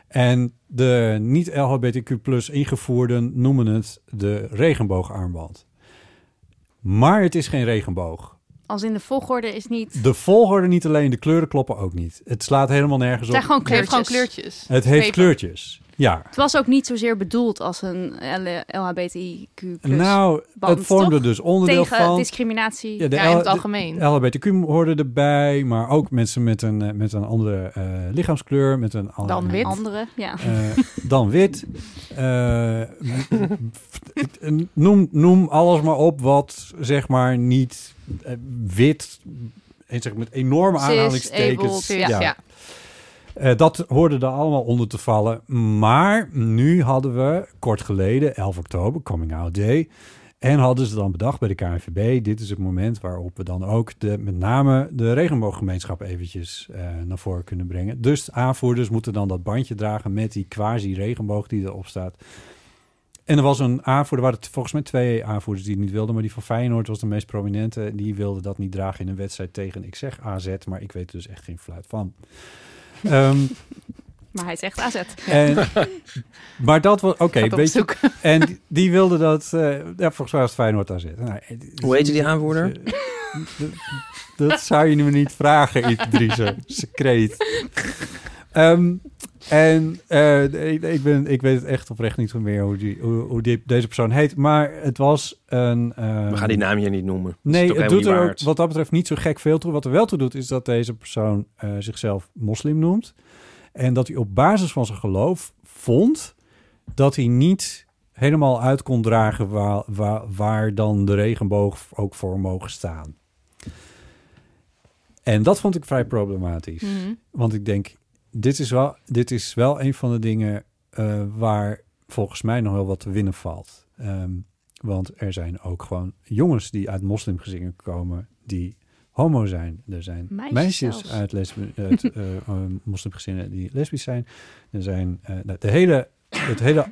[SPEAKER 3] En de niet-LHBTQ plus ingevoerden noemen het de regenboogarmband. Maar het is geen regenboog.
[SPEAKER 6] Als in de volgorde is niet...
[SPEAKER 3] De volgorde niet alleen, de kleuren kloppen ook niet. Het slaat helemaal nergens
[SPEAKER 6] Het
[SPEAKER 3] op.
[SPEAKER 6] zijn gewoon
[SPEAKER 5] Het heeft
[SPEAKER 6] kleurtjes.
[SPEAKER 5] gewoon kleurtjes.
[SPEAKER 3] Het heeft
[SPEAKER 5] Strepen.
[SPEAKER 3] kleurtjes. Ja.
[SPEAKER 6] Het was ook niet zozeer bedoeld als een L- LHBTIQ
[SPEAKER 3] nou,
[SPEAKER 6] band,
[SPEAKER 3] het vormde
[SPEAKER 6] toch?
[SPEAKER 3] dus onderdeel
[SPEAKER 6] tegen
[SPEAKER 3] van...
[SPEAKER 6] discriminatie.
[SPEAKER 3] Ja, de
[SPEAKER 5] Ja, in
[SPEAKER 3] L-
[SPEAKER 5] het
[SPEAKER 3] de-
[SPEAKER 5] algemeen.
[SPEAKER 3] LHBTQ hoorde erbij, maar ook mensen met een, eh, met een andere eh, lichaamskleur, met een andere,
[SPEAKER 5] Dan wit.
[SPEAKER 6] Andere, ja.
[SPEAKER 3] eh, dan wit. Eh, noem, noem alles maar op wat zeg maar niet eh, wit, eh, zeg met enorme
[SPEAKER 6] Cis, able,
[SPEAKER 3] aanhalingstekens.
[SPEAKER 6] cis,
[SPEAKER 5] Ja.
[SPEAKER 3] ja.
[SPEAKER 5] ja.
[SPEAKER 3] Eh, dat hoorde er allemaal onder te vallen. Maar nu hadden we kort geleden, 11 oktober, Coming Out Day. En hadden ze dan bedacht bij de KNVB, dit is het moment waarop we dan ook de, met name de regenbooggemeenschap eventjes eh, naar voren kunnen brengen. Dus aanvoerders moeten dan dat bandje dragen met die quasi regenboog die erop staat. En er was een aanvoerder, er waren volgens mij twee aanvoerders die het niet wilden. Maar die van Feyenoord was de meest prominente. Die wilde dat niet dragen in een wedstrijd tegen, ik zeg AZ, maar ik weet er dus echt geen fluit van. Ehm,
[SPEAKER 6] Maar hij is echt AZ.
[SPEAKER 3] en, maar dat was, oké,
[SPEAKER 5] Gaat op
[SPEAKER 3] weet je.
[SPEAKER 5] zoek.
[SPEAKER 3] En die- die wilde dat, eh, ja, volgens mij was het Feyenoord AZ. Nou, het is-
[SPEAKER 2] Hoe heette die aanvoerder?
[SPEAKER 3] eh, dat- dat zou je me niet vragen, Idrisse. Secreet. Ehm, en eh, ik, ik ben, ik weet het echt oprecht niet meer hoe, die, hoe, hoe die, deze persoon heet. Maar het was een... ehm,
[SPEAKER 2] We gaan die naam hier niet noemen. Dat is
[SPEAKER 3] Nee,
[SPEAKER 2] toch
[SPEAKER 3] het
[SPEAKER 2] helemaal
[SPEAKER 3] doet er
[SPEAKER 2] niet
[SPEAKER 3] ook,
[SPEAKER 2] waard.
[SPEAKER 3] wat dat betreft niet zo gek veel toe. Wat er wel toe doet, is dat deze persoon eh, zichzelf moslim noemt. En dat hij op basis van zijn geloof vond dat hij niet helemaal uit kon dragen waar, waar, waar dan de regenboog ook voor mogen staan. En dat vond ik vrij problematisch.
[SPEAKER 5] Mhm.
[SPEAKER 3] Want ik denk, dit is wel, dit is wel een van de dingen eh, waar volgens mij nog wel wat te winnen valt. Ehm, want er zijn ook gewoon jongens die uit moslimgezinnen komen die homo zijn. Er zijn
[SPEAKER 6] Meisjes
[SPEAKER 3] meisjes,
[SPEAKER 6] zelfs.
[SPEAKER 3] uit, lesbi- uit eh, eh, moslimgezinnen die lesbisch zijn. Er zijn eh, nou, de hele, het hele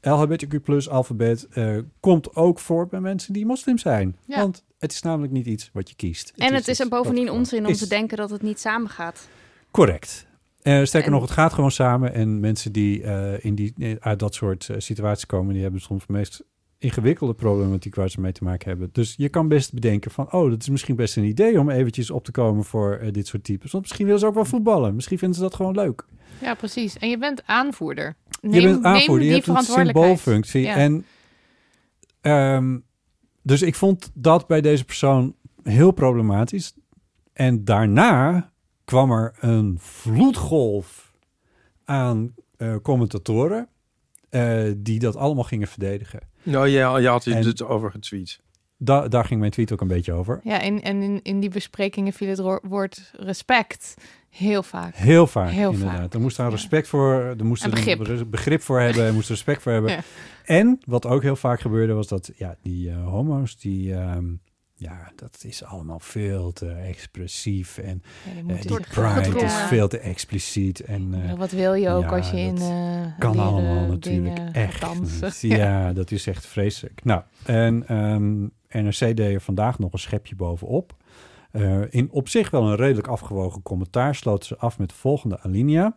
[SPEAKER 3] LHBTQ plus alfabet eh, komt ook voor bij mensen die moslim zijn.
[SPEAKER 5] Ja.
[SPEAKER 3] Want het is namelijk niet iets wat je kiest.
[SPEAKER 6] En het is
[SPEAKER 3] iets
[SPEAKER 6] er bovendien
[SPEAKER 3] wat-
[SPEAKER 6] onzin om
[SPEAKER 3] is.
[SPEAKER 6] te denken dat het niet samengaat.
[SPEAKER 3] Correct. Eh, sterker
[SPEAKER 6] En-
[SPEAKER 3] nog, het gaat gewoon samen. En mensen die, eh, in die eh, uit dat soort eh, situaties komen, die hebben soms de meest ingewikkelde problematiek waar ze mee te maken hebben. Dus je kan best bedenken van, oh, dat is misschien best een idee om eventjes op te komen voor eh, dit soort types. Want misschien willen ze ook wel voetballen. Misschien vinden ze dat gewoon leuk.
[SPEAKER 5] Ja, precies. En je bent aanvoerder. Neem,
[SPEAKER 3] je bent aanvoerder,
[SPEAKER 5] neem
[SPEAKER 3] je
[SPEAKER 5] die
[SPEAKER 3] hebt een
[SPEAKER 5] verantwoordelijkheid.
[SPEAKER 3] symboolfunctie.
[SPEAKER 5] Ja.
[SPEAKER 3] En, ehm, dus ik vond dat bij deze persoon heel problematisch. En daarna kwam er een vloedgolf aan eh, commentatoren eh, die dat allemaal gingen verdedigen.
[SPEAKER 2] Nou, ja, je had
[SPEAKER 3] En-
[SPEAKER 2] het over getweet.
[SPEAKER 3] Da- daar ging mijn tweet ook een beetje over.
[SPEAKER 5] Ja, en, en in, in die besprekingen viel het ro- woord respect heel vaak.
[SPEAKER 3] Heel vaak,
[SPEAKER 5] Heel
[SPEAKER 3] inderdaad.
[SPEAKER 5] vaak,
[SPEAKER 3] Er moest daar
[SPEAKER 5] ja.
[SPEAKER 3] respect voor, er moest
[SPEAKER 5] En
[SPEAKER 3] er een
[SPEAKER 5] begrip.
[SPEAKER 3] re- begrip voor hebben, er moest er respect voor hebben.
[SPEAKER 5] Ja.
[SPEAKER 3] En wat ook heel vaak gebeurde was dat ja, die eh, homo's, die, ehm, ja, dat is allemaal veel te expressief. En
[SPEAKER 5] Ja, die
[SPEAKER 3] eh,
[SPEAKER 5] moeten
[SPEAKER 3] die
[SPEAKER 5] zich
[SPEAKER 3] pride
[SPEAKER 5] gedwongen.
[SPEAKER 3] is veel te expliciet. En eh,
[SPEAKER 5] Ja, Wat wil je ook
[SPEAKER 3] ja,
[SPEAKER 5] als je in
[SPEAKER 3] dat
[SPEAKER 5] eh,
[SPEAKER 3] kan
[SPEAKER 5] leren
[SPEAKER 3] allemaal natuurlijk
[SPEAKER 5] dingen gaat
[SPEAKER 3] echt
[SPEAKER 5] dansen?
[SPEAKER 3] niet. Ja, dat is echt vreselijk. Nou, en ehm, NRC deed er vandaag nog een schepje bovenop. Eh, in op zich wel een redelijk afgewogen commentaar sloten ze af met de volgende alinea.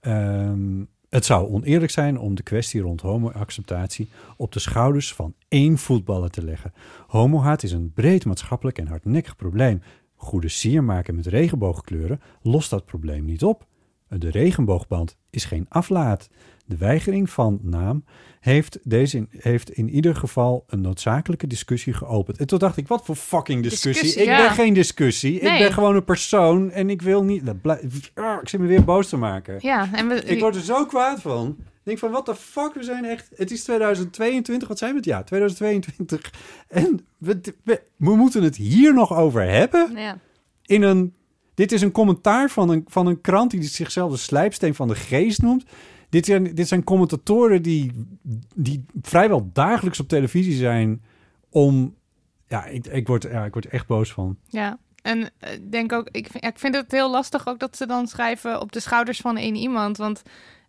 [SPEAKER 3] Ehm, het zou oneerlijk zijn om de kwestie rond homoacceptatie op de schouders van één voetballer te leggen. Homohaat is een breed maatschappelijk en hardnekkig probleem. Goede sier maken met regenboogkleuren lost dat probleem niet op. De regenboogband is geen aflaat. De weigering van naam heeft, deze in, heeft in ieder geval een noodzakelijke discussie geopend. En toen dacht ik, wat voor fucking discussie?
[SPEAKER 5] Discussie,
[SPEAKER 3] ik
[SPEAKER 5] ja.
[SPEAKER 3] ben geen discussie. Ik
[SPEAKER 5] Nee.
[SPEAKER 3] ben gewoon een persoon en ik wil niet... dat blij- Ah, Ik zit me weer boos te maken.
[SPEAKER 5] Ja, en we,
[SPEAKER 3] Ik word er zo kwaad van. Ik denk van, wat de fuck, we zijn echt... Het is 2022, wat zijn we het? Ja, 2022. En we, we, we moeten het hier nog over hebben
[SPEAKER 6] Ja.
[SPEAKER 3] in een... Dit is een commentaar van een, van een krant die zichzelf de slijpsteen van de geest noemt. Dit zijn, dit zijn commentatoren die, die vrijwel dagelijks op televisie zijn om... Ja, ik, ik, word, ja, ik word er echt boos van.
[SPEAKER 5] Ja, en eh, ik denk ook, ik vind, ja, ik vind het heel lastig ook dat ze dan schrijven op de schouders van één iemand. Want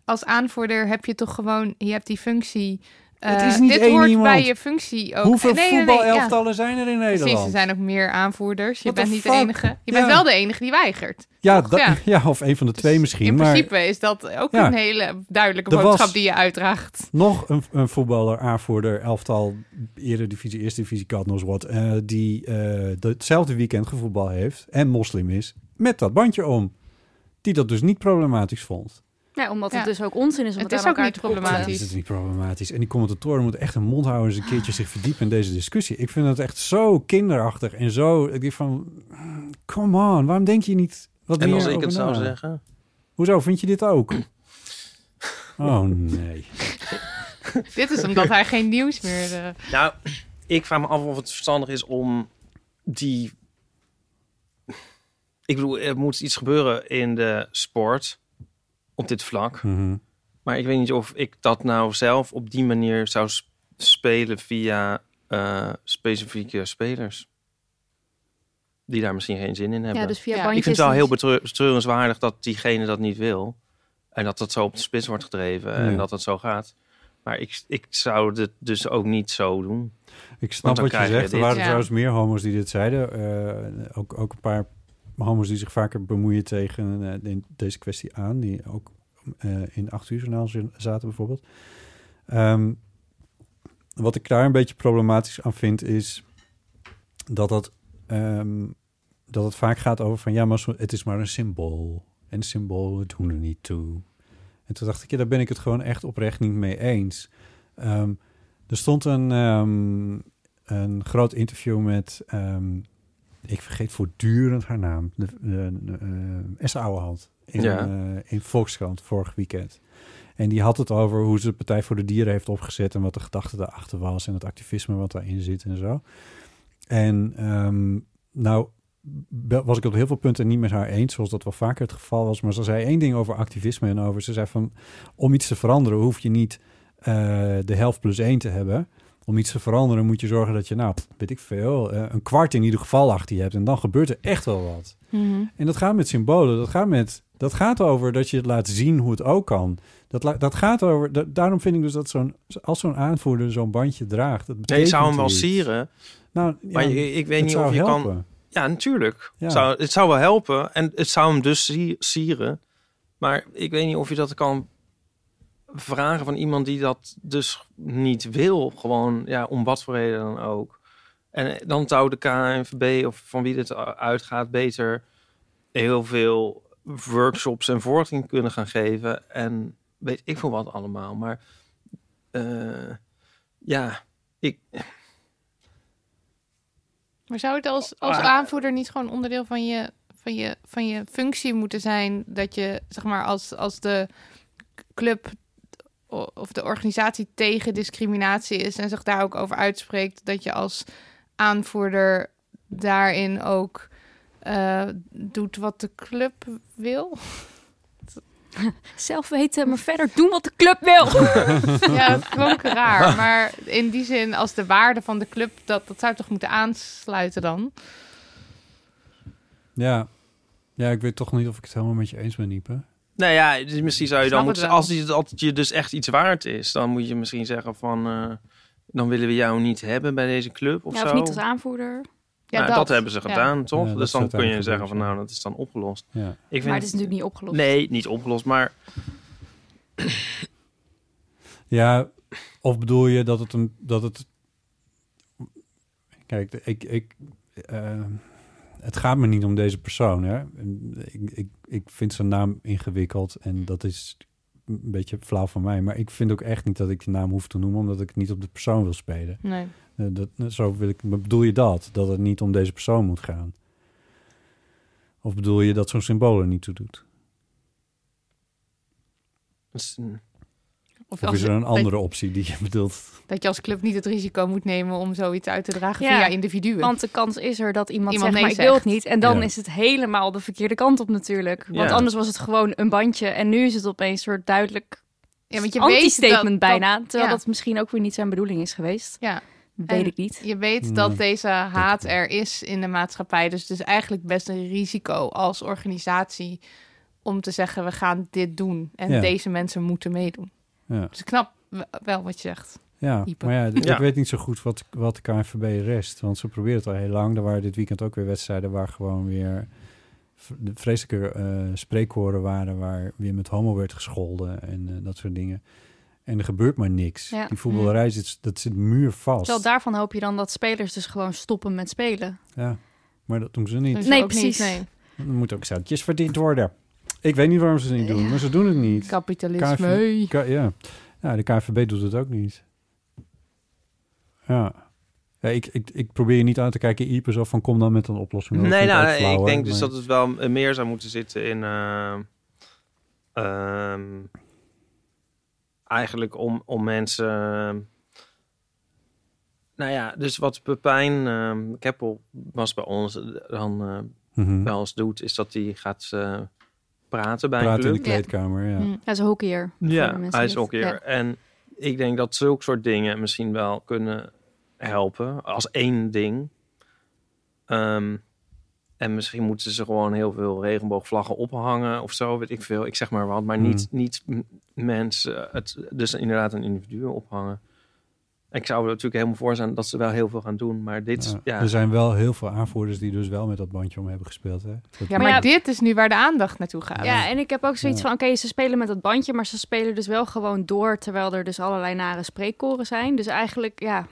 [SPEAKER 5] als aanvoerder heb je toch gewoon, je hebt die functie. Eh,
[SPEAKER 3] Het is niet
[SPEAKER 5] dit
[SPEAKER 3] één
[SPEAKER 5] hoort
[SPEAKER 3] iemand.
[SPEAKER 5] bij je functie ook.
[SPEAKER 3] Hoeveel
[SPEAKER 5] Eh, nee, nee, nee, ja.
[SPEAKER 3] voetbalelftallen zijn er in Nederland?
[SPEAKER 5] Precies, er zijn ook meer aanvoerders. Je
[SPEAKER 3] What the
[SPEAKER 5] bent niet de
[SPEAKER 3] fuck?
[SPEAKER 5] enige.
[SPEAKER 3] Ja.
[SPEAKER 5] Je bent wel de enige die weigert.
[SPEAKER 3] Ja,
[SPEAKER 5] Toch?
[SPEAKER 3] da- ja.
[SPEAKER 5] Ja.
[SPEAKER 3] of een van de
[SPEAKER 5] Dus
[SPEAKER 3] twee misschien.
[SPEAKER 5] In
[SPEAKER 3] maar
[SPEAKER 5] principe is dat ook
[SPEAKER 3] Ja.
[SPEAKER 5] een hele duidelijke
[SPEAKER 3] Er was-
[SPEAKER 5] boodschap die je uitdraagt.
[SPEAKER 3] nog een, een voetballer, aanvoerder, elftal, eredivisie, eerste divisie, God knows what, eh, die eh, de- hetzelfde weekend gevoetbal heeft en moslim is, met dat bandje om. Die dat dus niet problematisch vond.
[SPEAKER 6] ja, omdat
[SPEAKER 5] Ja.
[SPEAKER 6] het dus ook onzin is om het,
[SPEAKER 5] Het is
[SPEAKER 6] aan
[SPEAKER 5] ook
[SPEAKER 6] elkaar
[SPEAKER 5] niet
[SPEAKER 6] te koppelen.
[SPEAKER 5] problematisch.
[SPEAKER 3] Is het niet problematisch? En die commentatoren moeten echt een mond houden eens een keertje zich verdiepen in deze discussie. Ik vind het echt zo kinderachtig en zo. Ik denk van, mm, come on, waarom denk je niet wat
[SPEAKER 2] En
[SPEAKER 3] meer
[SPEAKER 2] als ik
[SPEAKER 3] over
[SPEAKER 2] het zou
[SPEAKER 3] na?
[SPEAKER 2] zeggen...
[SPEAKER 3] Hoezo vind je dit ook? Oh nee.
[SPEAKER 5] Dit is omdat hij geen nieuws meer... eh,
[SPEAKER 2] Nou, ik vraag me af of het verstandig is om die... Ik bedoel, er moet iets gebeuren in de sport op dit vlak.
[SPEAKER 3] Mhm.
[SPEAKER 2] Maar ik weet niet of ik dat nou zelf op die manier zou s- spelen via eh, specifieke spelers. Die daar misschien geen zin in hebben.
[SPEAKER 6] Ja, dus via
[SPEAKER 5] Ja.
[SPEAKER 6] bandjes.
[SPEAKER 2] ik vind het wel heel
[SPEAKER 6] niet.
[SPEAKER 2] betreur- betreurenswaardig dat diegene dat niet wil. En dat dat zo op de spits wordt gedreven. En
[SPEAKER 3] Ja.
[SPEAKER 2] dat het zo gaat. Maar ik, ik zou het dus ook niet zo doen.
[SPEAKER 3] Ik snap
[SPEAKER 2] dan
[SPEAKER 3] wat je
[SPEAKER 2] krijg je
[SPEAKER 3] zegt. Er
[SPEAKER 2] dit.
[SPEAKER 3] waren
[SPEAKER 5] Ja.
[SPEAKER 3] trouwens meer homo's die dit zeiden. Eh, ook, ook een paar homo's die zich vaker bemoeien tegen eh, de- deze kwestie aan. Die ook eh, in 8 uur journaal zin- zaten bijvoorbeeld. Ehm, wat ik daar een beetje problematisch aan vind is dat dat, ehm, dat het vaak gaat over van ja, maar zo- het is maar een symbool. En symbolen doen er niet toe. En toen dacht ik, ja, daar ben ik het gewoon echt oprecht niet mee eens. Ehm, er stond een, ehm, een groot interview met, ehm, ik vergeet voortdurend haar naam, de, de, de, eh, Esther Ouwehand in,
[SPEAKER 2] Ja.
[SPEAKER 3] eh, in Volkskrant vorig weekend. En die had het over hoe ze de Partij voor de Dieren heeft opgezet en wat de gedachte daarachter was en het activisme wat daarin zit en zo. En ehm, nou be- was ik op heel veel punten niet met haar eens, zoals dat wel vaker het geval was. Maar ze zei één ding over activisme en over, ze zei van, om iets te veranderen hoef je niet eh, de helft plus één te hebben. Om iets te veranderen moet je zorgen dat je, nou, pff, weet ik veel, eh, een kwart in ieder geval achter je hebt. En dan gebeurt er echt wel wat. En dat gaat met symbolen. Dat gaat, met, dat gaat over dat je het laat zien hoe het ook kan. Dat, la- dat gaat over. da- daarom vind ik dus dat zo'n, als zo'n aanvoerder zo'n bandje draagt. Dat
[SPEAKER 2] Nee, je zou hem wel
[SPEAKER 3] iets.
[SPEAKER 2] sieren.
[SPEAKER 3] Nou,
[SPEAKER 2] Maar je- ik weet niet of je kan... Ja, natuurlijk.
[SPEAKER 3] Ja.
[SPEAKER 2] Zou, het zou wel helpen. En het zou hem dus si- sieren. Maar ik weet niet of je dat kan vragen van iemand die dat dus niet wil. Gewoon, ja, om wat voor reden dan ook. En eh, dan zou de KNVB of van wie dit uitgaat beter heel veel workshops en voorlichting kunnen gaan geven. En weet ik veel wat allemaal. Maar eh, ja, ik,
[SPEAKER 5] Maar zou het als, als aanvoerder niet gewoon onderdeel van je, van, je, van je functie moeten zijn? Dat je, zeg maar, als, als de club o- of de organisatie tegen discriminatie is en zich daar ook over uitspreekt, dat je als aanvoerder daarin ook eh, doet wat de club wil?
[SPEAKER 6] Zelf weten, maar verder doen wat de club wil.
[SPEAKER 5] Ja, dat klonk raar. Maar in die zin, als de waarde van de club, dat, dat zou toch moeten aansluiten dan?
[SPEAKER 3] Ja. ja, ik weet toch niet of ik het helemaal met je eens ben, Niepen.
[SPEAKER 2] Nou ja, dus misschien zou je
[SPEAKER 5] Snap
[SPEAKER 2] dan
[SPEAKER 5] het
[SPEAKER 2] moeten,
[SPEAKER 5] wel.
[SPEAKER 2] als die dat je dus echt iets waard is, dan moet je misschien zeggen van, eh, dan willen we jou niet hebben bij deze club of
[SPEAKER 6] Ja,
[SPEAKER 2] zo.
[SPEAKER 6] of niet als aanvoerder.
[SPEAKER 5] Ja,
[SPEAKER 2] Nou, dat. hebben ze
[SPEAKER 5] Ja.
[SPEAKER 2] gedaan, toch?
[SPEAKER 3] Ja, dat
[SPEAKER 2] dus
[SPEAKER 3] is
[SPEAKER 2] dan kun je
[SPEAKER 3] uiteindelijk
[SPEAKER 2] zeggen van,
[SPEAKER 3] gebeurd,
[SPEAKER 2] nou, dat is dan opgelost.
[SPEAKER 3] Ja.
[SPEAKER 2] Ik
[SPEAKER 6] Maar
[SPEAKER 2] vind,
[SPEAKER 6] het is natuurlijk niet opgelost.
[SPEAKER 2] nee, niet opgelost, maar
[SPEAKER 3] Ja, of bedoel je dat het een dat het. Kijk, ik, ik, eh, het gaat me niet om deze persoon. Hè? Ik, ik, ik vind zijn naam ingewikkeld en dat is een beetje flauw van mij. Maar ik vind ook echt niet dat ik de naam hoef te noemen, omdat ik het niet op de persoon wil spelen.
[SPEAKER 5] Nee.
[SPEAKER 3] Eh, Dat, zo wil ik, maar bedoel je dat? Dat het niet om deze persoon moet gaan? Of bedoel je dat zo'n symbool er niet toe doet?
[SPEAKER 2] het is een-
[SPEAKER 5] Of,
[SPEAKER 3] Of
[SPEAKER 5] als-
[SPEAKER 3] is er een
[SPEAKER 5] dat-
[SPEAKER 3] andere optie die je bedoelt?
[SPEAKER 5] Dat je als club niet het risico moet nemen om zoiets uit te dragen
[SPEAKER 6] Ja,
[SPEAKER 5] via individuen.
[SPEAKER 6] Want de kans is er dat iemand, zegt,
[SPEAKER 5] Iemand nee
[SPEAKER 6] maar ik wil
[SPEAKER 5] zegt.
[SPEAKER 6] het niet. En dan
[SPEAKER 3] Ja.
[SPEAKER 6] is het helemaal de verkeerde kant op natuurlijk. Want
[SPEAKER 2] Ja.
[SPEAKER 6] anders was het gewoon een bandje. En nu is het opeens een soort duidelijk
[SPEAKER 5] ja, want
[SPEAKER 6] anti-statement
[SPEAKER 5] dat-
[SPEAKER 6] bijna. terwijl
[SPEAKER 5] ja.
[SPEAKER 6] dat misschien ook weer niet zijn bedoeling is geweest.
[SPEAKER 5] Ja.
[SPEAKER 6] Weet
[SPEAKER 5] En-
[SPEAKER 6] ik niet.
[SPEAKER 5] dat- je weet
[SPEAKER 3] Nee.
[SPEAKER 5] dat deze haat er is in de maatschappij. Dus het is eigenlijk best een risico als organisatie om te zeggen we gaan dit doen. En
[SPEAKER 3] Ja.
[SPEAKER 5] deze mensen moeten meedoen.
[SPEAKER 3] Ja.
[SPEAKER 5] Dus ik snap w- wel wat je zegt.
[SPEAKER 3] Ja,
[SPEAKER 5] Ieper.
[SPEAKER 3] maar ja, d-
[SPEAKER 2] Ja.
[SPEAKER 3] ik weet niet zo goed wat, wat de KNVB rest. Want ze proberen het al heel lang. Er waren dit weekend ook weer wedstrijden waar gewoon weer v- de vreselijke eh spreekkoren waren... waar weer met homo werd gescholden en eh, dat soort dingen. En er gebeurt maar niks.
[SPEAKER 6] Ja.
[SPEAKER 3] Die voetballerij zit, dat zit muurvast.
[SPEAKER 6] Terwijl daarvan hoop je dan dat spelers dus gewoon stoppen met spelen.
[SPEAKER 3] Ja, maar dat doen ze niet.
[SPEAKER 5] Dus
[SPEAKER 6] Nee,
[SPEAKER 5] ook
[SPEAKER 6] precies.
[SPEAKER 5] Niet, nee.
[SPEAKER 3] Er moeten ook centjes verdiend worden. Ik weet niet waarom ze het niet doen,
[SPEAKER 6] Mm. Ja.
[SPEAKER 3] maar ze doen het niet.
[SPEAKER 5] Kapitalisme.
[SPEAKER 3] KNVB K- ja. ja, de KNVB doet het ook niet. Ja. Ja, ik, ik, ik probeer je niet aan te kijken, Ieper, zo van kom dan met een oplossing. Dat
[SPEAKER 2] nee,
[SPEAKER 3] vind ik
[SPEAKER 2] nou,
[SPEAKER 3] ook flauw,
[SPEAKER 2] ik denk
[SPEAKER 3] hoor,
[SPEAKER 2] dus
[SPEAKER 3] maar-
[SPEAKER 2] dat het wel eh, meer zou moeten zitten in, eh, ehm, eigenlijk om, om mensen, eh, nou ja, dus wat Pepijn ehm, Keppel was bij ons, eh, dan eh,
[SPEAKER 3] Mhm.
[SPEAKER 2] wel eens doet, is dat hij gaat eh, praten bij
[SPEAKER 3] Praten in
[SPEAKER 2] een
[SPEAKER 3] de
[SPEAKER 2] club.
[SPEAKER 5] Ja.
[SPEAKER 3] kleedkamer, ja.
[SPEAKER 5] Hm.
[SPEAKER 6] Ja, ze hockeyer. Voor de mensen
[SPEAKER 2] hij
[SPEAKER 6] die
[SPEAKER 2] is ook
[SPEAKER 6] het-
[SPEAKER 2] hier. En ik denk dat zulke soort dingen misschien wel kunnen helpen als één ding. Ehm, En misschien moeten ze gewoon heel veel regenboogvlaggen ophangen of zo, weet ik veel. Ik zeg maar wat, maar niet, niet m- mensen, het, dus inderdaad een individu ophangen. Ik zou er natuurlijk helemaal voor zijn dat ze wel heel veel gaan doen, maar dit, is-
[SPEAKER 3] Ja. Dus
[SPEAKER 2] ja,
[SPEAKER 3] Er zijn wel heel veel aanvoerders die dus wel met dat bandje om hebben gespeeld. Hè? Dat-
[SPEAKER 5] Ja,
[SPEAKER 6] Maar
[SPEAKER 5] maar
[SPEAKER 6] ja-
[SPEAKER 5] dit is nu waar de aandacht naartoe gaat.
[SPEAKER 6] Ja, en ik heb ook zoiets
[SPEAKER 3] Ja.
[SPEAKER 6] van, oké, ze spelen met dat bandje, maar ze spelen dus wel gewoon door, terwijl er dus allerlei nare spreekkoren zijn. Dus eigenlijk, ja,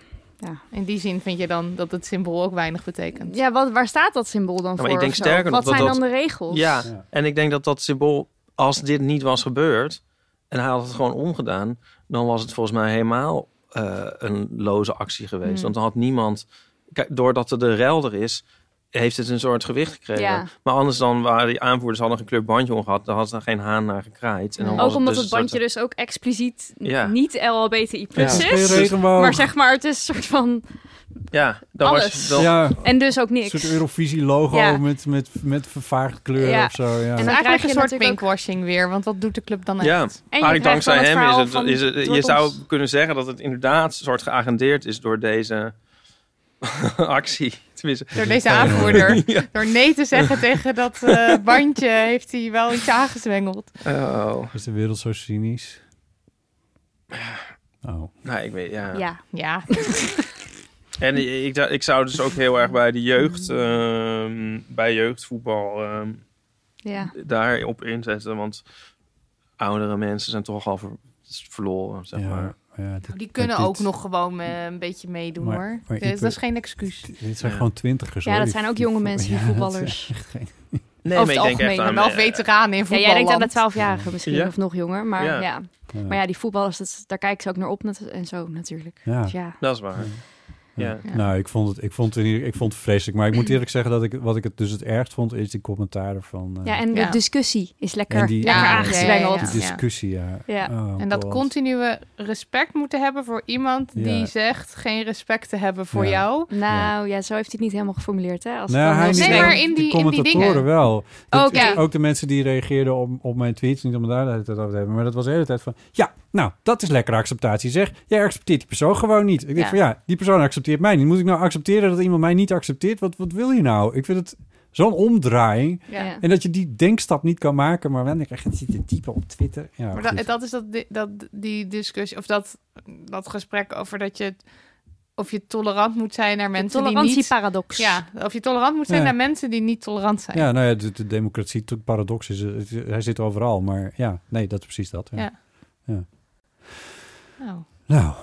[SPEAKER 5] In die zin vind je dan dat het symbool ook weinig betekent.
[SPEAKER 6] ja wat, waar staat dat symbool dan
[SPEAKER 2] maar
[SPEAKER 6] voor?
[SPEAKER 2] ik denk
[SPEAKER 6] of zo?
[SPEAKER 2] sterker nog
[SPEAKER 6] Wat
[SPEAKER 2] dat
[SPEAKER 6] zijn
[SPEAKER 2] dat-
[SPEAKER 6] dan de regels?
[SPEAKER 2] Ja,
[SPEAKER 3] Ja.
[SPEAKER 2] en ik denk dat dat symbool, als dit niet was gebeurd en hij had het gewoon omgedaan, dan was het volgens mij helemaal eh, een loze actie geweest.
[SPEAKER 6] Hmm.
[SPEAKER 5] Mm.
[SPEAKER 2] Want dan had niemand, kijk, doordat er de rel er is, heeft het een soort gewicht gekregen.
[SPEAKER 6] Ja.
[SPEAKER 2] Maar anders dan waren die aanvoerders hadden een gekleurd bandje om gehad, dan hadden ze daar geen haan naar gekraaid. En dan
[SPEAKER 5] Ook
[SPEAKER 2] was
[SPEAKER 6] Hmm. Ook omdat
[SPEAKER 2] dus
[SPEAKER 6] het
[SPEAKER 2] een
[SPEAKER 6] bandje
[SPEAKER 2] soort-
[SPEAKER 6] dus ook expliciet n-
[SPEAKER 2] Ja.
[SPEAKER 6] niet LHBTI plus
[SPEAKER 3] Het is
[SPEAKER 6] is.
[SPEAKER 3] geen regenboog.
[SPEAKER 6] Maar zeg maar, het is een soort van...
[SPEAKER 2] Ja, dan was
[SPEAKER 6] alles.
[SPEAKER 2] je wel.
[SPEAKER 3] ja,
[SPEAKER 6] En dus ook
[SPEAKER 3] een
[SPEAKER 6] niks.
[SPEAKER 3] soort Eurovisie logo
[SPEAKER 6] Ja.
[SPEAKER 3] met, met, met vervaagd kleuren
[SPEAKER 6] Ja.
[SPEAKER 3] of zo. Ja.
[SPEAKER 6] En
[SPEAKER 5] Het
[SPEAKER 6] dan
[SPEAKER 5] is eigenlijk
[SPEAKER 6] krijg
[SPEAKER 5] een
[SPEAKER 6] je
[SPEAKER 5] soort
[SPEAKER 6] natuurlijk ook-
[SPEAKER 5] pinkwashing weer, want wat doet de club dan echt?
[SPEAKER 2] Ja,
[SPEAKER 6] En je krijgt
[SPEAKER 2] eigenlijk dankzij
[SPEAKER 6] dan het
[SPEAKER 2] hem is
[SPEAKER 6] verhaal
[SPEAKER 2] het,
[SPEAKER 6] van
[SPEAKER 2] is het- je
[SPEAKER 6] Tortons.
[SPEAKER 2] zou kunnen zeggen dat het inderdaad een soort geagendeerd is door deze actie. Tenminste,
[SPEAKER 5] Door deze aanvoerder. Door nee te zeggen tegen dat eh, bandje heeft hij wel iets aangezwengeld.
[SPEAKER 2] oh.
[SPEAKER 3] Is de wereld zo cynisch? Oh.
[SPEAKER 2] Nou, ik weet, ja.
[SPEAKER 6] Ja.
[SPEAKER 5] Ja,
[SPEAKER 2] En ik, ik- ik zou dus ook heel erg bij de jeugd, ehm, bij jeugdvoetbal, ehm,
[SPEAKER 6] ja.
[SPEAKER 2] daarop inzetten. Want oudere mensen zijn toch al ver- verloren, zeg
[SPEAKER 3] ja,
[SPEAKER 2] maar.
[SPEAKER 3] ja, dit-
[SPEAKER 5] die kunnen
[SPEAKER 3] dit-
[SPEAKER 5] ook nog gewoon eh, een beetje meedoen
[SPEAKER 3] Maar-
[SPEAKER 5] hoor.
[SPEAKER 3] maar
[SPEAKER 5] Dus
[SPEAKER 3] Ipe-
[SPEAKER 5] dat is geen excuus.
[SPEAKER 3] Dit zijn
[SPEAKER 2] Ja.
[SPEAKER 3] gewoon twintigers.
[SPEAKER 6] ja,
[SPEAKER 3] hoor,
[SPEAKER 6] dat
[SPEAKER 3] die-
[SPEAKER 6] zijn ook
[SPEAKER 3] die
[SPEAKER 6] jonge
[SPEAKER 3] vo-
[SPEAKER 6] mensen, die
[SPEAKER 3] Ja, dat zijn-
[SPEAKER 6] voetballers.
[SPEAKER 2] Nee,
[SPEAKER 6] Over
[SPEAKER 2] maar ik
[SPEAKER 6] het
[SPEAKER 2] denk echt
[SPEAKER 6] algemeen,
[SPEAKER 2] aan...
[SPEAKER 5] En wel
[SPEAKER 2] eh,
[SPEAKER 5] veteranen in
[SPEAKER 6] Ja,
[SPEAKER 5] voetbal.
[SPEAKER 6] jij denkt aan de 12-jarigen misschien,
[SPEAKER 2] Ja.
[SPEAKER 6] of nog jonger. Maar
[SPEAKER 2] Ja.
[SPEAKER 6] ja.
[SPEAKER 3] Ja.
[SPEAKER 6] Maar ja, die voetballers, dat, daar kijken ze ook naar op nat- en zo natuurlijk.
[SPEAKER 3] Ja.
[SPEAKER 6] Dus ja.
[SPEAKER 2] Dat is waar. Ja.
[SPEAKER 5] Ja.
[SPEAKER 3] Nou, ik vond het, ik vond het, in ieder- ik vond het vreselijk. Maar ik moet eerlijk zeggen dat ik wat ik het dus het ergst vond, is die commentaren van eh,
[SPEAKER 6] Ja, en
[SPEAKER 5] Ja.
[SPEAKER 6] de discussie is lekker,
[SPEAKER 3] En die-
[SPEAKER 6] lekker
[SPEAKER 3] Ja,
[SPEAKER 6] aangezwengeld.
[SPEAKER 5] ja, ja,
[SPEAKER 3] die discussie. Ja.
[SPEAKER 6] Ja.
[SPEAKER 3] Oh,
[SPEAKER 5] En dat
[SPEAKER 3] God.
[SPEAKER 5] continue respect moeten hebben voor iemand
[SPEAKER 3] Ja.
[SPEAKER 5] die zegt geen respect te hebben voor
[SPEAKER 3] Ja.
[SPEAKER 5] jou.
[SPEAKER 6] Nou ja, zo heeft hij het niet helemaal geformuleerd. Hè? Als het
[SPEAKER 3] Nou,
[SPEAKER 6] dan
[SPEAKER 3] hij
[SPEAKER 6] heel
[SPEAKER 3] niet,
[SPEAKER 5] Nee,
[SPEAKER 6] snel-
[SPEAKER 5] maar in
[SPEAKER 3] de
[SPEAKER 5] die- in die
[SPEAKER 3] commentatoren
[SPEAKER 5] dingen.
[SPEAKER 3] wel. Dat-
[SPEAKER 5] Oké.
[SPEAKER 3] ook, de mensen die reageerden op, op mijn tweets, niet om het daar de hele tijd over te hebben, maar dat was de hele tijd van, ja, nou, dat is lekker acceptatie zeg. Jij accepteert die persoon gewoon niet. Ik denk
[SPEAKER 6] Ja.
[SPEAKER 3] van, ja, die persoon accepteert mij niet. Moet ik nou accepteren dat iemand mij niet accepteert? Wat, wat wil je nou? Ik vind het zo'n omdraaiing.
[SPEAKER 6] Ja.
[SPEAKER 5] Ja.
[SPEAKER 3] En dat je die denkstap niet kan maken, maar wanneer krijg je het zitten typen op Twitter? Ja,
[SPEAKER 5] Maar
[SPEAKER 3] goed.
[SPEAKER 5] dat, dat is dat, di- dat, die discussie, of dat, dat gesprek over dat je, of je tolerant moet zijn naar
[SPEAKER 6] De
[SPEAKER 5] mensen die niet...
[SPEAKER 6] tolerantieparadox.
[SPEAKER 5] Ja, of je tolerant moet zijn
[SPEAKER 3] Ja.
[SPEAKER 5] naar mensen die niet tolerant zijn.
[SPEAKER 3] Ja, nou ja, de, de democratie, de paradox is, eh, het- hij zit overal, maar ja, nee, dat is precies dat. Ja.
[SPEAKER 5] Ja.
[SPEAKER 3] Nou,
[SPEAKER 6] Normaal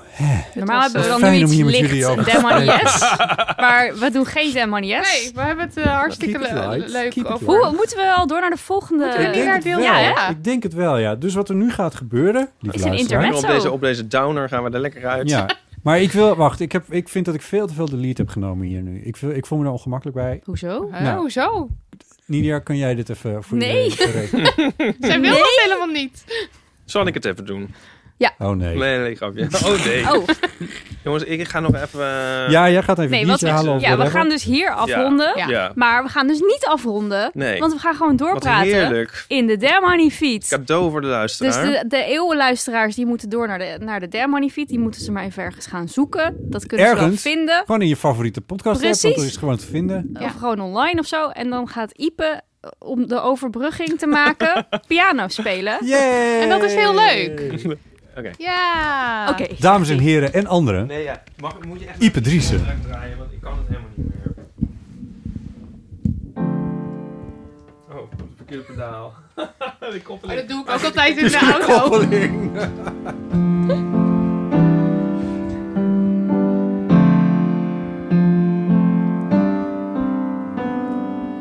[SPEAKER 6] hebben
[SPEAKER 5] Het was,
[SPEAKER 6] we
[SPEAKER 5] eh,
[SPEAKER 6] dan
[SPEAKER 3] fijn
[SPEAKER 6] nu
[SPEAKER 3] om
[SPEAKER 6] iets
[SPEAKER 3] hier met
[SPEAKER 6] licht,
[SPEAKER 3] jullie over te
[SPEAKER 6] demonies. maar we doen geen demonies.
[SPEAKER 5] Nee, we hebben het eh, hartstikke
[SPEAKER 3] Keep it
[SPEAKER 5] le-
[SPEAKER 3] light.
[SPEAKER 5] leuk
[SPEAKER 3] Keep it
[SPEAKER 5] over.
[SPEAKER 6] Hoe moeten we al door naar de volgende?
[SPEAKER 5] Moeten we niet
[SPEAKER 3] denk
[SPEAKER 5] naar
[SPEAKER 3] het
[SPEAKER 5] deel
[SPEAKER 3] wel.
[SPEAKER 6] Ja,
[SPEAKER 5] ja.
[SPEAKER 3] ik denk het wel, ja. Dus wat er nu gaat gebeuren, lieve
[SPEAKER 6] Is een
[SPEAKER 3] luisteraar.
[SPEAKER 6] intermezzo.
[SPEAKER 2] op, deze, op deze downer gaan we er lekker uit.
[SPEAKER 3] Ja, maar ik wil, wacht, ik, heb, ik vind dat ik veel te veel de lead heb genomen hier nu. Ik, wil- ik voel me daar ongemakkelijk bij.
[SPEAKER 6] Hoezo?
[SPEAKER 5] Oh,
[SPEAKER 3] Nou.
[SPEAKER 5] hoezo?
[SPEAKER 3] Nidia, kan jij dit even voor
[SPEAKER 6] Nee.
[SPEAKER 3] iedereen berekenen?
[SPEAKER 5] Zij wil dat helemaal niet.
[SPEAKER 2] Zal ik het even doen?
[SPEAKER 3] Oh nee.
[SPEAKER 2] Nee, nee, grapje. Oh nee.
[SPEAKER 6] Oh,
[SPEAKER 2] Jongens, ik ga nog even... eh,
[SPEAKER 3] Ja, jij gaat even
[SPEAKER 6] nee,
[SPEAKER 3] nee,
[SPEAKER 6] wat
[SPEAKER 3] halen
[SPEAKER 6] we,
[SPEAKER 3] of
[SPEAKER 6] ja, we
[SPEAKER 3] whatever.
[SPEAKER 6] gaan dus hier afronden.
[SPEAKER 2] Ja.
[SPEAKER 5] Ja.
[SPEAKER 6] Maar we gaan dus niet afronden.
[SPEAKER 2] Nee.
[SPEAKER 6] Want we gaan gewoon
[SPEAKER 2] Wat
[SPEAKER 6] doorpraten
[SPEAKER 2] heerlijk.
[SPEAKER 6] in de Dermoney Feed.
[SPEAKER 2] Cadeau voor de
[SPEAKER 6] Dus
[SPEAKER 2] luisteraar.
[SPEAKER 6] de, de eeuwenluisteraars die moeten door naar de, naar de Dermoney Feed. Die moeten ze maar even ergens gaan zoeken. Dat kunnen ze
[SPEAKER 3] Ergens?
[SPEAKER 6] wel vinden.
[SPEAKER 3] Gewoon in je favoriete podcast app, want dat
[SPEAKER 6] Precies.
[SPEAKER 3] is gewoon te vinden.
[SPEAKER 5] Ja.
[SPEAKER 6] Of gewoon online of zo. En dan gaat Ipe, eh, om de overbrugging te maken, piano spelen.
[SPEAKER 3] Yay!
[SPEAKER 5] En dat is heel leuk.
[SPEAKER 2] Oké.
[SPEAKER 5] Ja.
[SPEAKER 6] Oké.
[SPEAKER 3] Dames en heren en anderen,
[SPEAKER 2] Nee, ja. Mag, moet je echt
[SPEAKER 3] Ipe Driessen.
[SPEAKER 2] druk draaien, want ik kan het helemaal niet meer. Oh, het verkeerde pedaal. De
[SPEAKER 5] Oh,
[SPEAKER 2] koppeling.
[SPEAKER 5] dat doe ik ook altijd in de auto.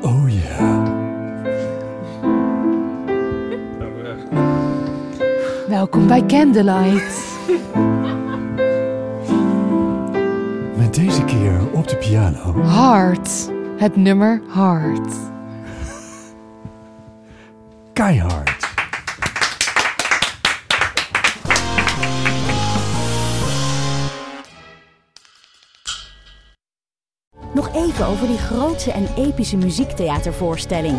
[SPEAKER 3] Oh ja.
[SPEAKER 2] Oh, echt.
[SPEAKER 5] Welkom bij Candlelight.
[SPEAKER 3] Met deze keer op de piano.
[SPEAKER 5] Hard. Het nummer Hard.
[SPEAKER 3] Keihard.
[SPEAKER 1] Nog even over die grootse en epische muziektheatervoorstelling.